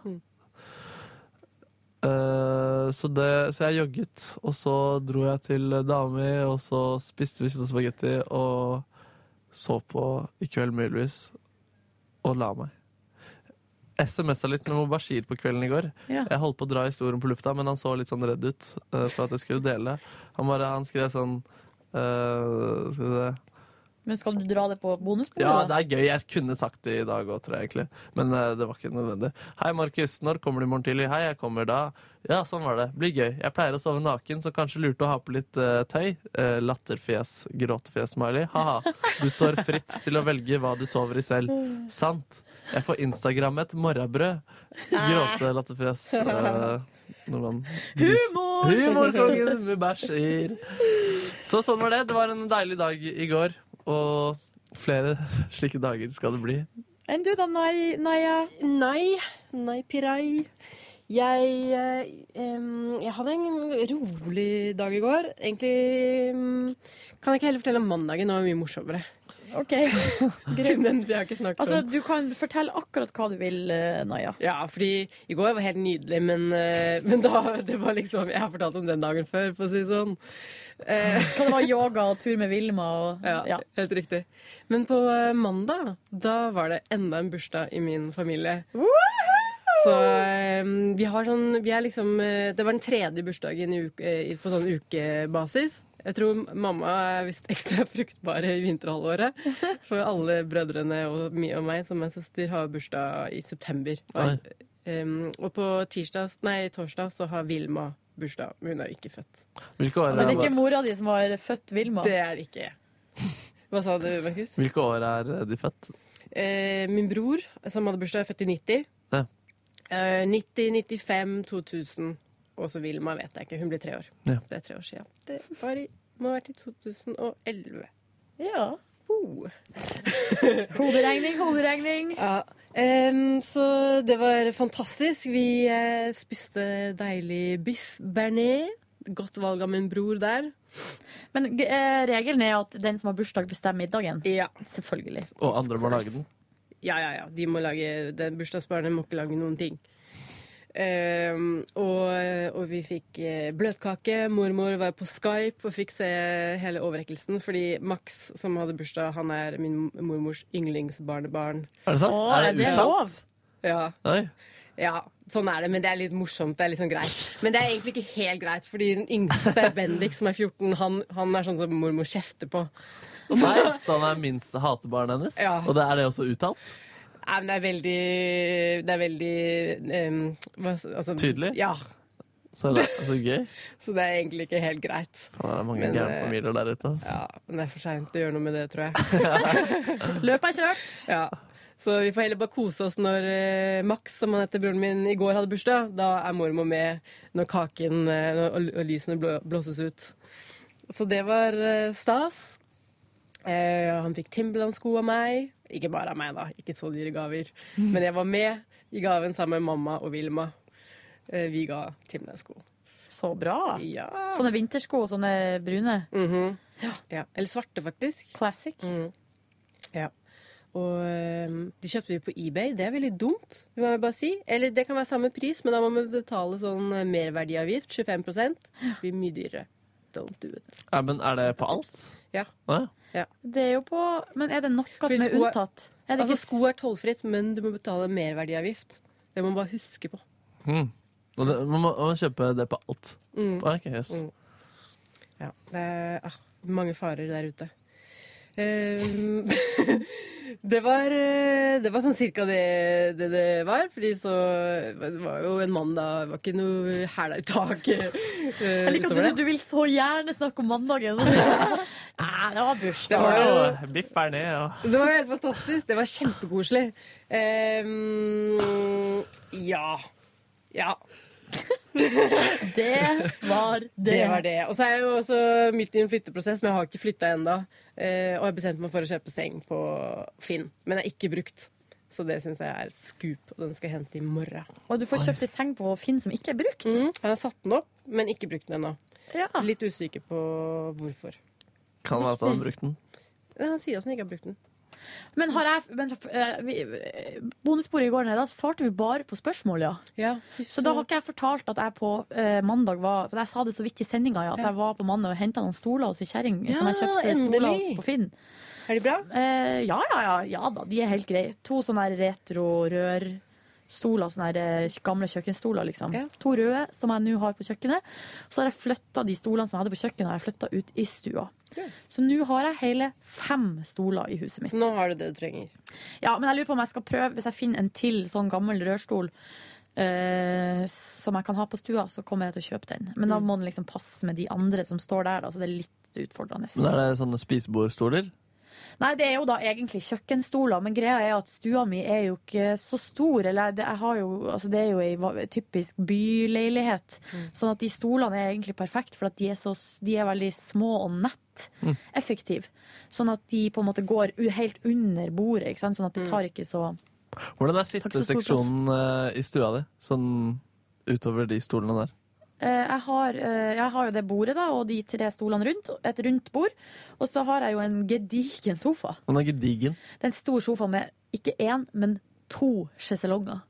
C: Eh, så, det, så jeg jogget, og så dro jeg til dama mi, og så spiste vi kjøtt og spagetti og så på I kveld muligvis, og la meg. SMS-a litt med Mobashir på kvelden i går.
P: Ja.
C: Jeg holdt på å dra historien på lufta, men han så litt sånn redd ut eh, for at jeg skulle dele. Han, bare, han skrev sånn eh, Skal vi se
E: Men skal du dra det på bonusbordet?
C: ja,
E: da?
C: det er gøy. Jeg kunne sagt det i dag òg, tror jeg egentlig. Men eh, det var ikke nødvendig. Hei, Markus. Når kommer du i morgen tidlig? Hei, jeg kommer da. Ja, sånn var det. Blir gøy. Jeg pleier å sove naken, så kanskje lurt å ha på litt eh, tøy. Eh, latterfjes, gråtefjes, smiley. Ha-ha. Du står fritt til å velge hva du sover i selv. Sant. Jeg får Instagram et morrabrød. Gråte, latterfjes. Eh, noen gris.
P: Humor!
C: Humorkongen med bæsjer. Så sånn var det. Det var en deilig dag i går. Og flere slike dager skal det bli.
E: Enn du da, Naya?
L: Nei. Nei, Pirai. Jeg, eh, em, jeg hadde en rolig dag i går. Egentlig em, kan jeg ikke heller fortelle om mandagen. Det var mye morsommere.
E: Ok.
L: Siden den vi har ikke snakket
E: Altså,
L: om.
E: du kan fortelle akkurat hva du vil, eh, Naya.
L: Ja, fordi i går var helt nydelig, men, eh, men da, det var liksom Jeg har fortalt om den dagen før, for å si det sånn.
E: Hva det var yoga og tur med Vilma og
L: ja, Helt riktig. Men på eh, mandag, da var det enda en bursdag i min familie. Så eh, vi har sånn Vi er liksom eh, Det var den tredje bursdagen i uke, eh, på sånn ukebasis. Jeg tror mamma er visst ekstra fruktbar i vinterhalvåret. For alle brødrene og, mi- og meg som er søster, har bursdag i september.
C: Oi.
L: Og, eh, og på tirsdag, nei, torsdag så har Vilma bursdag, men hun er jo ikke født.
C: Hvilke år
E: Men det
C: er,
E: er ikke mora di som har født Vilma?
L: Det er det ikke. Hva sa du, Markus?
C: hvilke år er de født?
L: Eh, min bror, som hadde bursdag, er født i 90.
C: Ja.
L: Eh, 90, 95, 2000. Og så Vilma vet jeg ikke. Hun blir tre år.
C: Ja.
L: Det er tre år siden. Det var i, må ha vært i 2011.
E: Ja.
L: Oh.
E: Hoderegning, hoderegning.
L: Ja. Em, så det var fantastisk. Vi eh, spiste deilig biff bearnés. Godt valg av min bror der.
E: Men eh, regelen er at den som har bursdag, bestemmer middagen?
L: Ja.
E: Selvfølgelig.
C: Og andre må lage den.
L: Ja, ja, ja. De må lage, det bursdagsbarnet må ikke lage noen ting. Ehm, og, og vi fikk eh, bløtkake. Mormor var på Skype og fikk se hele overrekkelsen. Fordi Max, som hadde bursdag, han er min mormors yndlingsbarnebarn.
C: Er det sant? Å, Er det er det uttalt? lov?
J: Ja.
C: Oi.
J: Ja, sånn er det, men det er litt morsomt. Det er litt sånn greit. Men det er egentlig ikke helt greit, fordi den yngste, Bendik, som er 14, han, han er sånn som mormor kjefter på.
C: Nei, så han er minste hatebarnet hennes?
J: Ja.
C: Og det er det også uttalt?
J: Nei, men det er veldig Det er veldig ehm, hva, altså,
C: Tydelig?
J: Ja.
C: Så det er så gøy.
J: Så det er egentlig ikke helt greit.
C: Faen, Det er mange
J: Men,
C: gærne
J: eh,
C: familier der ute. ass.
J: Men det er for seint å gjøre noe med det, tror jeg.
E: Løpet er kjørt.
J: Ja. Så vi får heller bare kose oss når eh, Max, som han heter broren min, i går hadde bursdag. Da er mormor med når kaken eh, når- og, og lysene blå, blåses ut. Så det var eh, stas. Eh, han fikk Timberland-sko av meg. Ikke bare av meg, da. Ikke så dyre gaver. Men jeg var med i gaven sammen med mamma og Vilma. Eh, vi ga Timberland-sko.
E: Så bra.
J: Ja.
E: Sånne vintersko, sånne brune.
J: Ja. Eller svarte, faktisk.
E: Classic.
J: Ja. Og øhm, de kjøpte vi på eBay. Det er veldig dumt, må jeg bare si. Eller det kan være samme pris, men da må vi betale sånn eh, merverdiavgift, 25 Det blir mye dyrere. Don't do it.
C: Ja, men er det på alt?
J: Ja.
C: Å, ja.
J: ja.
E: Det er jo på Men er det noe
J: Fordi
E: som er
J: sko er-
E: unntatt? Er det
J: Altså,
E: ikke
J: sko er tollfritt, men du må betale merverdiavgift. Det må man bare huske på.
C: Hmm. Og det, man, må, man må kjøpe det på alt.
J: Mm.
C: På Ark, yes.
J: Mm. Ja. Det er ah, mange farer der ute. Ehm, det, var, eh, det var sånn cirka det, det det var. Fordi så Det var jo en mandag, det var ikke noe hæla i taket. eh,
E: Jeg liker
J: utover
E: at
J: det.
E: du, du vil så gjerne snakke om mandagen. Nei, det var
J: Det
E: bursdag.
J: var jo
C: Biff er ned, og
J: Det var helt fantastisk. Det var kjempekoselig. Ehm, ja. Ja.
E: Det var det.
J: Det var det. Og så er jeg jo også midt i en flytteprosess, men jeg har ikke flytta ennå. Eh, og jeg bestemte meg for å kjøpe seng på Finn, men er ikke brukt. Så det syns jeg er scoop, og den skal jeg hente i morgen.
E: Og du får kjøpt ei seng på Finn som ikke er brukt.
J: Mhm. Ah. Han har satt den opp, men ikke brukt den ennå.
E: Ja.
J: Litt usikker på hvorfor.
C: Kan være at han har brukt den.
J: Men Han sier at han ikke har brukt den.
E: Men har jeg men, eh, vi- Bonusbordet i går nede, da svarte vi bare på spørsmål, ja. Så da har ikke jeg fortalt at jeg på eh, mandag var For jeg sa det så vidt i sendinga, ja, at
J: Ja.
E: jeg var på mandag og henta noen stoler hos ei kjerring som
J: Ja,
E: jeg kjøpte stoler
J: endelig.
E: hos på Finn.
J: Er de bra?
E: Eh, ja, ja, ja, ja da, de er helt greie. To sånne her retro rørstoler, sånne her eh, gamle kjøkkenstoler, liksom.
J: Ja.
E: To røde som jeg nå har på kjøkkenet. Så har jeg flytta de stolene som jeg hadde på kjøkkenet, har jeg flyttet ut i stua.
J: Ja.
E: Så nå har jeg hele fem stoler i huset mitt.
J: Så nå har du det du trenger.
E: Ja, men jeg lurer på om jeg skal prøve, hvis jeg finner en til sånn gammel rørstol eh, som jeg kan ha på stua, så kommer jeg til å kjøpe den.
J: Mm.
E: Men da må den liksom passe med de andre som står der, da, så det er litt utfordrende.
C: Men er det sånne spisebordstoler?
E: Nei, det er jo da egentlig kjøkkenstoler, men greia er at stua mi er jo ikke så stor. Eller det, jeg har jo, altså det er jo ei va- typisk byleilighet. Sånn at de stolene er egentlig perfekt, for at de er, så, s- de er veldig små og nett
C: Mm.
E: effektive. Sånn at de på en måte går u helt under bordet, ikke sant? sånn at det tar ikke så
C: Hvordan er
E: Takk så stort,
C: sitteseksjonen eh, i stua di? Sånn utover de stolene der.
E: Eh, jeg, har, eh, jeg har jo det bordet da, og de tre stolene rundt, et rundt bord. Og så har jeg jo en gedigen sofa.
C: Den er gedigen.
E: Det er en stor sofa med ikke én, men to sjeselonger.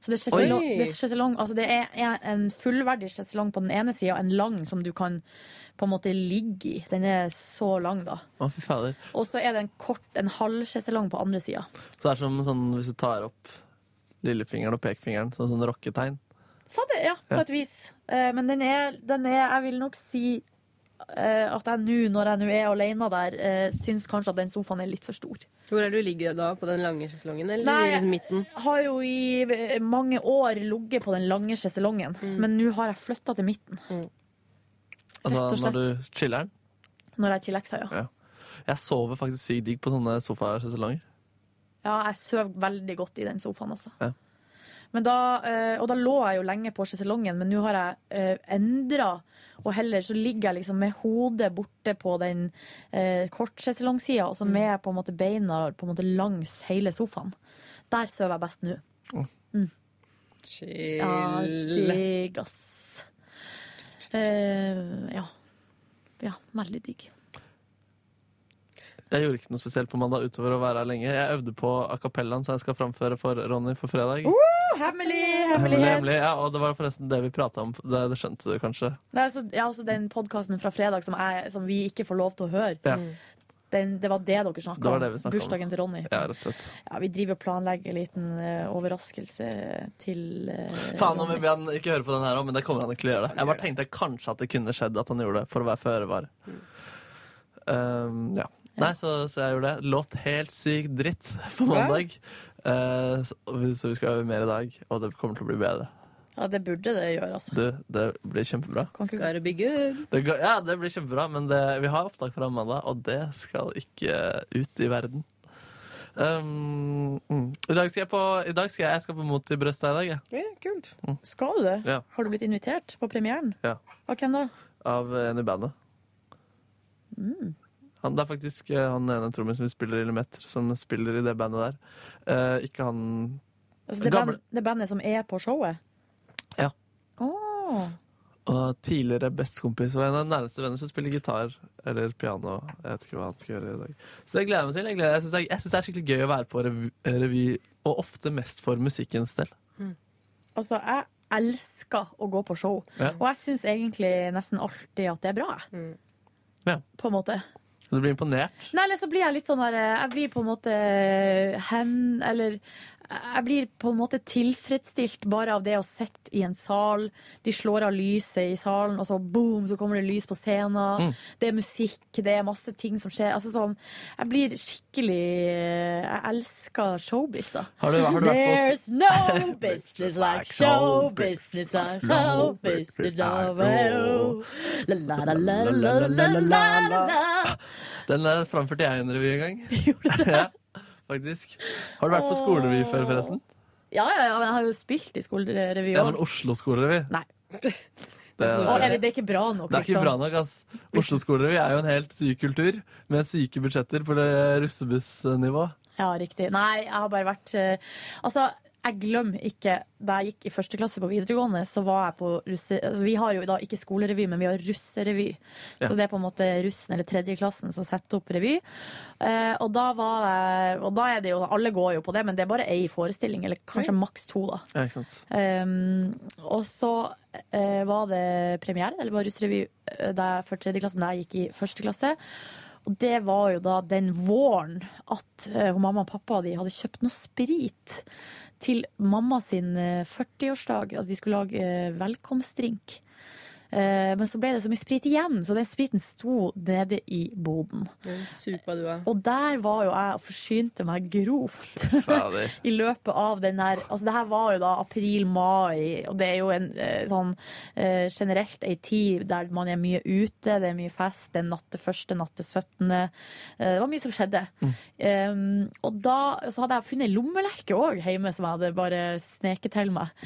E: Så det er sjeselong,
J: Oi.
E: det er, sjeselong, altså det er en- en fullverdig sjeselong på den ene sida, og en lang som du kan på en måte ligge i. Den er så lang, da.
C: Å, fy fader.
E: Og så er det en kort, en halv sjeselong på andre sida.
C: Så det er som sånn hvis du tar opp lillefingeren og pekefingeren, sånn sånn rocketegn.
E: Så det, ja, på
C: Ja.
E: et vis. Eh, Men den er, den er Jeg vil nok si eh, at jeg nå, når jeg nå er alene der, eh, syns kanskje at den sofaen er litt for stor.
J: Hvor er det du ligger da? På den lange sjeselongen, eller
E: Nei.
J: i midten?
E: har jo i eh, mange år ligget på den lange sjeselongen, men nå har jeg flytta til midten Rett
C: Altså
E: og
C: når du chiller den.
E: når jeg chillaxer, ja.
C: Ja. Jeg sover faktisk sykt digg på sånne sofasesalonger.
E: ja. Jeg sover veldig godt i den sofaen, altså.
C: Ja.
E: Men da, eh, og da lå jeg jo lenge på sjeselongen, men nå har jeg endra. Og heller så ligger jeg liksom med hodet borte på den eh, kortsjeselongsida, og så med på en måte beina på en måte langs hele sofaen. Der sover jeg best nå.
J: Chill.
E: Ja, digg, ass. Eh, ja. Ja, veldig digg.
C: Jeg gjorde ikke noe spesielt på mandag utover å være her lenge. Jeg øvde på a cappellaen som jeg skal framføre for Ronny på fredag.
E: Hemmelig
C: Hemmelig,
E: Uh, hemmelighet.
C: hemmelig. Ja, og det var forresten det vi prata om. Det, det skjønte du kanskje.
E: Det er altså, ja, altså den podkasten fra fredag som, jeg, som vi ikke får lov til å høre.
C: Ja.
E: den, det var det dere snakka
C: Det var
E: om?
C: det vi snakket om.
E: Bursdagen til Ronny?
C: Ja, rett og slett.
E: Ja, vi driver og planlegger en liten eh, overraskelse til eh,
C: Faen om
E: Ronny.
C: jeg ber han ikke høre på den her òg, men det kommer han ikke til å gjøre. Jeg bare tenkte kanskje at det kunne skjedd at han gjorde det, for å være føre var. Um, ja. Nei, så, så jeg gjorde det. Låt helt sykt dritt på
E: Ja.
C: mandag. Eh, så, så vi skal øve mer i dag, og det kommer til å bli bedre.
E: Ja, det burde det gjøre, altså.
C: Du, det blir kjempebra.
E: Skal
C: Det går, ja, det blir kjempebra, men det, vi har opptak fra mandag, og det skal ikke ut i verden. Um, mm. I dag skal jeg på, i dag skal jeg, jeg skal på Mot i brøstet i dag, jeg.
E: Ja, kult. Skal du det?
C: Ja.
E: Har du blitt invitert på premieren?
C: Ja.
E: Av hvem da?
C: Av eh, en i bandet.
E: Mm.
C: Han, det er faktisk eh, han ene trommisen som spiller i Lemeter, som spiller i det bandet der. Eh, ikke han
E: Altså, det, band,
C: gamle.
E: det bandet som er på showet?
C: Ja.
E: Åh.
C: Og tidligere bestekompis og en av de nærmeste venner som spiller gitar eller piano. Jeg vet ikke hva han skal gjøre i dag. Så det gleder jeg meg til. Jeg, gleder, jeg, synes det, er- jeg synes det er skikkelig gøy å være på revy, revy og ofte mest for musikkens del.
E: Altså, jeg elsker å gå på show.
C: Ja.
E: Og jeg syns egentlig nesten alltid at det er bra.
C: Mm. Ja.
E: På en måte.
C: Du blir imponert.
E: Nei, eller så blir jeg litt sånn der eh, Jeg blir på en måte hen Eller jeg blir på en måte tilfredsstilt bare av det å sitte i en sal. De slår av lyset i salen, og så boom, så kommer det lys på scenen.
Q: Mm.
E: Det er musikk, det er masse ting som skjer. Altså sånn Jeg blir skikkelig eh, Jeg elsker showbiz, da.
Q: Har du- har du vært på-
E: There's no business like show business. I show business. I will. La, la, la, la, la, la, la, la.
C: Den eh, framførte jeg i en revy en gang. ja, faktisk. Har du vært på skolerevy før, forresten?
E: Ja, ja, ja, men jeg har jo spilt i skolerevy
C: Ja,
E: òg.
C: men Oslo skolerevy.
E: Nei.
C: Det,
E: Å, er det, det er ikke bra nok,
C: Det er ikke
E: liksom.
C: bra nok, ass. Oslo skolerevy er jo en helt syk kultur, med syke budsjetter på det russebussnivå.
E: Ja, riktig. Nei, jeg har bare vært eh, Altså, jeg glemmer ikke da jeg gikk i første klasse på videregående, så var jeg på russe... Altså, vi har jo da ikke skolerevy, men vi har russerevy.
Q: Ja.
E: Så det er på en måte russen eller tredjeklassen som setter opp revy. Eh, og da var jeg Og da er det jo Alle går jo på det, men det er bare ei forestilling, eller kanskje maks to, da.
C: Ja, ikke sant?
E: Um, og så eh, var det premiere, eller var russrevy eh, der for tredje klassen da jeg gikk i første klasse. Og det var jo da den våren at eh, hun mamma og pappa de hadde kjøpt noe sprit til mamma sin eh, 40-årsdag. Altså de skulle lage eh, velkomstdrink. Eh, men så ble det så mye sprit igjen, så den spriten sto nede i boden.
J: Supa du er.
E: Og der var jo jeg og forsynte meg grovt
J: Fader.
E: i løpet av den her Altså, det her var jo da april-mai, og det er jo en eh, sånn eh, generelt ei tid der man er mye ute, det er mye fest, det er natt til første, natt til 17. Eh, det var mye som skjedde. Um, og da så hadde jeg funnet ei lommelerke òg hjemme som jeg hadde bare sneket til meg.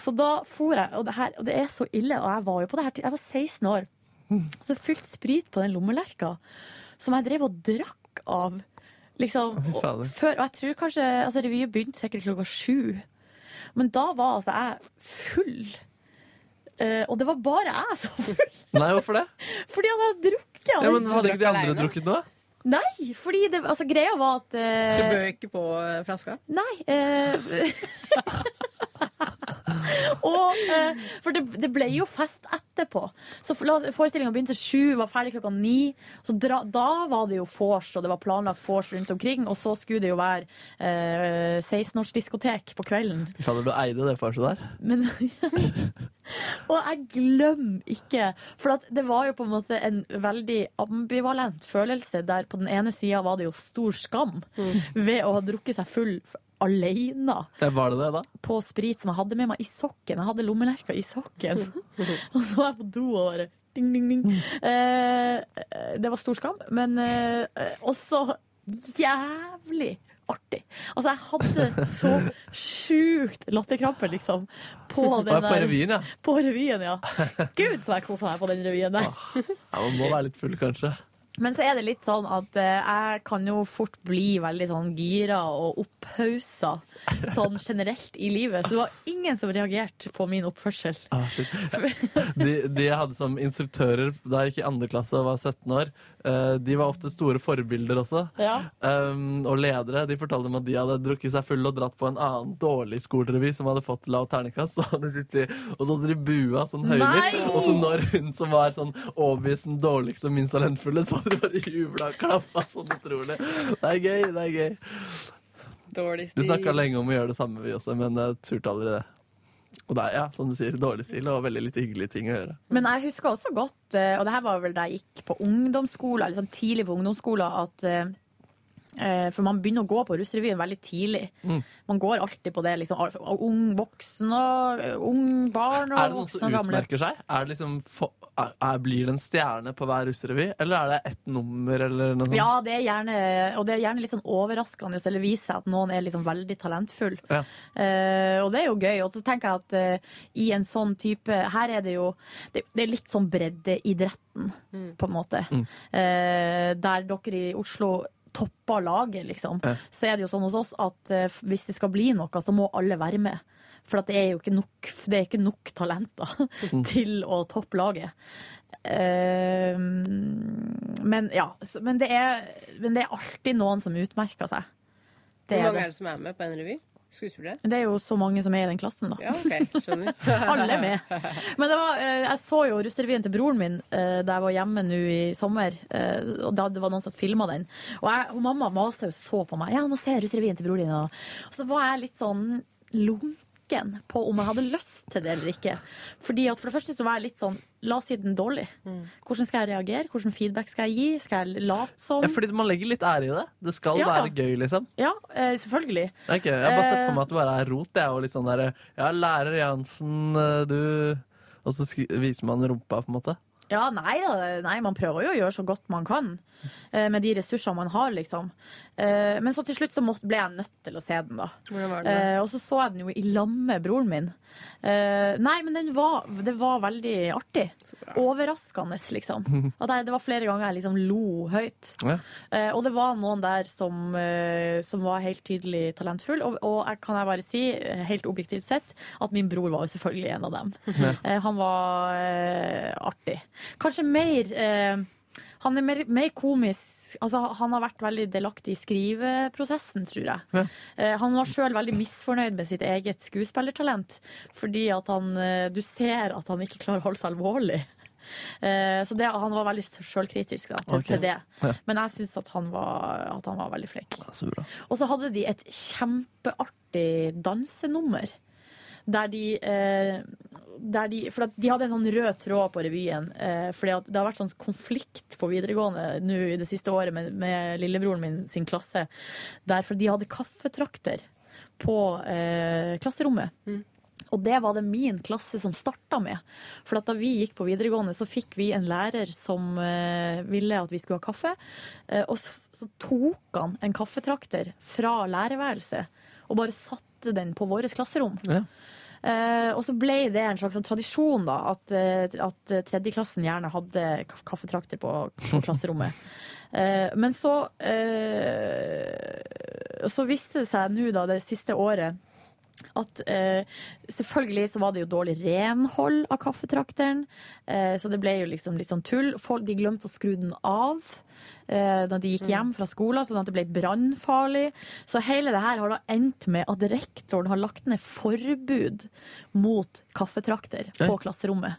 E: Så da for jeg, og det, her, og det er så ille, og jeg var jo på det her til- Jeg var 16 år. Så fylt sprit på den lommelerka, som jeg drev og drakk av. Liksom,
Q: Fy
E: og,
Q: fader.
E: før, og jeg tror kanskje altså, Revyen begynte sikkert klokka sju. Men da var altså jeg full. Eh, og det var bare jeg som var full,
C: Nei, hvorfor det?
E: fordi jeg hadde drukket.
C: Ja, men Hadde ikke de andre drukket noe?
E: Nei, fordi det, altså, greia var at eh,
J: Du bød ikke på eh, flaska?
E: Nei. eh, og, eh, for det, det ble jo fest etterpå. Så forestillinga begynte sju, var ferdig klokka ni. Så dra, da var det jo vors, og det var planlagt vors rundt omkring. Og så skulle det jo være eh, 16-årsdiskotek på kvelden.
C: Fy fader, du eide det farset der.
E: Men, og jeg glemmer ikke, for at det var jo på en måte en veldig ambivalent følelse, der på den ene sida var det jo stor skam ved å ha drukket seg full f- alene
C: Ja, Var det det, da?
E: på sprit som jeg hadde med meg i sokken. Jeg hadde lommelerka i sokken. og så var jeg på do og bare ding, ding, ding. Eh, eh, det var stor skam, men eh, eh, også jævlig artig. Altså, jeg hadde så sjukt latterkrampe, liksom. På
C: Å,
E: den
C: ja, på revyen, ja.
E: På revyen, ja. Gud, så jeg kosa meg på den revyen der.
C: Ja, Man må være litt full, kanskje.
E: Men så er det litt sånn at eh, jeg kan jo fort bli veldig sånn gira og opphausa sånn generelt i livet. Så det var ingen som reagerte på min oppførsel.
C: Ah, shit. De, de jeg hadde som instruktører da jeg gikk i andre klasse og var 17 år, eh, de var ofte store forbilder også.
E: Ja.
C: Um, og ledere de fortalte om at de hadde drukket seg full og dratt på en annen dårlig skolerevy som hadde fått lav terningkast. Så hadde de, og så hadde de bua sånn høylytt.
Q: Nei!
C: Og så når hun som var sånn obvious den dårligste og minst talentfulle, så Alle bare jubla og klappa sånn utrolig. Det er gøy, det er gøy.
J: Dårlig
C: Vi
J: stil.
C: snakka lenge om å gjøre det samme, vi også, men jeg turte aldri det. Og det er, ja, som du sier, dårlig stil og veldig litt hyggelige ting å gjøre.
E: Men jeg husker også godt, eh, og det her var vel da jeg gikk på ungdomsskolen, eller sånn tidlig på ungdomsskolen, at eh, eh, For man begynner å gå på russrevyen veldig tidlig.
C: Mm.
E: Man går alltid på det, liksom. al- Ung voksen og eh, ung barn
C: Er
E: og
C: det noen
E: voksne
C: som
E: og gamle.
C: utmerker seg? Er det liksom, få- er, er- blir det en stjerne på hver russerevy, eller er det ett nummer eller noe sånt?
E: Ja, det er gjerne, og det er gjerne litt sånn overraskende eller viser seg at noen er liksom veldig talentfull.
C: Ja.
E: Eh, og det er jo gøy. Og så tenker jeg at eh, i en sånn type Her er det jo Det, det er litt sånn breddeidretten, på en måte. Eh, der dere i Oslo topper laget, liksom.
R: Ja.
E: Så er det jo sånn hos oss at eh, hvis det skal bli noe, så må alle være med. For at det er jo ikke nok, det er ikke nok talenter
R: Mm.
E: til å toppe laget. Eh, men ja. så- Men det, er, men det er alltid noen som utmerker seg. Det
J: Hvor
E: er
J: mange
E: det.
J: er det som er med på en revy? Skuespillere?
E: Det er jo så mange som er i den klassen, da.
J: Ja, ok, skjønner.
E: Alle er med. Men det var, eh, jeg så jo russerevyen til broren min eh, da jeg var hjemme nå i sommer. eh, Og da det var noen som filma den. Og jeg, hun mamma maser jo så på meg. Ja, nå ser jeg russerevyen til broren din. Og og så var jeg litt sånn lunken på om jeg hadde lyst til det eller ikke. Fordi at For det første så var jeg litt sånn La oss si den dårlig. Hvordan skal jeg reagere? Hvordan feedback skal jeg gi? Skal jeg late som?
C: Ja, fordi man legger litt ære i det. Det skal
E: Ja.
C: være gøy, liksom.
E: Ja, eh, selvfølgelig.
C: Det er ikke- jeg har bare sett for
E: Eh.
C: meg at det bare er rot. Jeg, og litt sånn der, ja, lærer Jansen, eh, du Og så skri- viser man rumpa, på en måte.
E: Ja, nei, da, nei, man prøver jo å gjøre så godt man kan eh, med de ressursene man har, liksom. Eh, men så til slutt så måtte, ble jeg nødt til å se den, da.
J: Hvordan var den da?
E: Eh, og så så jeg den jo i lag med broren min. Eh, nei, men den var, det var veldig artig. Overraskende, liksom. At jeg, det var flere ganger jeg liksom lo høyt.
C: Ja.
E: Eh, og det var noen der som, eh, som var helt tydelig talentfull, og, og jeg kan jeg bare si, eh, helt objektivt sett, at min bror var jo selvfølgelig en av dem.
R: Ja.
E: Eh, han var eh, artig. Kanskje mer eh, Han er mer, mer komisk. Altså, han har vært veldig delaktig i skriveprosessen, tror jeg. Eh, Han var sjøl veldig misfornøyd med sitt eget skuespillertalent. Fordi at han eh, Du ser at han ikke klarer å holde seg alvorlig. Eh, Så det, han var veldig sjølkritisk da, til,
C: Ok.
E: til det.
C: Ja.
E: Men jeg syns at, han var- at han var veldig flink.
C: Ja, så bra.
E: Og så hadde de et kjempeartig dansenummer. Der de, eh, der de For at de hadde en sånn rød tråd på revyen. Eh, fordi at det har vært sånn konflikt på videregående nå i det siste året med, med lillebroren min sin klasse. Derfor de hadde kaffetrakter på eh, klasserommet. Og det var det min klasse som starta med. For at da vi gikk på videregående, så fikk vi en lærer som eh, ville at vi skulle ha kaffe. Eh, og så, så tok han en kaffetrakter fra lærerværelset og bare satte den på vårt klasserom.
C: Ja.
E: Eh, og så ble det en slags sånn tradisjon da, at, eh, at tredjeklassen gjerne hadde ka- kaffetrakter på, på klasserommet. Eh, men så, eh, så viste det seg nå da, det siste året at eh, selvfølgelig så var det jo dårlig renhold av kaffetrakteren, eh, så det ble jo liksom litt sånn tull. Folk, de glemte å skru den av eh, da de gikk hjem fra skolen, sånn at det ble brannfarlig. Så hele det her har da endt med at rektoren har lagt ned forbud mot kaffetrakter på
R: Oi.
E: klasserommet.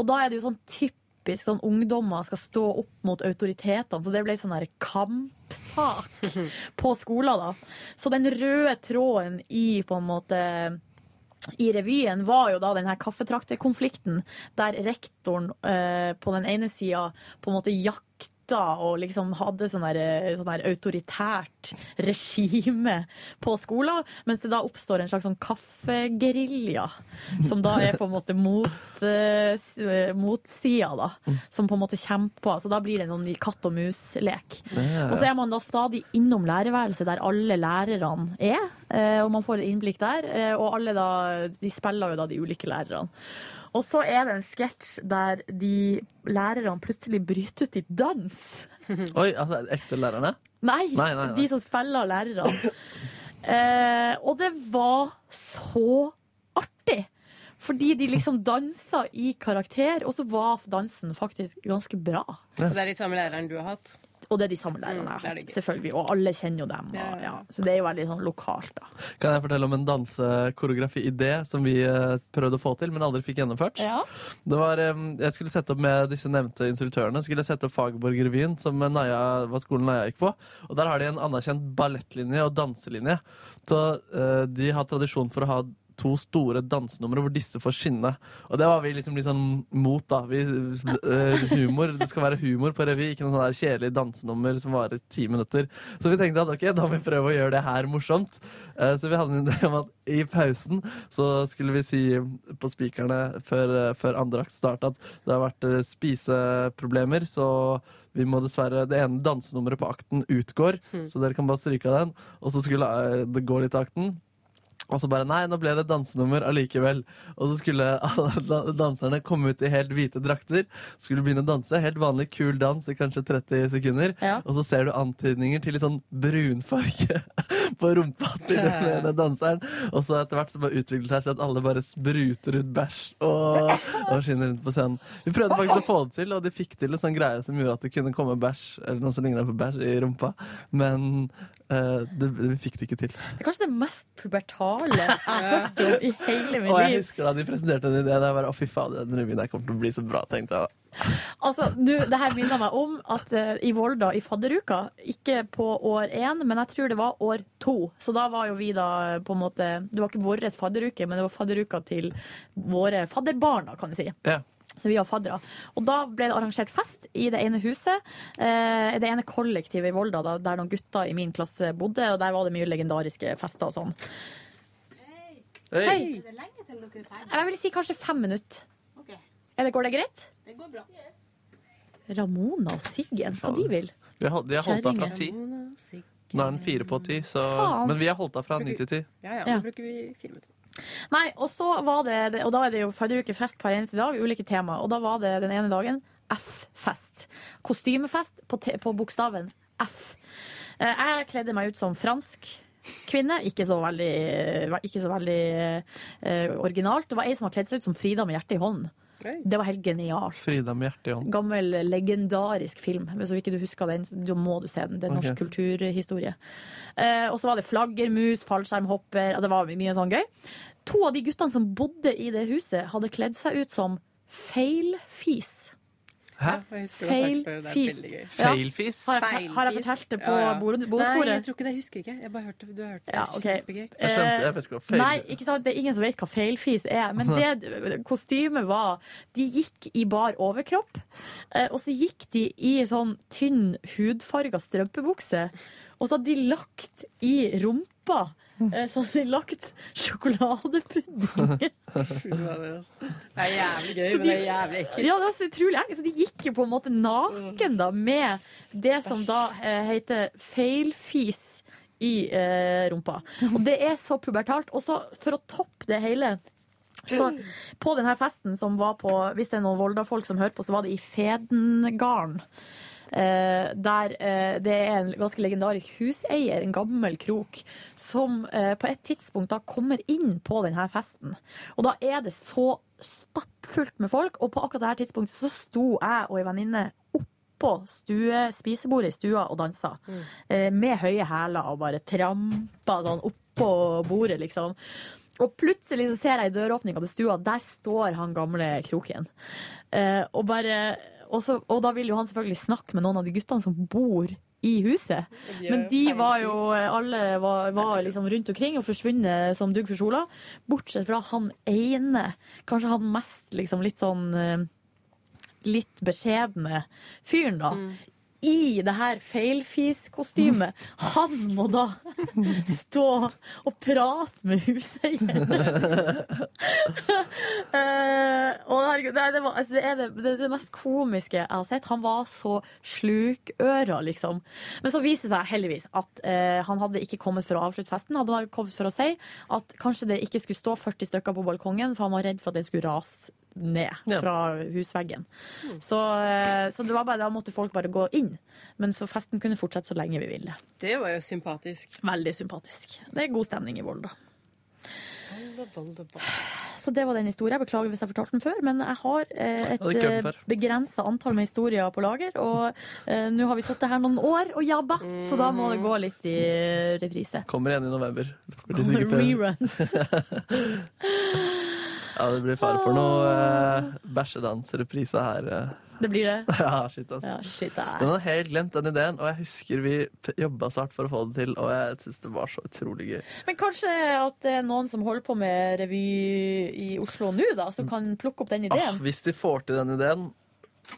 E: Og da er det jo sånn typisk sånn ungdommer skal stå opp mot autoritetene, så det ble sånn der kampsak på skolen, da. Så den røde tråden i på en måte i revyen var jo da den her kaffetrakterkonflikten, der rektoren eh, på den ene sida på en måte jakta og liksom hadde sånn der, eh, sånn der autoritært regime på skolen, mens det da oppstår en slags sånn kaffegerilja, som da er på en måte mot, eh, s- eh, motsida,
R: Mm.
E: da. Som på en måte kjemper. Så da blir det en sånn katt og mus-lek.
R: Ja, ja.
E: Og så er man da stadig innom lærerværelset der alle lærerne er, eh, og man får et innblikk der. eh, Og alle da, de spiller jo da de ulike lærerne. Og så er det en sketsj der de lærerne plutselig bryter ut i dans.
C: Oi, altså, er det ekte lærerne?
E: Nei,
C: Nei, nei, nei.
E: de som spiller lærerne. Eh, og det var så artig! Fordi de liksom dansa i karakter, og så var dansen faktisk ganske bra.
J: Det er litt samme læreren du har hatt.
E: og Mm, det er de samme lærerne jeg har hatt, selvfølgelig. Og alle kjenner jo dem. Og, ja. Så det er jo veldig sånn lokalt, da.
C: Kan jeg fortelle om en dansekoreografi-idé som vi eh, prøvde å få til, men aldri fikk gjennomført? Det var, eh, jeg skulle sette opp med disse nevnte instruktørene skulle jeg sette opp Fagerborg-revyen, som eh, Naja, var skolen Naja gikk på. Og der har de en anerkjent ballettlinje og danselinje. Så eh, de har tradisjon for å ha to store dansenumre hvor disse får skinne. Og det var vi liksom litt sånn mot, da. Vi, eh, humor, Det skal være humor på revy, ikke noe sånn der kjedelig dansenummer som varer ti minutter. Så vi tenkte at ok, da må vi prøve å gjøre det her morsomt. Eh, Så vi hadde en idé om at i pausen så skulle vi si på spikerne før, eh, før andre akt starta at det har vært eh, spiseproblemer, så vi må dessverre, Det ene dansenummeret på akten utgår,
S: Mm.
C: så dere kan bare stryke av den. Og så skulle eh, det gå litt av akten. Og så bare nei, nå ble det dansenummer allikevel. Og så skulle alle da- danserne komme ut i helt hvite drakter. Skulle begynne å danse. Helt vanlig kul dans i kanskje 30 sekunder. Og så ser du antydninger til litt sånn brunfarge på rumpa til den ene danseren. Og så etter hvert så bare utvikler det seg til at alle bare spruter ut bæsj og, og skinner rundt på scenen. Vi prøvde faktisk å få det til, og de fikk til en sånn greie som gjorde at det kunne komme bæsj eller noe som lignet på bæsj i rumpa. Men eh, det, vi fikk det ikke til.
E: Det er kanskje det mest pubertale jeg har hørt om i hele
C: Og
E: mitt
C: jeg
E: liv.
C: husker da de presenterte den ideen. Jeg bare, å fy fader, den revyen her kommer til å bli så bra, tenkte jeg.
E: Altså, du, det her minner meg om at eh, i Volda i fadderuka, ikke på år én, men jeg tror det var år to. Så da var jo vi da eh, på en måte Det var ikke vår fadderuke, men det var fadderuka til våre fadderbarn, da, kan vi si.
C: Ja.
E: Så vi var faddere. Og da ble det arrangert fest i det ene huset. Eh, det ene kollektivet i Volda, da, der noen gutter i min klasse bodde. Og der var det mye legendariske fester og sånn. Hei. Hei.
T: Er det lenge til dere er ferdige?
E: Jeg vil si kanskje fem minutter.
T: Ok,
E: Er det, går det greit?
T: det går bra.
E: Ramona og Siggen, hva de vil?
C: Vi har, de har holdt av fra ti.
E: Kjerringer.
C: Nå er den fire på ti, så
E: Faen.
C: Men vi har holdt av fra ni til ti.
E: ja, nå
J: bruker vi fire minutter.
E: Nei, og så var det Og da er det jo fadderukefest hver eneste dag, ulike tema. Og da var det den ene dagen F-fest. Kostymefest på, te- på bokstaven F. Eh, Jeg kledde meg ut som fransk kvinne. Ikke så veldig, ikke så veldig eh, originalt. Det var ei som har kledd seg ut som Frida med hjertet i hånden. Det var helt genialt.
C: Frida med hjertet i hånden.
E: Gammel, legendarisk film. Hvis ikke du husker den, så da må du se den. Det er norsk
C: Ok.
E: kulturhistorie. Eh, og så var det flaggermus, fallskjermhopper, og det var mye sånn gøy. To av de guttene som bodde i det huset, hadde kledd seg ut som feilfis.
C: Hæ?
E: Feil fis. Ja.
C: Feilfis?
E: Har jeg fortalt- har jeg fortalt det på bordet- bordsbordet?
J: Nei, jeg tror ikke det. Jeg husker ikke. Jeg bare hørte du har hørt det.
E: Ja, ok.
J: Kjempegøy.
C: Jeg skjønte- jeg vet ikke hva feil-
E: Eh, Nei, ikke sant? Det er ingen som vet hva feilfis er. Men det kostymet var De gikk i bar overkropp, eh, og så gikk de i sånn tynn, hudfarga strømpebukse. Og så hadde de lagt i rumpa eh, Så hadde de lagt sjokoladepudding.
J: Det er jævlig gøy,
E: Så
J: men det er
E: de-
J: jævlig ekkelt.
E: Ja, det var så utrolig ekkelt. Så de gikk jo på en måte naken da, med det som da eh, heter feilfis i eh, rumpa. Og det er så pubertalt. Og så for å toppe det hele så på denne festen som var på Hvis det er noen Volda-folk som hører på, så var det i Fedengarden. Eh, der eh, det er en ganske legendarisk huseier, en gammel krok, som eh, på et tidspunkt da kommer inn på denne festen. Og da er det så stappfullt med folk, og på akkurat dette tidspunktet så sto jeg og ei venninne oppå stue, spisebordet i stua og dansa. Eh, med høye hæler og bare trampa sånn oppå bordet, liksom. Og plutselig så ser jeg i døråpninga til stua, der står han gamle kroken. Eh, og, bare, og, så, og da vil jo han selvfølgelig snakke med noen av de guttene som bor i huset.
U: de er
E: Men de
U: jo
E: var jo Alle var, var liksom rundt omkring og forsvunnet som dugg for sola. Bortsett fra han ene, kanskje han mest liksom litt sånn eh, litt beskjedne fyren, da. I det her feilfiskostymet. Han må da stå og prate med huseieren. Eh, og herregud, nei, det, var, altså, det er det, det, er det mest komiske jeg har sett. Han var så slukøra, liksom. Men så viser det seg heldigvis at eh, han hadde ikke kommet for å avslutte festen. Han hadde kommet for å si at kanskje det ikke skulle stå 40 stykker på balkongen, for han var redd for at den skulle rase ned
U: Ja.
E: fra husveggen. Så, eh, så det var bare, da måtte folk bare gå inn. Men så festen kunne fortsette så lenge vi ville.
J: Det var jo sympatisk.
E: Veldig sympatisk. Det er god stemning i Volda. Så det var den historien. Jeg beklager hvis jeg fortalte den før, men jeg har eh,
C: Jeg hadde ikke hørt den før.
E: et begrensa antall med historier på lager. Og eh, nå har vi sittet her noen år og jabba, så da må det gå litt i eh, reprise.
C: Kommer igjen i november. Det blir
E: Kommer
C: sikkert- eh,
E: reruns.
C: ja, det blir fare for noe eh, bæsjedansreprise her. eh.
E: Det blir det.
C: Ja, shit, ass.
E: Ja, shit,
C: Den har
E: ass.
C: helt glemt den ideen, og jeg husker vi p- jobba så hardt for å få det til, og jeg syns det var så utrolig gøy.
E: Men kanskje at det er noen som holder på med revy i Oslo nå, da, som kan plukke opp den
C: Ah,
E: ideen?
C: hvis de får til den ideen,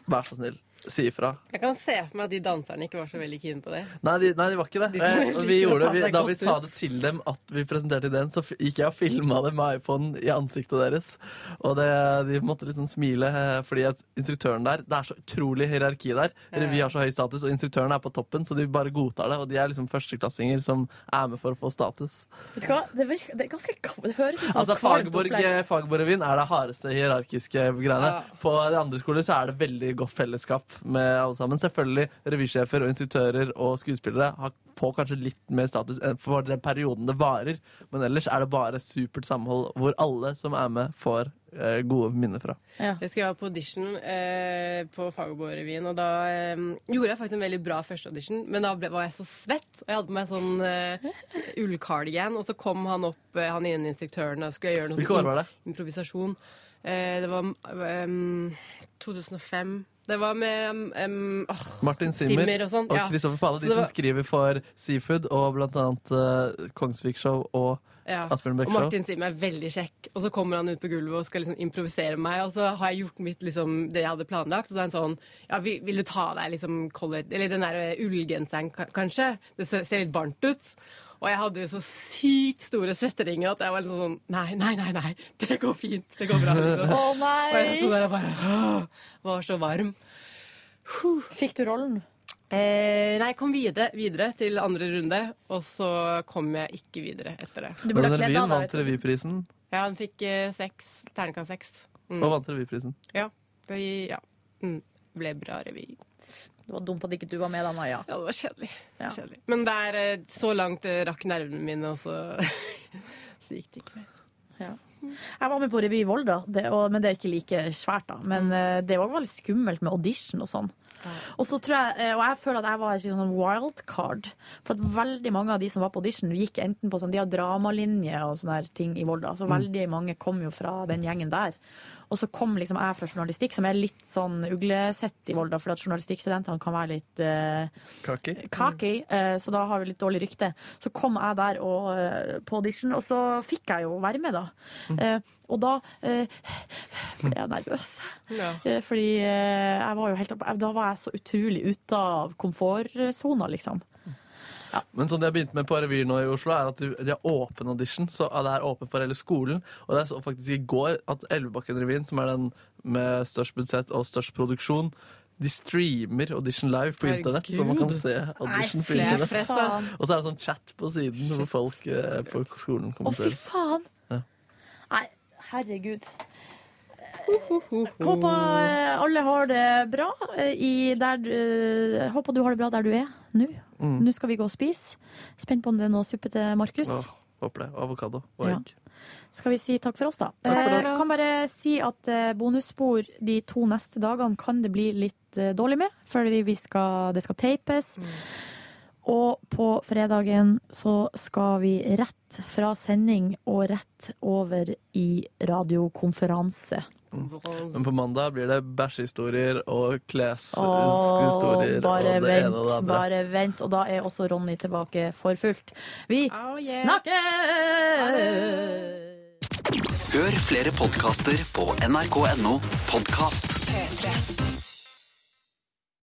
C: vær så snill, si ifra.
J: Jeg kan se for meg at de danserne ikke var så veldig keen på det.
C: Nei, de, nei, de var ikke det.
J: De som
C: Eh, og vi
J: liker å
C: gjorde,
J: ta
C: vi,
J: seg
C: da
J: godt
C: vi sa
J: ut.
C: det til dem at vi presenterte ideen, så f- gikk jeg og filma det med iPhonen i ansiktet deres. Og det, de måtte liksom smile, eh, fordi at instruktøren der Det er så utrolig hierarki der.
J: Ja, ja.
C: Vi har så høy status, og instruktøren er på toppen, så de bare godtar det. Og de er liksom førsteklassinger som er med for å få status.
E: Vet du hva? Det, virker, det er ganske kva- Det høres ut som
C: Altså
E: et kvalmt
C: Fagerborg-
E: opplegg.
C: Fagerborg-revyen er det hardeste hierarkiske greiene.
E: Ja.
C: På de andre skoler så er det veldig godt fellesskap med alle sammen. Selvfølgelig revysjefer og instruktører og skuespillere har, får kanskje litt mer status enn for den perioden det varer, men ellers er det bare supert samhold hvor alle som er med, får eh, gode minner fra.
J: Jeg husker jeg var på audition eh, på Fagerborg-revyen, og da eh, gjorde jeg faktisk en veldig bra første audition, men da ble, var jeg så svett, og jeg hadde på meg sånn eh, ullkardigan, og så kom han opp, eh, han ene instruktøren, og skulle jeg gjøre noe sånn
C: Hvilke år var det?
J: improvisasjon. Eh, mm, det var em, 2005. Det var med em, åh,
C: Martin Simmer,
J: og sånn.
C: og
J: ja.
C: Kristoffer Pale,
J: Så
C: de
J: det
C: som
J: var-
C: skriver for Seafood og blant annet eh, Kongsvik Show og
J: Ja.
C: Asbjørn
J: Og
C: Bech Show.
J: Martin Sim er veldig kjekk, og så kommer han ut på gulvet og skal liksom improvisere meg, og så har jeg gjort mitt, liksom, det jeg hadde planlagt, og så er han sånn, ja, vi- vil du ta deg liksom collar, eller den der eh, ullgenseren ka- kanskje? Det ser ser litt varmt ut. Og jeg hadde jo så sykt store svetteringer at jeg var liksom sånn, nei, nei, nei, nei, det går fint, det går bra, liksom.
E: Å, nei!
J: Og jeg sto der og bare, «Åh», var så varm.
E: Fikk du rollen?
J: Eh, nei, jeg kom videre, videre til andre runde, og så kom jeg ikke videre etter det.
C: Og den revyen vant revyprisen,
J: Ja, han fikk eh, seks, terningkast seks. Mm.
C: og vant revyprisen.
J: Ja. Det ja. Mm. ble bra revy.
E: Det var dumt at ikke du var med da, Naja.
J: Ja, det var kjedelig. Kjedelig. Men der, eh, så langt eh, rakk nervene mine, og så, så gikk det ikke mer.
E: Ja. Jeg var med på revy i Volda, det, og, men det er ikke like svært, da. Men eh, det var veldig skummelt med audition og sånn. Og så tror jeg, eh, og jeg føler at jeg var et sånn wildcard. For at veldig mange av de som var på audition, gikk enten på sånn, de har dramalinje og sånne her ting i Volda.
C: Mm.
E: Så veldig mange kom jo fra den gjengen der. Og så kom liksom jeg fra journalistikk, som er litt sånn uglesett i Volda, for at journalistikkstudentene kan være litt eh,
C: Kaki.
E: cocky, eh, så da har vi litt dårlig rykte. Så kom jeg der og, eh, på audition, og så fikk jeg jo være med, da. Eh, Og da eh, ble jeg nervøs.
J: Ja.
E: Eh, Fordi eh, jeg var jo helt opp- Da var jeg så utrolig ute av komfortsona, liksom.
C: Men sånn de har begynt med på revyer nå i Oslo, er at de, de har åpen audition. Så det er åpen for hele skolen. Og det er så faktisk i går at Elvebakken-revyen, som er den med størst budsjett og størst produksjon, de streamer audition live på internett, så man kan
J: Herregud.
C: se audition
E: Nei,
C: på
E: fy
C: internett.
E: faen.
C: Og så er det sånn chat på siden hvor folk eh, på
E: Å,
C: skolen
E: fy
C: kommenterer.
E: faen!
C: Ja.
E: Nei, herregud. Håper eh, alle har det bra eh, i der du eh, Håper du har det bra der du er nå.
C: Mm.
E: Nå skal vi gå og spise. Spent på om det er noe suppe til Markus.
C: Åh, håper det. Avokado og
E: Ja.
C: egg.
E: skal vi si takk for oss, da.
C: Takk for
E: Eh,
C: oss.
E: Jeg kan bare si at eh, bonusspor de to neste dagene kan det bli litt eh, dårlig med, fordi vi skal, det skal tapes.
C: Mm.
E: Og på fredagen så skal vi rett fra sending og rett over i radiokonferanse.
C: Men på mandag blir det bæsjehistorier og
E: Åh,
C: klesskuestorier og
E: bare
C: det ene og det
E: vent,
C: andre.
E: bare vent. Og da er også Ronny tilbake for fullt. Vi
J: Oh,
E: snakkes!
F: Hør flere podkaster på nrk.no podkast.
V: 3.